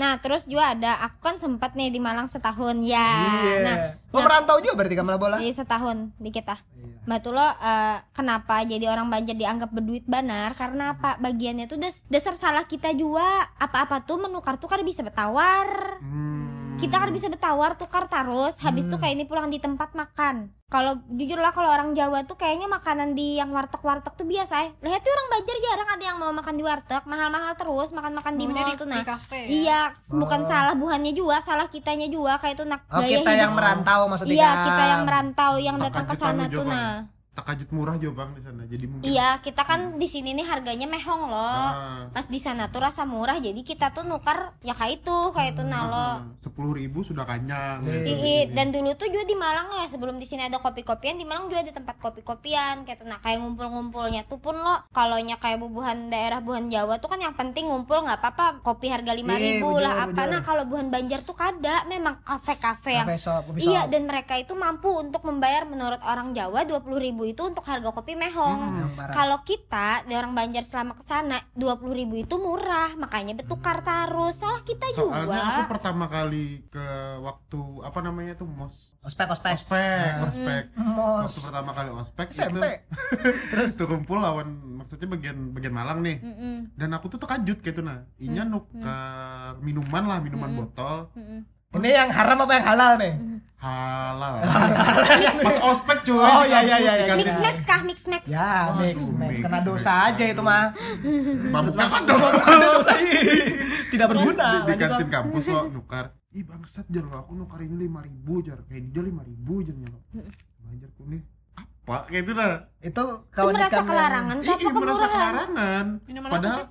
Speaker 4: Nah, terus juga ada aku kan sempat nih di Malang setahun ya. Nah,
Speaker 2: Iya. Mau
Speaker 4: nah,
Speaker 2: merantau juga berarti kamu lah bola.
Speaker 4: Iya setahun dikit ah. Mbak Tulo eh, kenapa jadi orang Banjar dianggap berduit banar? Karena apa? Bagiannya tuh das- dasar salah kita juga. Apa-apa tuh menukar tukar bisa bertawar.
Speaker 3: Hmm.
Speaker 4: Kita kan bisa bertawar tukar terus. Habis tuh kayak ini pulang di tempat makan. Kalau jujur lah kalau orang Jawa tuh kayaknya makanan di yang warteg-warteg tuh biasa ya. Lihat tuh orang Banjar jarang ada yang mau makan di warteg, mahal-mahal terus makan-makan di
Speaker 1: Maunya
Speaker 4: mall tuh nah.
Speaker 1: di kafe ya?
Speaker 4: Iya, bukan
Speaker 2: Oh.
Speaker 4: salah buhannya juga, salah kitanya juga kayak tuh nak
Speaker 2: Oh,
Speaker 4: gaya
Speaker 2: kita yang
Speaker 4: hidup.
Speaker 2: merantau maksudnya. kan?
Speaker 4: Iya, kita yang merantau yang
Speaker 3: Makan
Speaker 4: datang ke
Speaker 3: kita
Speaker 4: sana
Speaker 3: lu jawaban.
Speaker 4: tuh nah.
Speaker 3: Takajut murah juga bang di sana. Jadi mungkin.
Speaker 4: Iya, kita kan di sini nih harganya
Speaker 2: Nah.
Speaker 4: mehong loh.
Speaker 3: ah,
Speaker 4: Pas di sana tuh rasa murah, jadi kita tuh nukar ya kayak itu, kayak itu nah lo.
Speaker 3: Hmm. sepuluh ribu sudah kenyang.
Speaker 2: Iya.
Speaker 3: gitu.
Speaker 4: Ii, dan dulu tuh juga di Malang ya sebelum di sini ada kopi-kopian di Malang juga ada tempat kopi-kopian kayak tuh nah kayak ngumpul-ngumpulnya tuh pun lo kalau nya kayak bubuhan daerah buhan Jawa tuh kan yang penting ngumpul nggak apa-apa kopi harga lima
Speaker 2: Iya,
Speaker 4: ribu
Speaker 2: bener,
Speaker 4: lah apa
Speaker 2: bener.
Speaker 4: nah kalau buhan Banjar tuh kada memang kafe-kafe yang
Speaker 2: Cafe shop, coffee
Speaker 4: Iya
Speaker 2: shop.
Speaker 4: dan mereka itu mampu untuk membayar menurut orang Jawa 20.000 itu untuk harga kopi mehong.
Speaker 2: Hmm, parah.
Speaker 4: Kalau kita di orang Banjar selama ke sana 20.000 itu murah, makanya bertukar
Speaker 2: Hmm.
Speaker 4: tarus. Salah kita
Speaker 3: Soalnya aku
Speaker 4: juga.
Speaker 3: pertama kali ke waktu apa namanya tuh mos
Speaker 2: ospek ospek
Speaker 3: ospek
Speaker 2: Nah.
Speaker 3: ospek
Speaker 2: mos
Speaker 3: waktu pertama kali ospek Iya.
Speaker 2: SMP
Speaker 3: itu terus tuh kumpul lawan maksudnya bagian bagian Malang nih
Speaker 2: Hmm.
Speaker 4: Mm-mm,
Speaker 3: dan aku tuh terkejut gitu nah inya nuker minuman lah minuman
Speaker 4: Hmm.
Speaker 3: botol
Speaker 4: mm-mm.
Speaker 2: ini yang haram apa yang halal nih
Speaker 3: halal pas ospek cuy
Speaker 2: Oh,
Speaker 3: di
Speaker 2: iya, iya, iya, iya.
Speaker 3: kampus, di
Speaker 4: Mix
Speaker 3: kantin.
Speaker 4: max kah mix max?
Speaker 2: ya
Speaker 3: Waduh,
Speaker 2: mix mix
Speaker 3: mix,
Speaker 2: kena
Speaker 3: mix.
Speaker 2: dosa aja itu mah
Speaker 3: mabuknya kan dong
Speaker 2: kena dosa ih, tidak
Speaker 3: di,
Speaker 2: berguna
Speaker 3: di kantin kampus lo nuker ih bangsat jar lo aku nuker ini lima ribu jar kayak dia lima ribu jar lo
Speaker 2: Hmm.
Speaker 3: belajar ku nih apa kayak itu lah
Speaker 2: itu
Speaker 4: Itu merasa
Speaker 2: ikan yang-
Speaker 4: kelarangan
Speaker 3: Ih,
Speaker 4: kah apa
Speaker 3: merasa
Speaker 4: kemurahan?
Speaker 3: kelarangan
Speaker 1: Minuman apa
Speaker 3: padahal
Speaker 1: sih?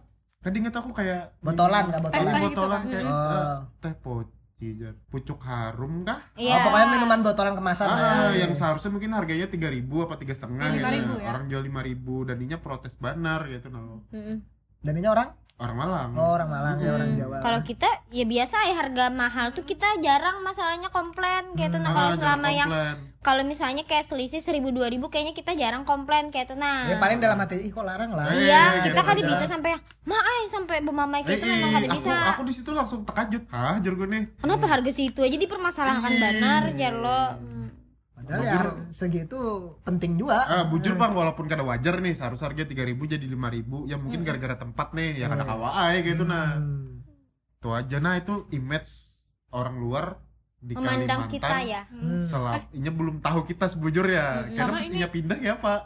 Speaker 3: Tadi inget aku kayak
Speaker 2: Botolan, nggak
Speaker 3: Kayak
Speaker 2: botolan?
Speaker 1: Kayak gitu
Speaker 3: botolan
Speaker 1: kan?
Speaker 3: kayak
Speaker 2: Oh.
Speaker 3: eh, teh poci, Jar. pucuk harum kah?
Speaker 4: Iya.
Speaker 2: Oh, pokoknya minuman botolan kemasan
Speaker 3: Ah,
Speaker 2: ya.
Speaker 3: yang seharusnya mungkin harganya tiga ribu apa tiga setengah
Speaker 1: Iya, 5.000
Speaker 3: gitu.
Speaker 1: ya.
Speaker 3: Orang jual lima ribu dan ininya protes banar gitu loh.
Speaker 4: Mm-mm.
Speaker 2: Dan ini orang?
Speaker 3: Orang Malang.
Speaker 2: Oh, orang Malang ya, orang
Speaker 4: Hmm.
Speaker 2: Jawa.
Speaker 4: Kalau kita ya biasa ya harga mahal tuh kita jarang masalahnya komplain kayak itu. Nah,
Speaker 3: Ah,
Speaker 4: kalau
Speaker 3: jangan
Speaker 4: selama yang
Speaker 3: komplain.
Speaker 4: kalau misalnya kayak selisih 1000 2000 kayaknya kita jarang komplain kayak itu. Nah.
Speaker 2: Ya paling dalam hati, ih kok larang lah.
Speaker 3: Eh,
Speaker 4: Iya,
Speaker 3: iya,
Speaker 4: kita
Speaker 3: iya,
Speaker 4: kan
Speaker 3: iya.
Speaker 4: bisa sampai maai sampai bemamai kayak itu
Speaker 3: Eh,
Speaker 4: memang
Speaker 3: ih,
Speaker 4: kada
Speaker 3: aku,
Speaker 4: bisa.
Speaker 3: Aku di situ langsung terkajut. Hah, jargon nih.
Speaker 4: Kenapa harga situ aja dipermasalahkan
Speaker 3: Iya.
Speaker 4: benar ya lo?
Speaker 2: Padahal ya
Speaker 3: Bujur.
Speaker 2: har- segitu penting juga.
Speaker 3: Ah, bujur bang, walaupun kada wajar nih, seharusnya harga tiga ribu jadi lima ribu. Ya mungkin gara-gara tempat nih, ya kada
Speaker 2: Hmm.
Speaker 3: kawa aja gitu nah.
Speaker 2: Hmm.
Speaker 3: Itu aja nah itu image orang luar di Kalimantan.
Speaker 4: Memandang kita ya.
Speaker 1: Hmm.
Speaker 2: Hmm.
Speaker 3: Selap, inya belum tahu kita sebujurnya.
Speaker 1: Hmm.
Speaker 3: Karena
Speaker 1: Sama
Speaker 3: pas
Speaker 1: ini-
Speaker 3: inya pindah ya pak.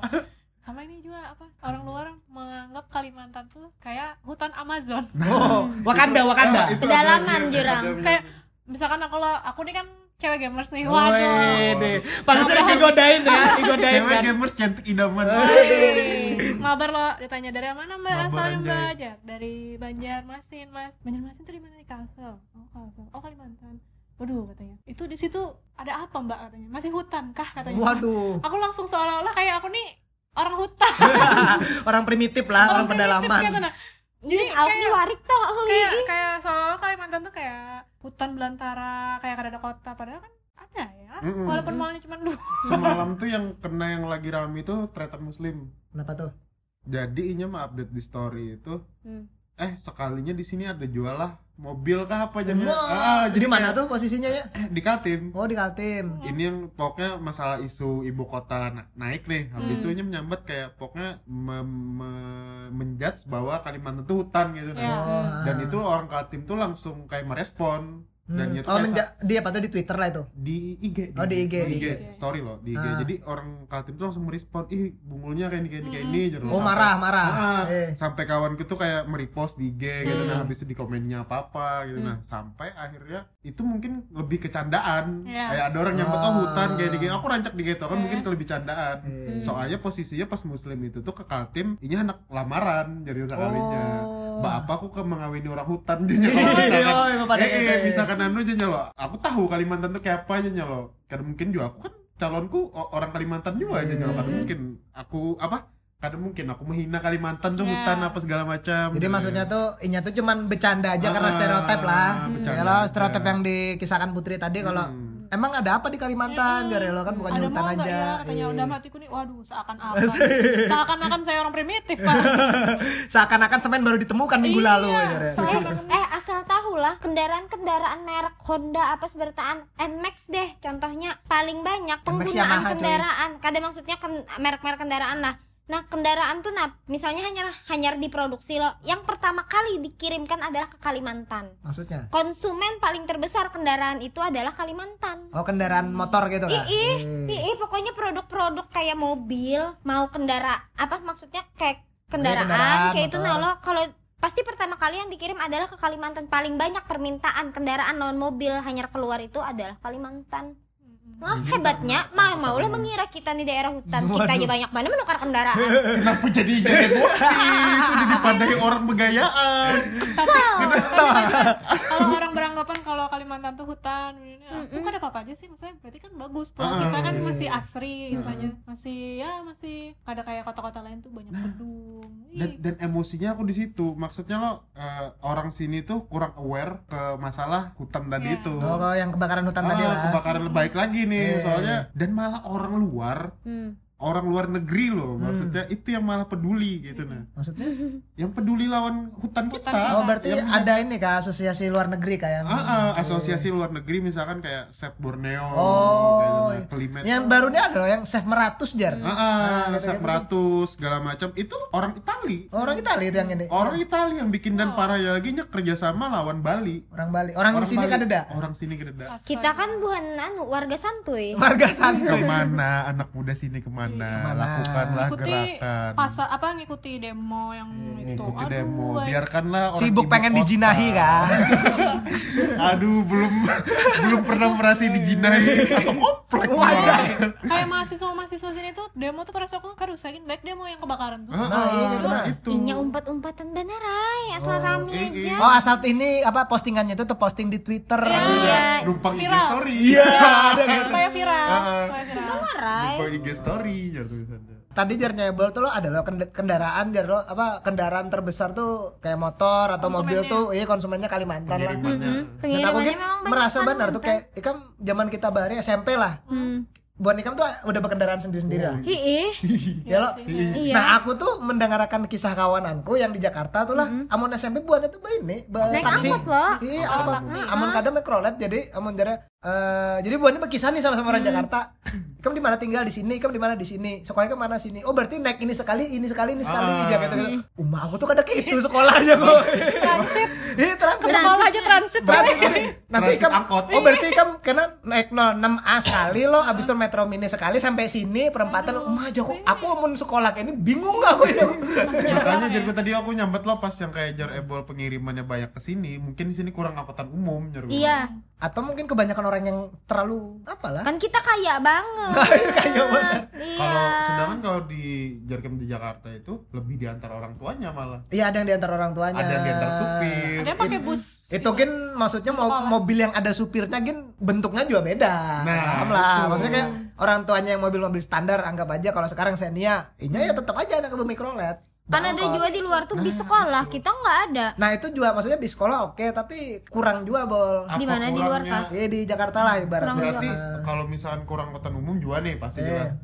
Speaker 1: sama ini juga apa orang luar menganggap Kalimantan tuh kayak hutan Amazon
Speaker 2: Oh, Wakanda, Wakanda.
Speaker 3: Ah, Nah, itu
Speaker 4: Pedalaman,
Speaker 3: ada-
Speaker 4: Jurang.
Speaker 3: ada-
Speaker 1: Kayak- misalkan aku lo aku nih kan cewek gamers nih waduh
Speaker 2: Woi, deh. Pasti sering digodain ya, digodain
Speaker 3: cewek
Speaker 2: kan.
Speaker 3: gamers cantik idaman.
Speaker 1: Eh. ngabar lo ditanya dari mana mbak
Speaker 3: Ngabar,
Speaker 1: asalnya
Speaker 3: anjay.
Speaker 1: mbak aja dari Banjarmasin mas Banjarmasin tuh di mana di Kalsel oh Kalsel oh Kalimantan waduh katanya itu di situ ada apa mbak katanya masih hutan kah katanya
Speaker 2: Waduh,
Speaker 1: aku langsung seolah-olah kayak aku nih orang hutan
Speaker 2: orang primitif lah, orang
Speaker 1: primitif
Speaker 2: pedalaman.
Speaker 1: gitu, nah.
Speaker 4: Jadi awak ni warik toh. hui.
Speaker 1: kayak kayak seolah-olah Kalimantan tuh kayak hutan belantara kayak kada ada kota padahal kan ada ya
Speaker 3: Mm-mm.
Speaker 1: walaupun malnya cuma dua
Speaker 3: Semalam tuh yang kena yang lagi rame itu tretan muslim.
Speaker 2: Kenapa tuh?
Speaker 3: Jadi inya mah update di story itu.
Speaker 4: Hmm.
Speaker 3: Eh sekalinya di sini ada jual lah mobil kah apa Ah, jadi?
Speaker 2: Wah, Ah, jadi mana tuh posisinya ya?
Speaker 3: Eh, di Kaltim.
Speaker 2: Oh, di Kaltim.
Speaker 3: Ini yang pokoknya masalah isu ibu kota na- naik nih. Habis
Speaker 4: Hmm.
Speaker 3: itu inya menyambat kayak pokoknya mem- me- menjudge bahwa Kalimantan tuh hutan gitu.
Speaker 1: Ya.
Speaker 3: Nah.
Speaker 2: Oh,
Speaker 3: Dan itu orang Kaltim tuh langsung kayak merespon dan
Speaker 2: hmm.
Speaker 3: itu
Speaker 2: oh,
Speaker 3: kayak
Speaker 2: menja- di apa tuh di Twitter lah itu.
Speaker 3: di IG
Speaker 2: Oh, di IG,
Speaker 1: di
Speaker 3: IG.
Speaker 1: IG.
Speaker 3: story loh di IG
Speaker 2: Ah.
Speaker 3: jadi orang Kaltim tuh langsung merespon ih bungulnya kayak ini kayak ini kayak
Speaker 1: Mm.
Speaker 3: ini jadi
Speaker 2: Oh,
Speaker 3: sampai-
Speaker 2: marah, marah.
Speaker 3: Ah,
Speaker 2: Eh.
Speaker 3: sampai kawanku tuh kayak merepost di IG gitu
Speaker 1: Hmm.
Speaker 3: nah habis itu di komennya apa apa
Speaker 2: Mm.
Speaker 3: gitu
Speaker 4: Hmm.
Speaker 3: nah sampai akhirnya itu mungkin lebih kecandaan
Speaker 1: Iya.
Speaker 3: kayak ada orang yang oh
Speaker 2: Ah.
Speaker 3: hutan kayak gini aku rancak di gitu kan
Speaker 1: Eh.
Speaker 3: mungkin lebih candaan
Speaker 2: Eh.
Speaker 3: soalnya posisinya pas muslim itu tuh ke Kaltim ini anak lamaran jadi sekalinya
Speaker 2: Oh.
Speaker 3: Mbak apa aku ke mengawini orang hutan
Speaker 2: Iya,
Speaker 3: jadi kalau misalkan
Speaker 2: iya, iya, pada
Speaker 3: eh, eh,
Speaker 2: gitu,
Speaker 3: bisa
Speaker 2: eh.
Speaker 3: kan anu aja lo aku tahu Kalimantan tuh kayak apa aja lo karena mungkin juga aku kan calonku o- orang Kalimantan juga aja nyalo karena
Speaker 4: Hmm.
Speaker 3: mungkin aku apa kadang mungkin aku menghina Kalimantan tuh
Speaker 1: Ya.
Speaker 3: hutan apa segala macam
Speaker 2: Jadi maksudnya tuh inya tuh cuman bercanda aja karena
Speaker 3: Ah,
Speaker 2: stereotip lah.
Speaker 3: bercanda
Speaker 2: Ya lo
Speaker 3: aja.
Speaker 2: stereotip yang dikisahkan Putri tadi kalau
Speaker 3: Hmm.
Speaker 2: emang ada apa di Kalimantan? Jadi lo kan bukannya
Speaker 1: ada
Speaker 2: hutan
Speaker 1: mau nggak
Speaker 2: aja.
Speaker 1: ya
Speaker 3: iya.
Speaker 1: katanya
Speaker 2: Eh.
Speaker 1: udah matiku nih waduh seakan apa seakan-akan saya orang primitif pak
Speaker 2: Seakan-akan semen baru ditemukan minggu
Speaker 1: Iya,
Speaker 2: lalu. Jar, ya.
Speaker 1: salah
Speaker 4: Eh,
Speaker 1: banget.
Speaker 4: eh asal tahu lah kendaraan-kendaraan merek Honda apa sebertaan NMAX deh contohnya paling banyak penggunaan
Speaker 2: Yamaha, coy.
Speaker 4: kendaraan kadang maksudnya ken- merek-merek kendaraan lah nah kendaraan tuh nah misalnya hanya hanya diproduksi loh yang pertama kali dikirimkan adalah ke Kalimantan
Speaker 2: Maksudnya?
Speaker 4: konsumen paling terbesar kendaraan itu adalah Kalimantan
Speaker 2: Oh kendaraan motor gitu kan?
Speaker 4: Ih,
Speaker 2: Eh.
Speaker 4: Ih, Iya, pokoknya produk-produk kayak mobil mau kendara apa maksudnya kayak
Speaker 2: Kayak
Speaker 4: kendaraan,
Speaker 2: kendaraan,
Speaker 4: kayak itu
Speaker 2: motor.
Speaker 4: nah lo kalau pasti pertama kali yang dikirim adalah ke Kalimantan paling banyak permintaan kendaraan non mobil hanya keluar itu adalah Kalimantan Wah,
Speaker 3: Jadi
Speaker 4: hebatnya mau maulah mengira kita di daerah hutan kita aja
Speaker 2: Hmm. Waduh.
Speaker 4: banyak banget menukar kendaraan
Speaker 3: kenapa jadi jadi emosi sudah dipandai orang begayaan
Speaker 1: kalau orang beranggapan kalau Kalimantan tuh hutan ini aku kan ada apa aja sih maksudnya berarti kan bagus pulau
Speaker 3: Ah,
Speaker 1: kita kan
Speaker 3: iya.
Speaker 1: masih asri istilahnya masih ya masih kada kayak kota-kota lain tuh banyak gedung
Speaker 3: Nah. dan,
Speaker 1: Ih,
Speaker 3: dan emosinya aku di situ maksudnya lo eh, orang sini tuh kurang aware ke masalah hutan tadi
Speaker 1: Iya.
Speaker 3: itu
Speaker 2: Oh kalau yang kebakaran hutan tadi
Speaker 3: Ah,
Speaker 2: lah.
Speaker 3: kebakaran baik lagi
Speaker 2: Iya.
Speaker 3: nih soalnya dan malah orang luar
Speaker 4: Hmm.
Speaker 3: orang luar negeri loh
Speaker 2: Hmm.
Speaker 3: maksudnya itu yang malah peduli gitu nah
Speaker 2: Maksudnya?
Speaker 3: yang peduli lawan hutan kita
Speaker 1: kita.
Speaker 2: Oh berarti
Speaker 3: Yang-
Speaker 2: ada ini kak asosiasi luar negeri kayak?
Speaker 3: iya, Ah, ah, asosiasi luar negeri misalkan kayak Sep Borneo
Speaker 2: Oh.
Speaker 3: kayak gitu, nah, Kelimet
Speaker 2: Yang baru ini ada loh yang Chef Meratus jar.
Speaker 3: Ah, ah,
Speaker 2: Nah,
Speaker 3: Sep
Speaker 2: kayak gitu.
Speaker 3: Meratus segala macam itu orang Itali
Speaker 2: Oh, Orang Itali itu yang ini.
Speaker 3: orang Itali yang bikin
Speaker 1: Oh.
Speaker 3: dan parahnya lagi nya kerjasama lawan Bali
Speaker 2: Orang Bali. Orang, di sini kan
Speaker 3: Bali-
Speaker 2: ada.
Speaker 3: orang sini kan ada
Speaker 1: asal.
Speaker 4: kita kan bukan anu warga santuy
Speaker 2: Warga
Speaker 1: Iya.
Speaker 2: santuy.
Speaker 3: kemana anak muda sini kemana,
Speaker 2: Kemana?
Speaker 3: lakukanlah
Speaker 1: Ikuti
Speaker 3: Ah, gerakan Iya,
Speaker 1: pasar apa ngikuti demo yang itu
Speaker 3: ngikuti
Speaker 1: Aduh,
Speaker 3: demo
Speaker 1: baik.
Speaker 3: biarkanlah orang
Speaker 2: Sibuk
Speaker 3: ibu
Speaker 2: pengen
Speaker 3: kota.
Speaker 2: dijinahi kan.
Speaker 3: Aduh, belum belum pernah merasa dijinai satu komplek.
Speaker 2: Wadah.
Speaker 3: orang.
Speaker 1: kayak mahasiswa mahasiswa sini tuh demo tuh perasaan aku kan rusakin baik demo yang kebakaran tuh
Speaker 3: Ah,
Speaker 2: Nah, iya,
Speaker 3: ah,
Speaker 2: gitu,
Speaker 3: nah,
Speaker 2: nah.
Speaker 3: itu.
Speaker 4: Inya umpet-umpetan bener ay, asal
Speaker 2: Oh.
Speaker 4: rame
Speaker 3: Ih, ih.
Speaker 4: aja.
Speaker 2: Oh asal ini apa postingannya itu terposting di Twitter.
Speaker 4: Iya.
Speaker 3: Numpang IG
Speaker 1: Viral. gitu.
Speaker 3: story.
Speaker 2: Iya, ada kan.
Speaker 1: supaya viral
Speaker 3: Ah.
Speaker 1: supaya viral
Speaker 4: Marai.
Speaker 3: Numpang IG story jar tulisannya.
Speaker 2: Tadi jar nyebel tuh lo ada lo kend- kendaraan jar lo apa kendaraan terbesar tuh kayak motor atau mobil
Speaker 1: Konsumennya.
Speaker 2: tuh iya konsumennya Kalimantan lah.
Speaker 3: Pengiriman.
Speaker 4: Mm-mm.
Speaker 2: Dan aku
Speaker 4: Pengirimannya
Speaker 2: kayak
Speaker 4: memang banyak
Speaker 2: merasa
Speaker 4: kan,
Speaker 2: benar tuh
Speaker 4: mantan.
Speaker 2: kayak ikam zaman kita ya, bahari SMP lah.
Speaker 4: Hmm.
Speaker 2: Buat ikam tuh udah berkendaraan sendiri-sendiri lah.
Speaker 4: Hi, ih.
Speaker 1: Iya
Speaker 2: Ya lo.
Speaker 1: sih.
Speaker 4: Iya.
Speaker 2: Nah aku tuh mendengarkan kisah kawananku yang di Jakarta tuh lah,
Speaker 4: Mm-mm.
Speaker 2: amun SMP buannya tuh ini, ba-
Speaker 4: Mm-hmm. Naik
Speaker 2: taksi.
Speaker 4: angkot loh.
Speaker 2: Iya,
Speaker 1: Oh,
Speaker 2: apa?
Speaker 1: taksi.
Speaker 2: Amun kadang mikrolet jadi amun jare eh jadi buannya berkisah nih sama-sama
Speaker 4: Mm-hmm.
Speaker 2: orang Jakarta. Kamu di mana tinggal di sini? Kamu di mana di sini? Sekolahnya ke mana sini? Oh, berarti naik ini sekali, ini sekali, ini sekali
Speaker 3: Ah.
Speaker 2: aja gitu.
Speaker 4: Iya.
Speaker 2: Umah aku tuh kadang gitu sekolahnya kok.
Speaker 1: transit
Speaker 2: Iya, terang
Speaker 1: ke sekolah aja transit
Speaker 2: Berarti gini, nanti
Speaker 3: Transit
Speaker 2: kamu
Speaker 3: angkot.
Speaker 2: Oh, berarti kamu kena naik 06A sekali loh, abis itu metro mini sekali sampai sini perempatan. Umah aja kok. Aku amun sekolah kayak ini bingung gak aku ya.
Speaker 3: Makanya
Speaker 1: Iya,
Speaker 3: jar gua tadi aku nyambet lo pas yang kayak jar ebol pengirimannya banyak ke sini, mungkin di sini kurang angkutan umum jar gua.
Speaker 4: Iya.
Speaker 2: Atau mungkin kebanyakan orang yang terlalu apalah.
Speaker 4: Kan kita kaya banget.
Speaker 2: Kaya banget.
Speaker 4: Iya.
Speaker 3: Kalau sedangkan kalau di jarkem di Jakarta itu lebih diantar orang tuanya malah.
Speaker 2: Iya, ada yang diantar orang tuanya.
Speaker 3: Ada yang diantar supir.
Speaker 1: ada yang pakai bus
Speaker 2: itu kan maksudnya mau
Speaker 1: Sekolah.
Speaker 2: mobil yang ada supirnya kan bentuknya juga beda
Speaker 3: Nah,
Speaker 2: paham lah
Speaker 3: betul.
Speaker 2: maksudnya kayak orang tuanya yang mobil-mobil standar anggap aja kalau sekarang Xenia inya ya tetap aja anak mikrolet
Speaker 4: Kan ada juga di luar tuh di sekolah, kita nggak ada.
Speaker 2: nah itu juga maksudnya di sekolah oke tapi kurang juga bol
Speaker 3: Apa
Speaker 4: Di mana? Di luar
Speaker 3: kurangnya?
Speaker 2: ya di Jakarta lah ibaratnya
Speaker 3: Berarti
Speaker 2: Nah,
Speaker 3: kalau misalkan kurang angkutan umum juga nih pasti
Speaker 2: Eh.
Speaker 3: jelas.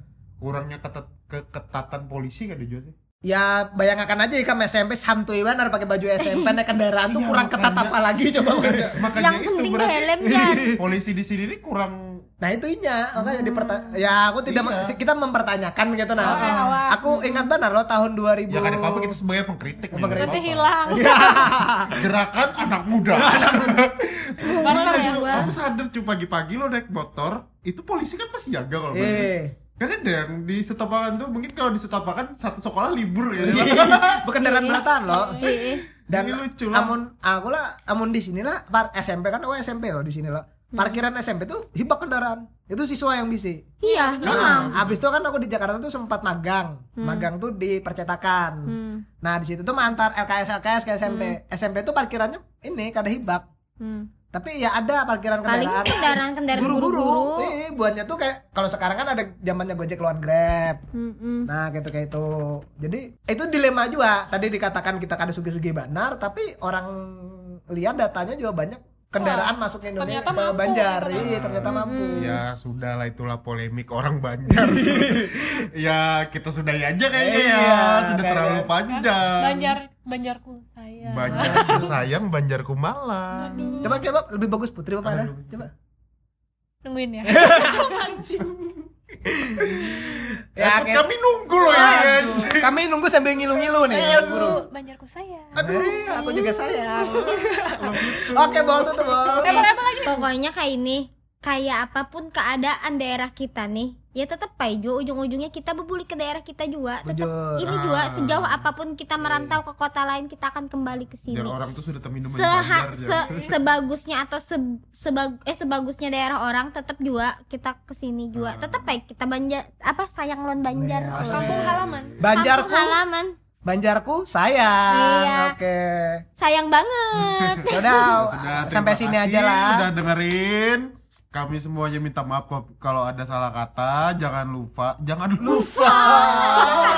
Speaker 3: Kurangnya ketet keketatan polisi kan juga sih.
Speaker 2: ya bayangkan aja kamu SMP santuy benar pakai baju SMP naik kendaraan tuh
Speaker 3: Iya,
Speaker 2: kurang ketat
Speaker 3: makanya. Iya.
Speaker 2: apa lagi coba
Speaker 3: Makanya, Eh, makanya
Speaker 4: Yang
Speaker 3: itu
Speaker 4: penting
Speaker 3: berarti
Speaker 4: helm jar.
Speaker 3: polisi di sini ini kurang
Speaker 2: Nah itu inya, makanya diperta- ya aku tidak
Speaker 3: Hmm. Iya.
Speaker 2: kita mempertanyakan gitu nah.
Speaker 1: Oh, eh, awas.
Speaker 2: aku ingat benar loh tahun 2000.
Speaker 3: ya kan apa-apa kita sebagai pengkritik nih,
Speaker 2: Pengkritik.
Speaker 1: nanti
Speaker 3: nggak apa-apa.
Speaker 1: hilang
Speaker 2: Iya.
Speaker 3: Gerakan anak muda.
Speaker 1: Barter ya?
Speaker 3: Cu, Kamu sadar cuy pagi-pagi lo naik motor, itu polisi kan pasti jaga kalau pagi.
Speaker 2: Eh,
Speaker 3: Karena ada yang di setopakan tuh mungkin kalau di setopakan satu sekolah libur ya.
Speaker 2: berkendaraan beratan loh.
Speaker 4: Ih, ih.
Speaker 2: Iya. Dan
Speaker 3: Ini lucu lah.
Speaker 2: amun aku lah, amun di sini lah par- SMP kan, oh SMP loh di sini loh.
Speaker 1: Hmm.
Speaker 2: Parkiran SMP tuh hibah kendaraan. Itu siswa yang bisi.
Speaker 4: Iya, memang.
Speaker 2: Nah, abis itu kan aku di Jakarta tuh sempat magang. Magang tuh di percetakan.
Speaker 4: Hmm.
Speaker 2: Nah, di situ tuh mantar LKS LKS ke SMP. SMP tuh parkirannya ini kada hibak.
Speaker 4: Hmm.
Speaker 2: Tapi ya ada parkiran
Speaker 4: Paling
Speaker 2: kendaraan.
Speaker 4: kendaraan-kendaraan
Speaker 2: buru-buru.
Speaker 4: guru-guru.
Speaker 2: Iya, buatnya tuh kayak kalau sekarang kan ada zamannya Gojek lawan Grab.
Speaker 4: Mm-mm.
Speaker 2: Nah, gitu kayak itu. Jadi itu dilema juga. Tadi dikatakan kita kada sugi-sugi benar, tapi orang lihat datanya juga banyak kendaraan masuk ke Indonesia
Speaker 1: ternyata mampu,
Speaker 2: Banjar.
Speaker 1: ternyata
Speaker 2: Iya, ternyata mampu.
Speaker 3: Ya sudah lah itulah polemik orang Banjar. ya kita sudahi aja kayaknya
Speaker 2: Iya,
Speaker 3: ya. Sudah
Speaker 2: kayak-
Speaker 3: terlalu panjang.
Speaker 1: banjar banjarku saya
Speaker 3: Banjarku sayang, Banjarku malang.
Speaker 1: Aduh.
Speaker 2: Coba coba lebih bagus Putri apa ada?
Speaker 3: Aduh.
Speaker 2: Coba.
Speaker 1: nungguin ya
Speaker 2: Ya, kayak-
Speaker 3: Takut Eh, kami nunggu loh ya. guys.
Speaker 2: kami nunggu sambil ngilu-ngilu nih. buru.
Speaker 1: Aduh, banjarku saya Eh,
Speaker 2: Aduh, Eh, aku juga sayang. gitu. Oke, bol tuh, bol.
Speaker 4: Eh, Pokoknya kayak ini, kayak apapun keadaan daerah kita nih, ya tetap Paijo ujung-ujungnya kita berbuli ke daerah kita juga. Tetap
Speaker 2: Bujur. Iya,
Speaker 4: ini juga
Speaker 3: Ah.
Speaker 4: sejauh apapun kita merantau ke kota lain kita akan kembali ke sini.
Speaker 3: Biar orang tuh sudah terminum
Speaker 4: Seha-
Speaker 3: Banjar. ya.
Speaker 4: se- sebagusnya atau se sebag- eh sebagusnya daerah orang tetap juga kita ke sini juga.
Speaker 3: Ah.
Speaker 4: Tetap baik kita Banjar apa sayang lon Banjar.
Speaker 2: Nih,
Speaker 4: Allah.
Speaker 2: asik.
Speaker 1: kampung halaman
Speaker 4: Kampung
Speaker 2: Banjarku,
Speaker 4: halaman.
Speaker 2: Banjarku sayang.
Speaker 4: Iya.
Speaker 2: Oke.
Speaker 4: Sayang banget.
Speaker 2: Udah,
Speaker 3: Ya sudah,
Speaker 2: sampai
Speaker 3: terima
Speaker 2: sini
Speaker 3: kasih
Speaker 2: aja lah.
Speaker 3: Udah dengerin. Kami semuanya minta maaf kok kalau ada salah kata. Jangan lupa, jangan lupa. Ter-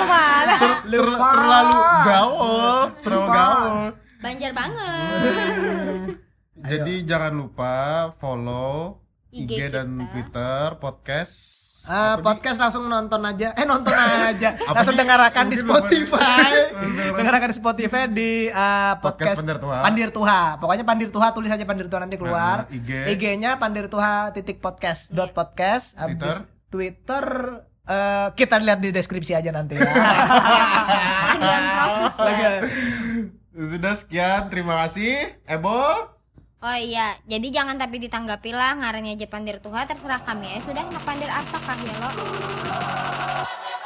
Speaker 3: ter-
Speaker 2: Lupa. Eh,
Speaker 3: terlalu gaul, terlalu
Speaker 2: Lupa.
Speaker 3: gaul.
Speaker 4: Banjar banget.
Speaker 3: Jadi jangan lupa follow IG,
Speaker 4: IG
Speaker 3: dan
Speaker 4: kita.
Speaker 3: Twitter podcast.
Speaker 2: Eh,
Speaker 3: Apa, Di?
Speaker 2: podcast langsung nonton aja. Eh nonton aja.
Speaker 3: Apa,
Speaker 2: langsung
Speaker 3: Di?
Speaker 2: dengarkan di
Speaker 3: Mungkin lupa.
Speaker 2: Spotify.
Speaker 3: Dengarkan.
Speaker 2: dengarkan di Spotify di eh, podcast,
Speaker 3: Podcast Pandir Tuha.
Speaker 2: Pandir Tuha. Pokoknya Pandir Tuha tulis aja Pandir Tuha nanti keluar.
Speaker 3: Nah, IG.
Speaker 2: IG-nya Pandir Tuha titik podcast dot podcast. Habis Twitter eh, kita lihat di deskripsi aja nanti ya.
Speaker 4: Lagi on proses ya.
Speaker 3: Sudah sekian, terima kasih. Ebol.
Speaker 4: Oh iya, jadi jangan tapi ditanggapi Eh, lah ngarannya aja pandir Tuhan terserah kami ya sudah nak pandir apa kah ya lo.